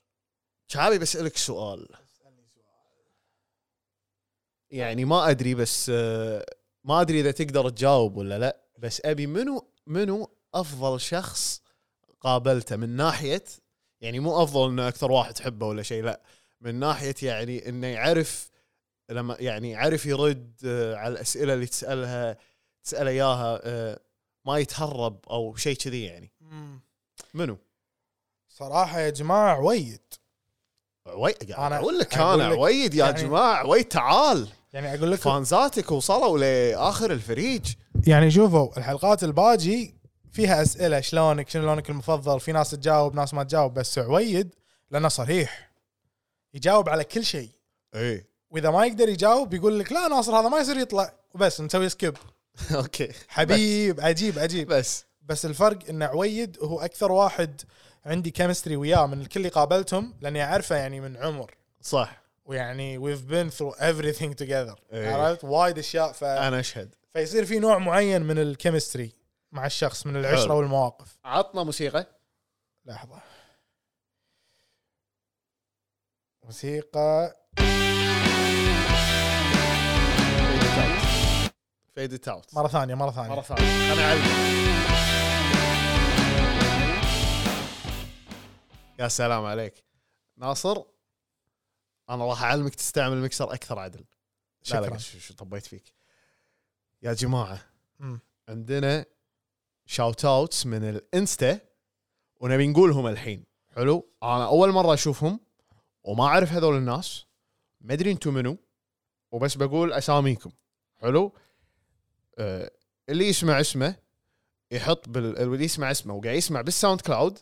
Speaker 2: شعبي بسالك سؤال
Speaker 3: اسالني سؤال
Speaker 2: يعني ما ادري بس آه، ما ادري اذا تقدر تجاوب ولا لا بس ابي منو منو افضل شخص قابلته من ناحيه يعني مو افضل انه اكثر واحد تحبه ولا شيء لا من ناحيه يعني انه يعرف لما يعني يعرف يرد آه، على الاسئله اللي تسالها تساله اياها آه، ما يتهرب او شيء كذي يعني منو؟
Speaker 3: صراحه يا جماعه عويد
Speaker 2: عويد
Speaker 3: أنا-
Speaker 2: انا اقول لك
Speaker 3: أقول
Speaker 2: انا
Speaker 3: لك
Speaker 2: عويد يا
Speaker 3: يعني-
Speaker 2: جماعه عويد تعال
Speaker 3: يعني اقول لكم
Speaker 2: فانزاتك وصلوا لاخر الفريج
Speaker 3: يعني شوفوا الحلقات الباجي فيها اسئله شلونك شنو لونك المفضل في ناس تجاوب ناس ما تجاوب بس عويد لانه صريح يجاوب على كل شيء
Speaker 2: ايه
Speaker 3: واذا ما يقدر يجاوب يقول لك لا ناصر هذا ما يصير يطلع وبس نسوي سكيب
Speaker 2: اوكي
Speaker 3: حبيب عجيب عجيب
Speaker 2: بس
Speaker 3: بس الفرق ان عويد هو اكثر واحد عندي كيمستري وياه من الكل اللي قابلتهم لاني اعرفه يعني من عمر
Speaker 2: صح
Speaker 3: ويعني we've been through everything together
Speaker 2: إيه.
Speaker 3: عرفت وايد اشياء ف...
Speaker 2: انا اشهد
Speaker 3: فيصير في نوع معين من الكيمستري مع الشخص من العشره
Speaker 2: حلو.
Speaker 3: والمواقف
Speaker 2: عطنا موسيقى
Speaker 3: لحظه موسيقى
Speaker 2: فيد ات اوت
Speaker 3: مره ثانيه مره ثانيه
Speaker 2: مره ثانيه انا اعلم يا سلام عليك ناصر انا راح اعلمك تستعمل المكسر اكثر عدل لا لا
Speaker 3: شكراً.
Speaker 2: شو شو طبيت فيك يا جماعه
Speaker 3: مم.
Speaker 2: عندنا شاوت اوتس من الانستا ونبي نقولهم الحين حلو انا اول مره اشوفهم وما اعرف هذول الناس ما ادري انتم منو وبس بقول اساميكم حلو آه اللي يسمع اسمه يحط بال اللي يسمع اسمه وقاعد يسمع بالساوند كلاود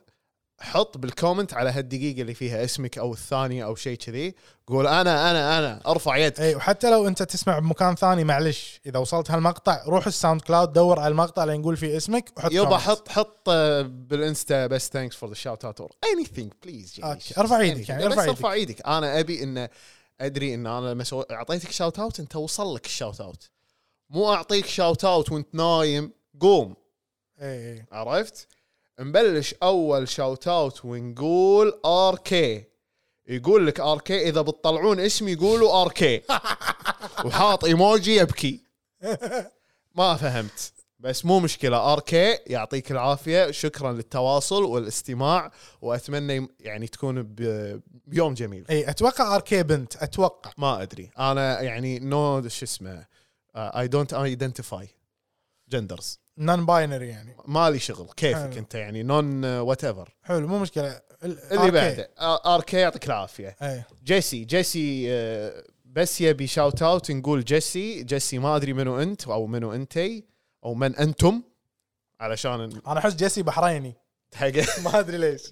Speaker 2: حط بالكومنت على هالدقيقه اللي فيها اسمك او الثانيه او شيء كذي قول انا انا انا ارفع يدك
Speaker 3: اي إيه، وحتى لو انت تسمع بمكان ثاني معلش اذا وصلت هالمقطع روح الساوند كلاود دور على المقطع اللي نقول فيه اسمك وحط
Speaker 2: يبا
Speaker 3: كومنت.
Speaker 2: حط حط آه، بالانستا بس ثانكس فور ذا شاوت اوت اور اني ثينج بليز
Speaker 3: أوكي، ارفع ايدك يعني
Speaker 2: بس
Speaker 3: ارفع ايدك
Speaker 2: ارفع ايدك انا ابي ان ادري ان انا لما سو- اعطيتك شاوت اوت انت وصل لك الشاوت اوت مو اعطيك شاوت اوت وانت نايم قوم
Speaker 3: اي اي
Speaker 2: عرفت نبلش اول شاوت اوت ونقول ار كي يقول لك ار كي اذا بتطلعون اسمي قولوا ار كي وحاط ايموجي يبكي ما فهمت بس مو مشكله ار كي يعطيك العافيه شكرا للتواصل والاستماع واتمنى يم- يعني تكون ب- بيوم جميل
Speaker 3: اي اتوقع اركي بنت اتوقع
Speaker 2: ما ادري انا يعني نو شو اسمه آه، اي دونت ايدنتيفاي جندرز
Speaker 3: نون باينري يعني
Speaker 2: مالي شغل كيفك
Speaker 3: حلو.
Speaker 2: انت يعني نون وات ايفر
Speaker 3: حلو مو مشكله ال- إيه.
Speaker 2: اللي
Speaker 3: RK.
Speaker 2: بعده ار كي يعطيك العافيه
Speaker 3: اي
Speaker 2: جيسي جيسي آه، بس يبي شاوت اوت نقول جيسي جيسي ما ادري منو انت او منو انتي او من انتم علشان
Speaker 3: انا احس جيسي بحريني
Speaker 2: <laughs> حق
Speaker 3: ما ادري ليش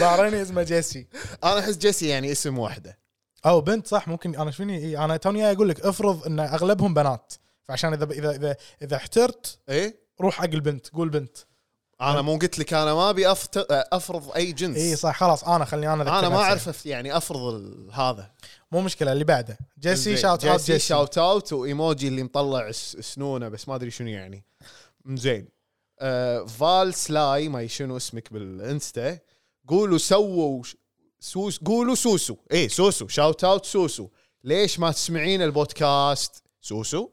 Speaker 3: بحريني اسمه جيسي
Speaker 2: انا احس جيسي يعني اسم واحده
Speaker 3: او بنت صح ممكن انا شفني إيه انا توني جاي اقول لك افرض ان اغلبهم بنات فعشان اذا اذا اذا اذا احترت
Speaker 2: ايه
Speaker 3: روح حق البنت قول بنت
Speaker 2: انا مو قلت لك انا ما ابي أفت- آه، افرض اي جنس
Speaker 3: اي صح خلاص انا خليني انا أذكر
Speaker 2: انا ما
Speaker 3: نفسي.
Speaker 2: اعرف أف- يعني افرض ال- هذا
Speaker 3: مو مشكله اللي بعده جيسي
Speaker 2: زين.
Speaker 3: شاوت اوت جيسي, جيسي.
Speaker 2: شاوت اوت وايموجي اللي مطلع س- سنونه بس ما ادري شنو يعني زين آه فال سلاي ما شنو اسمك بالانستا قولوا سووا ش- سوس قولوا سوسو اي سوسو شاوت اوت سوسو ليش ما تسمعين البودكاست سوسو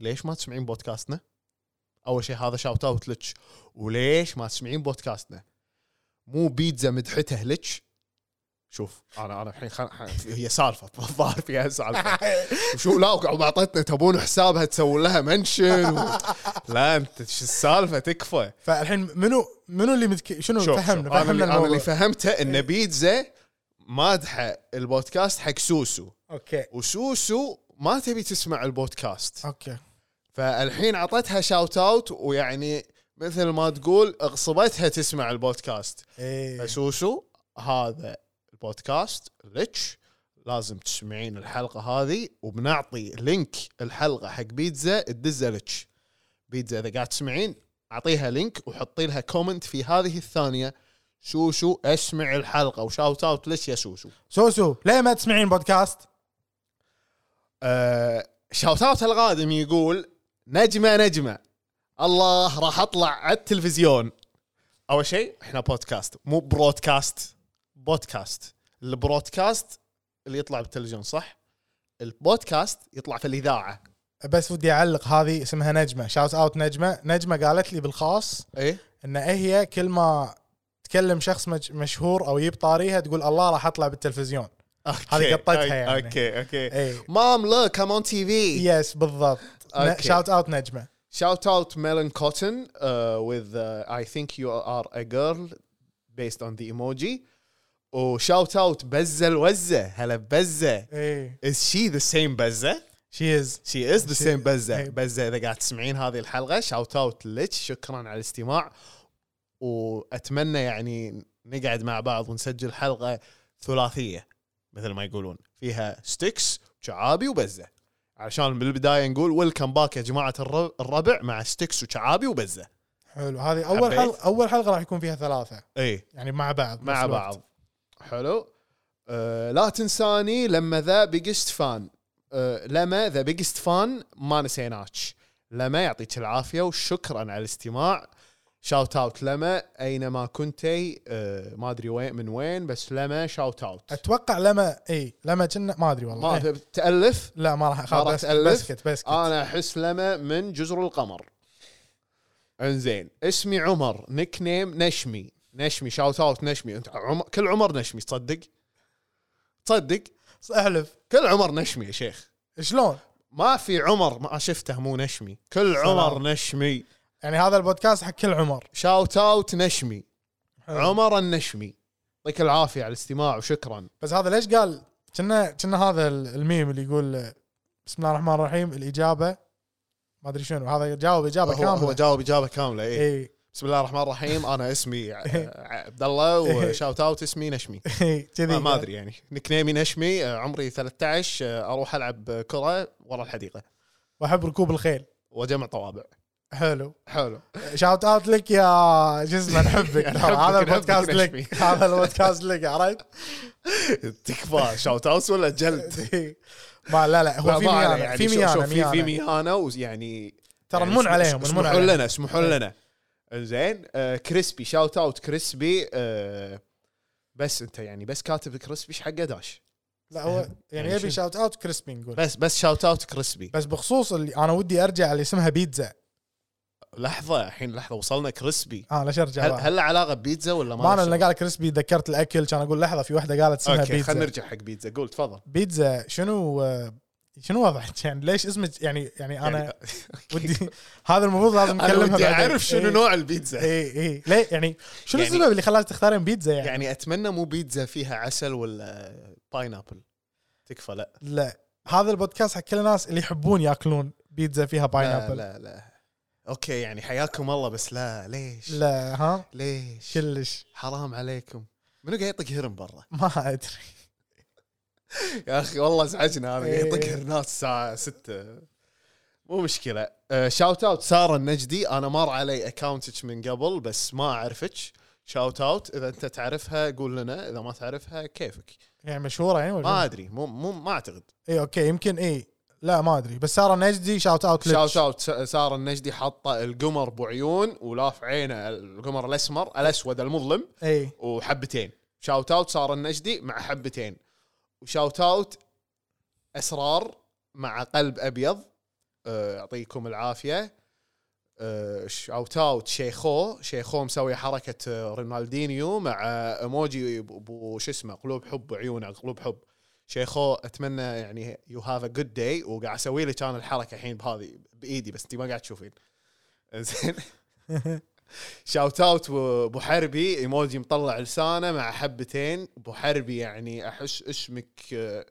Speaker 2: ليش ما تسمعين بودكاستنا اول شيء هذا شاوت اوت لك وليش ما تسمعين بودكاستنا مو بيتزا مدحته لتش شوف انا انا الحين خل... خل-
Speaker 3: <laughs>
Speaker 2: هي سالفه الظاهر فيها سالفه وشو لا وعطتنا تبون حسابها تسوون لها منشن و... <laughs> لا انت شو السالفه تكفى
Speaker 3: فالحين منو منو اللي متك... شنو
Speaker 2: شوف شوف،
Speaker 3: فهمنا
Speaker 2: انا اللي,
Speaker 3: فهمنا
Speaker 2: أنا اللي
Speaker 3: الموضوع
Speaker 2: فهمته ان بيتزا مادحه البودكاست حق سوسو
Speaker 3: اوكي
Speaker 2: وسوسو ما تبي تسمع البودكاست
Speaker 3: اوكي
Speaker 2: فالحين عطتها شاوت اوت ويعني مثل ما تقول اغصبتها تسمع البودكاست
Speaker 3: إيه.
Speaker 2: فسوسو هذا البودكاست ليتش لازم تسمعين الحلقه هذه وبنعطي لينك الحلقه حق بيتزا تدزه ليتش بيتزا اذا قاعد تسمعين اعطيها لينك وحطي لها كومنت في هذه الثانيه سوسو اسمع الحلقه وشاوت اوت ليش يا سوسو
Speaker 3: سوسو ليه ما تسمعين بودكاست؟
Speaker 2: آه، شاوت اوت القادم يقول نجمه نجمه الله راح اطلع على التلفزيون اول شيء احنا بودكاست مو برودكاست بودكاست البرودكاست اللي يطلع بالتلفزيون صح البودكاست يطلع في الاذاعه
Speaker 3: بس ودي اعلق هذه اسمها نجمه شاوت اوت نجمه نجمه قالت لي بالخاص
Speaker 2: ايه
Speaker 3: ان إيه هي كل ما تكلم شخص مج- مشهور او يجيب طاريها تقول الله راح اطلع بالتلفزيون هذه قطتها يعني.
Speaker 2: اوكي اوكي
Speaker 3: اي
Speaker 2: إيه. مام لوك ام اون تي في
Speaker 3: يس بالضبط
Speaker 2: أوكي.
Speaker 3: شاوت اوت نجمه
Speaker 2: شاوت اوت ميلون كوتن with uh, I think you are a girl based on the emoji Oh, وشاوت اوت بزه الوزه هلا بزه
Speaker 3: اي
Speaker 2: Is she the same بزة؟
Speaker 3: شي از
Speaker 2: She is the
Speaker 3: إيه. She-
Speaker 2: same بزة
Speaker 3: إيه.
Speaker 2: بزة إذا قاعد تسمعين هذه الحلقة شاوت أوت لك شكرا على الاستماع وأتمنى يعني نقعد مع بعض ونسجل حلقة ثلاثية مثل ما يقولون فيها ستيكس وشعابي وبزة عشان بالبداية نقول ويلكم باك يا جماعة الر- الربع مع ستيكس وشعابي وبزة
Speaker 3: حلو هذه اول
Speaker 2: حبيت.
Speaker 3: حلقه اول حلقه راح يكون فيها ثلاثه
Speaker 2: اي
Speaker 3: يعني مع بعض
Speaker 2: مع
Speaker 3: نفس الوقت.
Speaker 2: بعض حلو أه لا تنساني لما ذا بيجست فان أه لما ذا بيجست فان ما نسيناك لما يعطيك العافيه وشكرا على الاستماع شاوت اوت لما اينما كنتي أه ما ادري وين من وين بس لما شاوت اوت
Speaker 3: اتوقع لما اي لما كنا ما ادري والله
Speaker 2: ما
Speaker 3: إيه.
Speaker 2: تب- تالف
Speaker 3: لا ما راح
Speaker 2: ما راح
Speaker 3: بس
Speaker 2: تألف. آه.
Speaker 3: بسكت بسكت
Speaker 2: انا احس لما من جزر القمر انزين اسمي عمر نيك نيم نشمي نشمي شاوت اوت نشمي انت عمر كل عمر نشمي تصدق تصدق
Speaker 3: احلف
Speaker 2: كل عمر نشمي يا شيخ
Speaker 3: شلون؟
Speaker 2: ما في عمر ما شفته مو نشمي كل
Speaker 3: سلام.
Speaker 2: عمر نشمي
Speaker 3: يعني هذا البودكاست حق كل عمر
Speaker 2: شاوت اوت نشمي عمر النشمي يعطيك العافيه على الاستماع وشكرا
Speaker 3: بس هذا ليش قال كنا كنا هذا ال- الميم اللي يقول آه، بسم الله الرحمن الرحيم الاجابه ما ادري شنو هذا جاوب
Speaker 2: هو,
Speaker 3: اجابه كامله
Speaker 2: هو جاوب اجابه كامله إيه.
Speaker 3: اي
Speaker 2: بسم الله الرحمن الرحيم انا
Speaker 3: <laughs>
Speaker 2: اسمي ع- عبد الله
Speaker 3: إيه.
Speaker 2: وشاوت اوت اسمي نشمي
Speaker 3: إي، إيه. كذي
Speaker 2: ما, ما ادري يعني نكنيمي نشمي آه، عمري 13 آه، اروح العب كره ورا الحديقه
Speaker 3: واحب ركوب الخيل
Speaker 2: واجمع طوابع
Speaker 3: حلو
Speaker 2: حلو
Speaker 3: شاوت اوت لك يا شو اسمه
Speaker 2: <laughs>
Speaker 3: نحبك
Speaker 2: نحبك،
Speaker 3: ترى هذا
Speaker 2: نحبك،
Speaker 3: البودكاست
Speaker 2: نشمي.
Speaker 3: لك هذا البودكاست لك عرفت؟
Speaker 2: <laughs> تكفى شاوت اوت ولا جلد
Speaker 3: إي. إيه. ما لا لا هو في
Speaker 2: ما عليه
Speaker 3: ميانه
Speaker 2: يعني
Speaker 3: في
Speaker 2: شوف-
Speaker 3: ميانه
Speaker 2: شوف، في في
Speaker 3: ميانة.
Speaker 2: ميانه ويعني
Speaker 3: ترى
Speaker 2: يعني
Speaker 3: نمون
Speaker 2: اسم-
Speaker 3: عليهم
Speaker 2: اسم-
Speaker 3: نمون
Speaker 2: اسمحوا
Speaker 3: عليهم
Speaker 2: لنا اسمحوا لنا زين آه كريسبي شاوت اوت كريسبي آه بس انت يعني بس كاتب كريسبي ايش حقه داش
Speaker 3: لا هو يعني
Speaker 2: يعني
Speaker 3: يبي
Speaker 2: شنو؟
Speaker 3: شاوت اوت كريسبي نقول
Speaker 2: بس بس شاوت اوت كريسبي
Speaker 3: بس بخصوص اللي انا ودي ارجع اللي اسمها بيتزا
Speaker 2: لحظه الحين لحظه وصلنا كريسبي
Speaker 3: اه ليش ارجع
Speaker 2: هل
Speaker 3: بقى.
Speaker 2: هل له علاقه ببيتزا ولا ما
Speaker 3: ما انا
Speaker 2: له
Speaker 3: اللي قال كريسبي ذكرت الاكل كان اقول لحظه في واحده قالت
Speaker 2: شغل؟
Speaker 3: اسمها
Speaker 2: اوكي خلينا
Speaker 3: بيتزا
Speaker 2: نرجع حق بيتزا قول تفضل
Speaker 3: بيتزا شنو آه، شنو وضعك يعني ليش اسمك يعني يعني انا
Speaker 2: يعني-
Speaker 3: ودي هذا المفروض لازم
Speaker 2: انا
Speaker 3: نكلمها
Speaker 2: ودي
Speaker 3: بعدين.
Speaker 2: اعرف شنو
Speaker 3: إيه.
Speaker 2: نوع البيتزا
Speaker 3: اي اي ليه يعني شنو
Speaker 2: يعني-
Speaker 3: السبب اللي خلاك تختارين بيتزا يعني؟
Speaker 2: يعني اتمنى مو بيتزا فيها عسل ولا باينابل تكفى لا
Speaker 3: لا هذا البودكاست حق كل الناس اللي يحبون ياكلون بيتزا فيها
Speaker 2: لا
Speaker 3: باينابل
Speaker 2: لا لا اوكي يعني حياكم الله بس لا ليش
Speaker 3: لا ها
Speaker 2: ليش
Speaker 3: كلش
Speaker 2: حرام عليكم منو قاعد يطق هرم برا
Speaker 3: ما ادري
Speaker 2: يا اخي والله ازعجنا هذا قاعد يطق
Speaker 3: إيه.
Speaker 2: هرنات الساعه 6 مو مشكله آه، شاوت اوت ساره النجدي انا مر علي اكاونتك من قبل بس ما اعرفك شاوت اوت اذا انت تعرفها قول لنا اذا ما تعرفها كيفك
Speaker 3: يعني مشهوره يعني
Speaker 2: ما
Speaker 3: ولا
Speaker 2: ادري مو مو ما اعتقد
Speaker 3: اي اوكي يمكن اي لا ما ادري بس ساره نجدي شاوت اوت
Speaker 2: شاوت اوت س- ساره النجدي حاطه القمر بعيون ولاف عينه القمر الاسمر الاسود المظلم
Speaker 3: اي
Speaker 2: وحبتين شاوت اوت ساره النجدي مع حبتين وشاوت اوت اسرار مع قلب ابيض أه، يعطيكم العافيه آه، شاوت اوت شيخو شيخو مسوي حركه آه، رونالدينيو مع آه، ايموجي ابو شو اسمه قلوب حب وعيونه قلوب حب شيخو اتمنى يعني يو هاف ا جود داي وقاعد اسوي لك انا الحركه الحين بهذه بايدي بس انت ما قاعد تشوفين <laughs> زين شاوت اوت ابو حربي ايموجي مطلع لسانه مع حبتين ابو حربي يعني احس اسمك آه،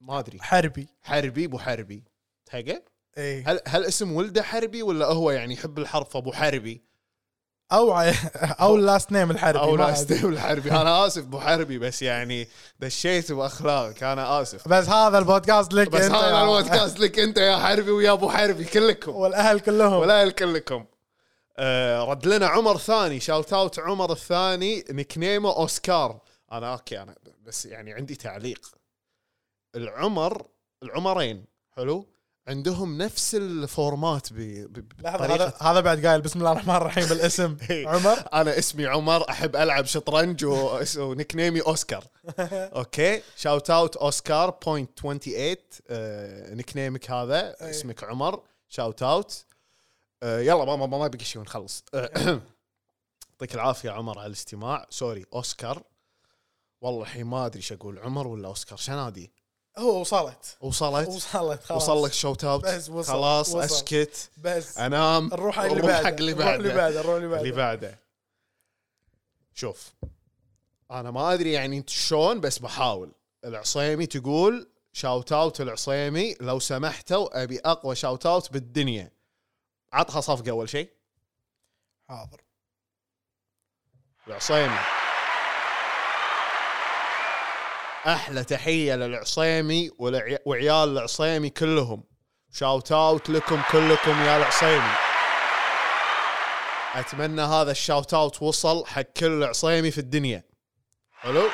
Speaker 2: ما ادري
Speaker 3: حربي
Speaker 2: حربي ابو حربي تهقى
Speaker 3: اي
Speaker 2: هل هل اسم ولده حربي ولا هو يعني يحب الحرف ابو حربي
Speaker 3: او ع- <laughs> او اللاست نيم الحربي
Speaker 2: او
Speaker 3: ما
Speaker 2: لا
Speaker 3: أدري.
Speaker 2: استيب الحربي انا اسف ابو حربي بس يعني دشيت باخلاقك انا اسف
Speaker 3: بس هذا البودكاست لك
Speaker 2: بس
Speaker 3: أنت يعني.
Speaker 2: هذا
Speaker 3: يا- <laughs>
Speaker 2: البودكاست لك انت يا حربي ويا ابو حربي كلكم
Speaker 3: والاهل كلهم
Speaker 2: ولا كلكم آه رد لنا عمر ثاني شاوت اوت عمر الثاني نكنيمه اوسكار انا اوكي انا بس يعني عندي تعليق العمر العمرين حلو عندهم نفس الفورمات ب- ب-
Speaker 3: لحظه
Speaker 2: بطريقة-
Speaker 3: هذا هذا بعد قايل بسم الله الرحمن الرحيم
Speaker 2: <laughs>
Speaker 3: بالاسم
Speaker 2: إي.
Speaker 3: عمر
Speaker 2: انا اسمي عمر احب العب شطرنج و- <laughs> ونيك نيمي
Speaker 3: <laughs>
Speaker 2: اوسكار اوكي شاوت اوت اوسكار بوينت 28 آه، نيك نيمك هذا
Speaker 3: أي.
Speaker 2: اسمك عمر شاوت اوت آه، يلا ما ما ما بقي شيء ونخلص آه، <clears throat> يعطيك العافيه عمر على الاستماع سوري اوسكار والله الحين ما ادري ايش اقول عمر ولا اوسكار شنادي
Speaker 3: هو وصلت
Speaker 2: وصلت
Speaker 3: وصلت خلاص
Speaker 2: وصل لك شوت اوت
Speaker 3: بس وصل،
Speaker 2: خلاص
Speaker 3: وصل.
Speaker 2: اسكت
Speaker 3: بس
Speaker 2: انام
Speaker 3: نروح حق اللي
Speaker 2: ونروح
Speaker 3: بعده
Speaker 2: حق اللي
Speaker 3: نروح اللي
Speaker 2: بعده
Speaker 3: بعده نروح اللي
Speaker 2: اللي
Speaker 3: بعده
Speaker 2: بعده شوف انا ما ادري يعني انت شلون بس بحاول العصيمي تقول شاوت اوت العصيمي لو سمحتوا ابي اقوى شاوت اوت بالدنيا عطها صفقه اول شيء
Speaker 3: حاضر
Speaker 2: العصيمي احلى تحيه للعصيمي والعي- وعيال العصيمي كلهم شاوت اوت لكم كلكم يا العصيمي اتمنى هذا الشاوت اوت وصل حق كل العصيمي في الدنيا حلو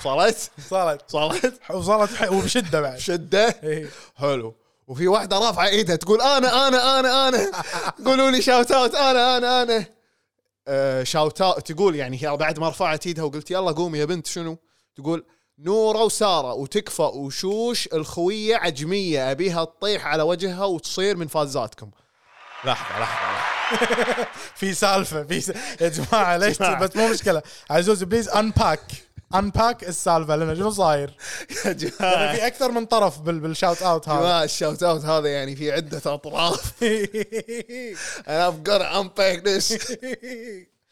Speaker 2: وصلت
Speaker 3: وصلت
Speaker 2: وصلت
Speaker 3: وصلت ح- وبشده بعد إيه.
Speaker 2: شده
Speaker 3: إي.
Speaker 2: حلو وفي واحده رافعه ايدها تقول انا انا انا انا قولوا لي شاوت اوت انا انا انا آه شاوت اوت تقول يعني هي بعد ما رفعت ايدها وقلت يلا قومي يا بنت شنو؟ تقول نوره وساره وتكفى وشوش الخويه عجميه ابيها تطيح على وجهها وتصير من فازاتكم. لحظه لحظه لحظه
Speaker 3: في سالفه في س... يا جماعه ليش بس مو مشكله عزوز بليز انباك انباك السالفه لنا شنو صاير؟
Speaker 2: يا
Speaker 3: <laughs> يعني
Speaker 2: جماعه
Speaker 3: في اكثر من طرف بال... بالشاوت اوت هذا
Speaker 2: جماعة الشاوت اوت هذا يعني في عده اطراف <laughs> and I'm gonna unpack this. <laughs>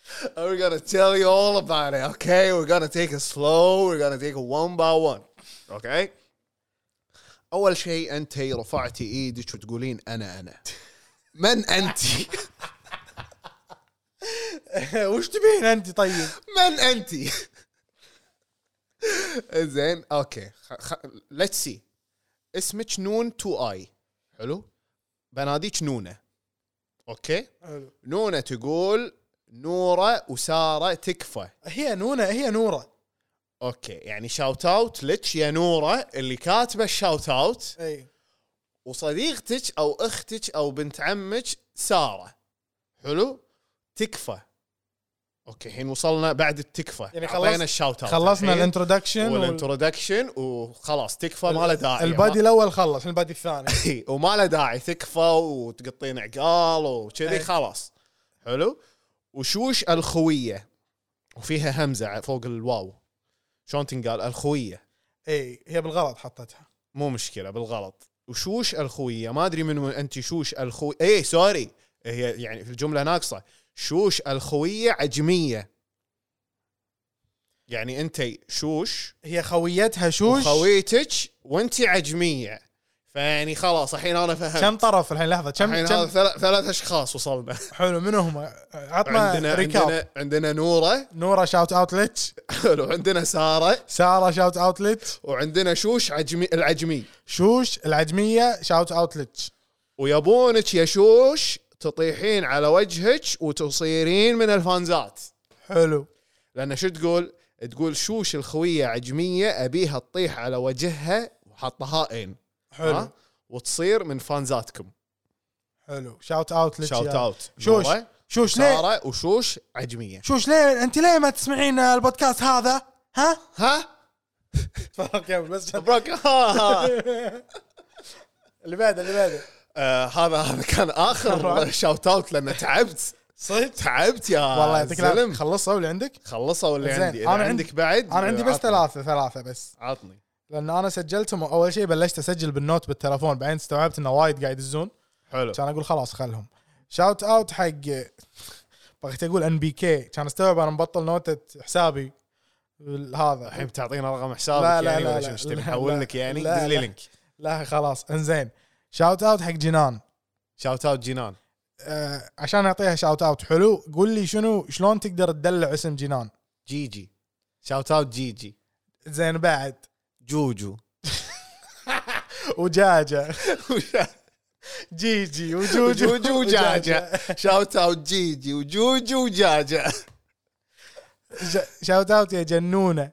Speaker 2: We're gonna tell you all about it, okay? We're gonna take it slow. We're gonna take it one by one, okay? أول شيء أنت رفعتي إيدك وتقولين أنا أنا. من أنت؟
Speaker 3: <laughs> وش تبين انت طيب؟
Speaker 2: من أنت؟ زين أوكي ليتس سي اسمك نون تو آي حلو؟ بناديك نونة أوكي؟ نونة تقول نورة وسارة تكفى
Speaker 3: هي نونه هي نوره
Speaker 2: اوكي يعني شاوت اوت لك يا نوره اللي كاتبه الشاوت اوت
Speaker 3: اي
Speaker 2: وصديقتك او اختك او بنت عمك ساره حلو تكفى اوكي الحين وصلنا بعد التكفى
Speaker 3: يعني
Speaker 2: يعني
Speaker 3: خلص-
Speaker 2: خلصنا الشاوت اوت
Speaker 3: خلصنا
Speaker 2: الحين
Speaker 3: الانترودكشن وال...
Speaker 2: والانترودكشن وخلاص تكفى ما له داعي
Speaker 3: البادي
Speaker 2: ما-
Speaker 3: الاول خلص البادي الثاني
Speaker 2: إي، وما له داعي تكفى وتقطين عقال وكذي
Speaker 3: إي.
Speaker 2: خلاص حلو وشوش الخويه وفيها همزه فوق الواو شلون تنقال الخويه
Speaker 3: اي هي بالغلط حطتها
Speaker 2: مو مشكله بالغلط وشوش الخويه ما ادري من وين انت شوش الخو اي سوري هي يعني في الجمله ناقصه شوش الخويه عجميه يعني انت شوش
Speaker 3: هي خويتها شوش
Speaker 2: وخويتك وانت عجميه فيعني خلاص الحين انا فهمت
Speaker 3: كم طرف الحين لحظه كم
Speaker 2: الحين هذا
Speaker 3: كم
Speaker 2: ثلاث ثلاث اشخاص
Speaker 3: <laughs>
Speaker 2: وصلنا
Speaker 3: حلو من هم عطنا
Speaker 2: عندنا
Speaker 3: ريكاب
Speaker 2: عندنا عندنا <laughs> نوره
Speaker 3: نوره شاوت اوتلت
Speaker 2: حلو عندنا ساره
Speaker 3: ساره شاوت اوتلت
Speaker 2: وعندنا شوش عجمي العجمي
Speaker 3: شوش العجميه شاوت اوتلت
Speaker 2: ويبونك يا شوش تطيحين على وجهك وتصيرين من الفانزات
Speaker 3: حلو
Speaker 2: لان شو تقول تقول شوش الخويه عجميه ابيها تطيح على وجهها وحطها ان
Speaker 3: حلو
Speaker 2: وتصير من فانزاتكم
Speaker 3: حلو شاوت اوتلت
Speaker 2: شاوت اوت
Speaker 3: شوش
Speaker 2: نورة
Speaker 3: شوش ليه
Speaker 2: ساره وشوش عجميه
Speaker 3: شوش ليه انت ليه ما تسمعين البودكاست هذا
Speaker 2: <laughs>
Speaker 3: ها
Speaker 2: ها
Speaker 3: تفضل كمل
Speaker 2: <laughs>
Speaker 3: بس
Speaker 2: مبروك ها ها
Speaker 3: اللي بعده اللي بعده
Speaker 2: آه هذا هذا كان <laughs> اخر شاوت اوت لان تعبت
Speaker 3: صدق
Speaker 2: تعبت يا
Speaker 3: والله يعطيك العافيه
Speaker 2: العافيه
Speaker 3: خلصوا اللي عندك
Speaker 2: خلصوا اللي
Speaker 3: زين.
Speaker 2: عندي اذا
Speaker 3: أنا عندي-
Speaker 2: عندك بعد
Speaker 3: انا عندي بس
Speaker 2: عطني.
Speaker 3: ثلاثه ثلاثه بس
Speaker 2: عطني
Speaker 3: لان انا سجلتهم اول شيء بلشت اسجل بالنوت بالتلفون بعدين استوعبت انه وايد قاعد يدزون
Speaker 2: حلو
Speaker 3: كان اقول خلاص خلهم شاوت اوت حق بغيت اقول ان بي كي كان استوعب انا مبطل نوتة حسابي هذا
Speaker 2: الحين بتعطينا رقم حسابك
Speaker 3: لا، لا،
Speaker 2: يعني
Speaker 3: لا،
Speaker 2: ولا
Speaker 3: لا،
Speaker 2: شو؟ ايش تبي
Speaker 3: لا،
Speaker 2: نحول
Speaker 3: لا،
Speaker 2: لك يعني
Speaker 3: لا،
Speaker 2: دز لي
Speaker 3: لا.
Speaker 2: لينك
Speaker 3: لا خلاص انزين شاوت اوت حق جنان
Speaker 2: شاوت اوت جنان
Speaker 3: آه عشان اعطيها شاوت اوت حلو قول لي شنو شلون تقدر تدلع اسم جنان
Speaker 2: جي جي شاوت اوت جي جي
Speaker 3: زين بعد
Speaker 2: <laughs> جوجو
Speaker 3: وجاجه <laughs> جيجي وجوجو
Speaker 2: <laughs> جوجو وجاجة شاوت اوت جي جي وجوجو وجاجة
Speaker 3: ش- شاوت اوت يا جنونه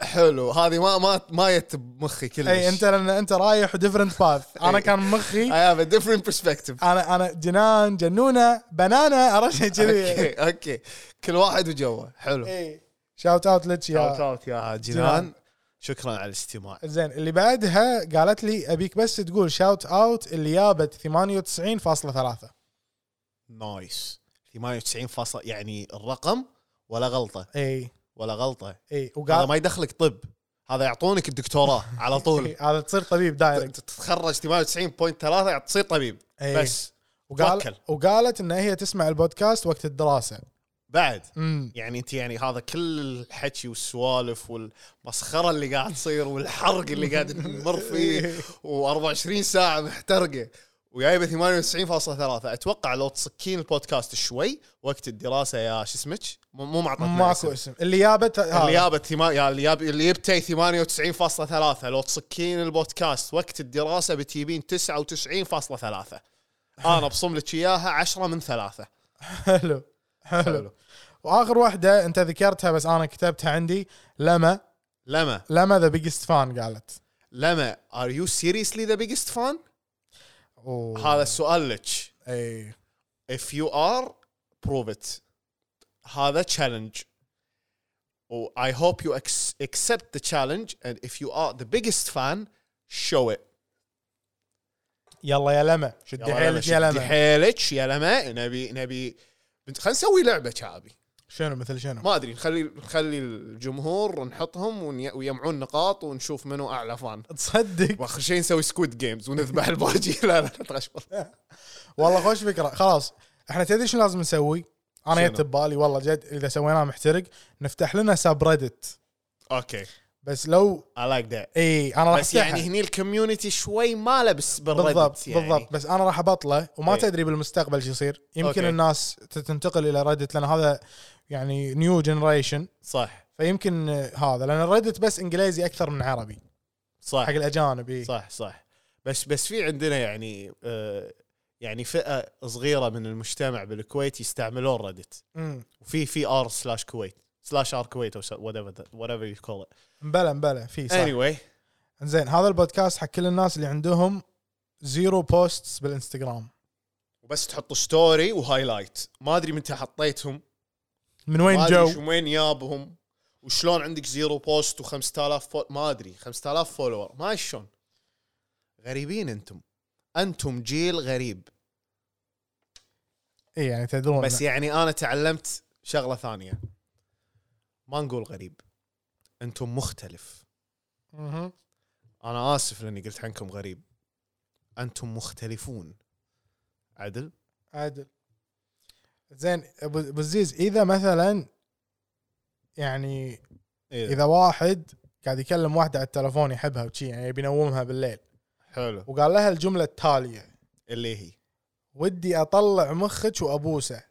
Speaker 2: حلو هذه ما ما ما جت بمخي كلش
Speaker 3: اي انت لان انت رايح وديفرنت باث انا
Speaker 2: أي.
Speaker 3: كان مخي
Speaker 2: I have a different perspective
Speaker 3: انا انا جنان جنونه بنانا عرفت
Speaker 2: <laughs>
Speaker 3: كذي
Speaker 2: اوكي اوكي كل واحد وجوه حلو
Speaker 3: شاوت اوت لك
Speaker 2: شاوت
Speaker 3: يا
Speaker 2: اوت يا جنان شكرا على الاستماع
Speaker 3: زين اللي بعدها قالت لي ابيك بس تقول شاوت اوت اللي جابت 98.3
Speaker 2: نايس 98 فاصل يعني الرقم ولا غلطه
Speaker 3: اي
Speaker 2: ولا غلطه
Speaker 3: اي
Speaker 2: هذا
Speaker 3: وقال
Speaker 2: ما يدخلك طب هذا يعطونك الدكتوراه على طول
Speaker 3: <laughs> إي، هذا تصير طبيب دايركت
Speaker 2: تتخرج 98.3 تصير طبيب
Speaker 3: إي.
Speaker 2: بس
Speaker 3: وقال
Speaker 2: توكل.
Speaker 3: وقالت ان هي تسمع البودكاست وقت الدراسه
Speaker 2: بعد
Speaker 3: امم
Speaker 2: يعني انت يعني هذا كل الحكي والسوالف والمسخره اللي قاعد تصير والحرق اللي قاعد نمر
Speaker 3: <laughs>
Speaker 2: فيه و24 ساعه محترقه وجايبه 98.3 اتوقع لو تسكين البودكاست شوي وقت الدراسه يا شو اسمك مو مو معطتنا
Speaker 3: ماكو
Speaker 2: اسم.
Speaker 3: اسم اللي آه، جابت
Speaker 2: اللي
Speaker 3: هذا
Speaker 2: جابت ثما- يا اللي جاب اللي جبتي 98.3 لو تسكين البودكاست وقت الدراسه بتجيبين 99.3 انا بصم لك اياها 10 من ثلاثه
Speaker 3: حلو حلو واخر واحده انت ذكرتها بس انا كتبتها عندي لما
Speaker 2: لما
Speaker 3: لما ذا بيجست فان قالت
Speaker 2: لما ار يو سيريسلي ذا بيجست فان؟
Speaker 3: اوه
Speaker 2: هذا السؤال لك
Speaker 3: اي
Speaker 2: if you are prove it هذا challenge و I hope you ex- accept the challenge and if you are the biggest fan show it
Speaker 3: يلا يا لما شدي حيلك يا
Speaker 2: شدي
Speaker 3: لما
Speaker 2: حيلك يا لما نبي نبي بنت- خلينا نسوي لعبه شعبي
Speaker 3: شنو مثل شنو
Speaker 2: ما ادري نخلي نخلي الجمهور نحطهم وني- ويجمعون نقاط ونشوف منو اعلى فان <laughs>
Speaker 3: تصدق
Speaker 2: واخر شيء نسوي سكويد جيمز ونذبح الباجي <laughs> لا لا تغش
Speaker 3: والله خوش فكره خلاص احنا تدري شنو لازم نسوي انا
Speaker 2: شنو؟
Speaker 3: جت ببالي والله جد اذا سويناها محترق نفتح لنا سب ريدت
Speaker 2: اوكي
Speaker 3: بس لو
Speaker 2: I like that
Speaker 3: اي انا راح
Speaker 2: بس يعني
Speaker 3: افتحها
Speaker 2: هني الكوميونتي شوي ما لبس بالريدت
Speaker 3: بالضبط
Speaker 2: يعني.
Speaker 3: بالضبط بس انا راح ابطله وما
Speaker 2: إي.
Speaker 3: تدري بالمستقبل شو يصير يمكن
Speaker 2: أوكي.
Speaker 3: الناس تنتقل الى ريدت لان هذا يعني نيو جنريشن
Speaker 2: صح
Speaker 3: فيمكن آه، هذا لان الريدت بس انجليزي اكثر من عربي
Speaker 2: صح
Speaker 3: حق إيه. الاجانب اي
Speaker 2: صح صح بس بس في عندنا يعني آه يعني فئه صغيره من المجتمع بالكويت يستعملون ريدت
Speaker 3: مم.
Speaker 2: وفي في ار سلاش كويت سلاش ار كويت او وات ايفر وات ايفر يو كول
Speaker 3: مبلى مبلى في صح
Speaker 2: اني
Speaker 3: زين هذا البودكاست حق كل الناس اللي عندهم زيرو بوستس بالانستغرام
Speaker 2: وبس تحط ستوري وهايلايت ما ادري متى حطيتهم
Speaker 3: من وين
Speaker 2: ما ادري شو
Speaker 3: جو
Speaker 2: وين يابهم وشلون عندك زيرو بوست و5000 فول ما ادري 5000 فولور ما أدري شلون غريبين انتم انتم جيل غريب
Speaker 3: اي يعني تدرون
Speaker 2: بس يعني انا تعلمت شغله ثانيه ما نقول غريب انتم مختلف
Speaker 3: مهم.
Speaker 2: انا اسف لاني قلت عنكم غريب انتم مختلفون عدل
Speaker 3: عادل زين ابو أبو الزيز اذا مثلا يعني
Speaker 2: اذا
Speaker 3: اذا واحد قاعد يكلم واحده على التلفون يحبها وشي يعني يبي ينومها بالليل
Speaker 2: حلو
Speaker 3: وقال لها الجمله التاليه
Speaker 2: اللي هي
Speaker 3: ودي اطلع مخك وابوسه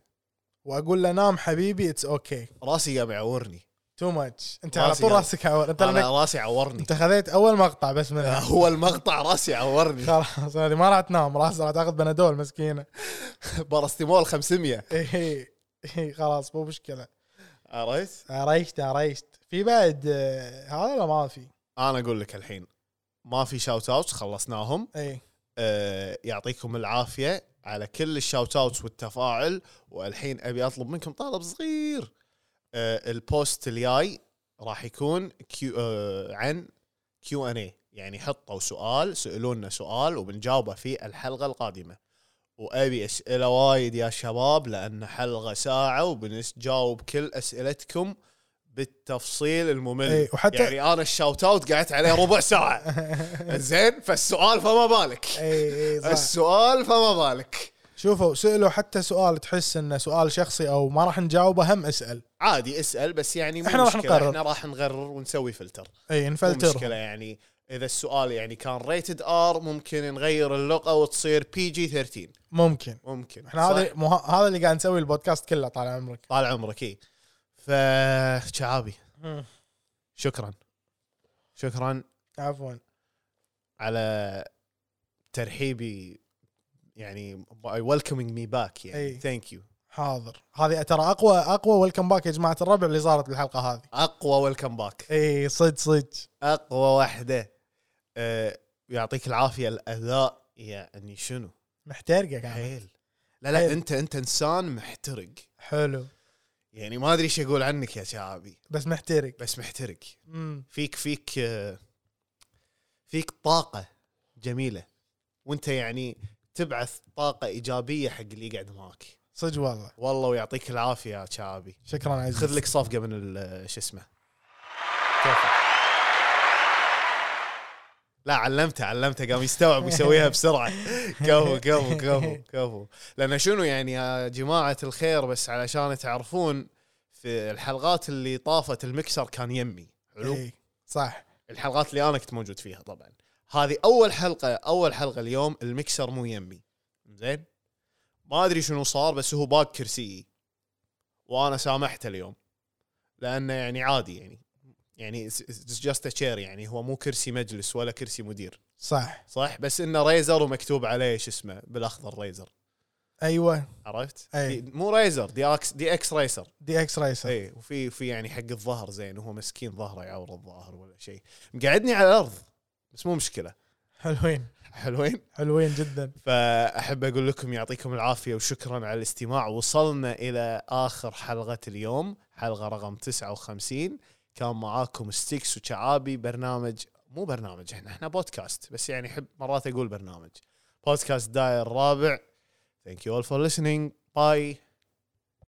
Speaker 3: واقول له نام حبيبي اتس اوكي
Speaker 2: راسي قام يعورني
Speaker 3: تو ماتش انت على
Speaker 2: راسي
Speaker 3: طول
Speaker 2: يلا.
Speaker 3: راسك عور انت
Speaker 2: انا
Speaker 3: لأنك-
Speaker 2: راسي عورني
Speaker 3: انت خذيت اول مقطع بس منها
Speaker 2: هو المقطع راسي
Speaker 3: <laughs>
Speaker 2: عورني
Speaker 3: خلاص هذه ما راح تنام راح راح تاخذ بنادول مسكينه
Speaker 2: باراستيمول 500
Speaker 3: إيه، إيه، خلاص مو مشكله
Speaker 2: عرفت؟
Speaker 3: عريشت عريشت في بعد آه، هذا ولا ما في؟
Speaker 2: انا اقول لك الحين ما في شاوت اوت خلصناهم
Speaker 3: اي
Speaker 2: آه، يعطيكم العافيه على كل الشاوت اوتس والتفاعل والحين ابي اطلب منكم طلب صغير آه، البوست الجاي راح يكون كيو آه، عن كيو ان اي يعني حطوا سؤال سالونا سؤال وبنجاوبه في الحلقه القادمه وابي اسئله وايد يا شباب لان حلقه ساعه وبنجاوب كل اسئلتكم بالتفصيل الممل
Speaker 3: إي، وحتى-
Speaker 2: يعني انا الشاوت اوت قعدت عليه ربع ساعه زين فالسؤال فما بالك
Speaker 3: <laughs>
Speaker 2: <laughs>
Speaker 3: اي اي صح.
Speaker 2: السؤال فما بالك
Speaker 3: إيه، شوفوا سالوا حتى سؤال تحس انه سؤال شخصي او ما راح نجاوبه هم اسال
Speaker 2: عادي اسال بس يعني مو
Speaker 3: إحنا راح
Speaker 2: مشكلة،
Speaker 3: نقرر.
Speaker 2: احنا راح نقرر ونسوي فلتر
Speaker 3: اي
Speaker 2: مو
Speaker 3: نفلتر
Speaker 2: مشكله يعني اذا السؤال يعني كان ريتد ار ممكن نغير اللغه وتصير بي جي 13
Speaker 3: ممكن
Speaker 2: ممكن صح؟
Speaker 3: احنا هذا مو ه- هذا اللي قاعد نسوي البودكاست كله طال عمرك
Speaker 2: طال عمرك اي ف شعابي شكرا شكرا
Speaker 3: عفوا
Speaker 2: على ترحيبي يعني ويلكمينج مي باك يعني
Speaker 3: إي.
Speaker 2: ثانك يو
Speaker 3: حاضر هذه ترى اقوى اقوى ويلكم باك يا جماعه الربع اللي صارت بالحلقه هذه
Speaker 2: اقوى ويلكم باك
Speaker 3: اي صدق صدق
Speaker 2: اقوى واحده أه يعطيك العافيه الاداء يعني شنو
Speaker 3: محترقه كانت
Speaker 2: حيل لا لا
Speaker 3: حيل.
Speaker 2: انت انت انسان محترق
Speaker 3: حلو
Speaker 2: يعني ما ادري ايش اقول عنك يا شعابي
Speaker 3: بس محترق
Speaker 2: بس محترق
Speaker 3: امم
Speaker 2: فيك فيك آه، فيك طاقه جميله وانت يعني تبعث طاقه ايجابيه حق اللي يقعد معاك
Speaker 3: صدق والله
Speaker 2: والله ويعطيك العافيه يا شعابي
Speaker 3: شكرا عزيز
Speaker 2: خذ لك صفقه من ال- آه، شو اسمه لا علمته علمته قام يستوعب ويسويها بسرعه كفو كفو كفو كفو لان شنو يعني يا جماعه الخير بس علشان تعرفون في الحلقات اللي طافت المكسر كان يمي حلو
Speaker 3: إي، إيه، صح
Speaker 2: الحلقات اللي انا كنت موجود فيها طبعا هذه اول حلقه اول حلقه اليوم المكسر مو يمي زين ما ادري شنو صار بس هو باق كرسيي وانا سامحته اليوم لانه يعني عادي يعني يعني جاست تشير يعني هو مو كرسي مجلس ولا كرسي مدير
Speaker 3: صح
Speaker 2: صح بس انه ريزر ومكتوب عليه شو اسمه بالاخضر ريزر
Speaker 3: ايوه
Speaker 2: عرفت؟
Speaker 3: أي.
Speaker 2: دي مو ريزر دي اكس دي اكس ريسر
Speaker 3: دي اكس رايسر
Speaker 2: اي وفي في يعني حق الظهر زين وهو مسكين ظهره يعور الظهر ولا شيء مقعدني على الارض بس مو مشكله
Speaker 3: حلوين
Speaker 2: حلوين
Speaker 3: حلوين جدا
Speaker 2: فاحب اقول لكم يعطيكم العافيه وشكرا على الاستماع وصلنا الى اخر حلقه اليوم حلقه رقم 59 كان معاكم ستيكس وشعابي برنامج مو برنامج احنا احنا بودكاست بس يعني احب مرات اقول برنامج بودكاست داير الرابع ثانك يو اول فور listening باي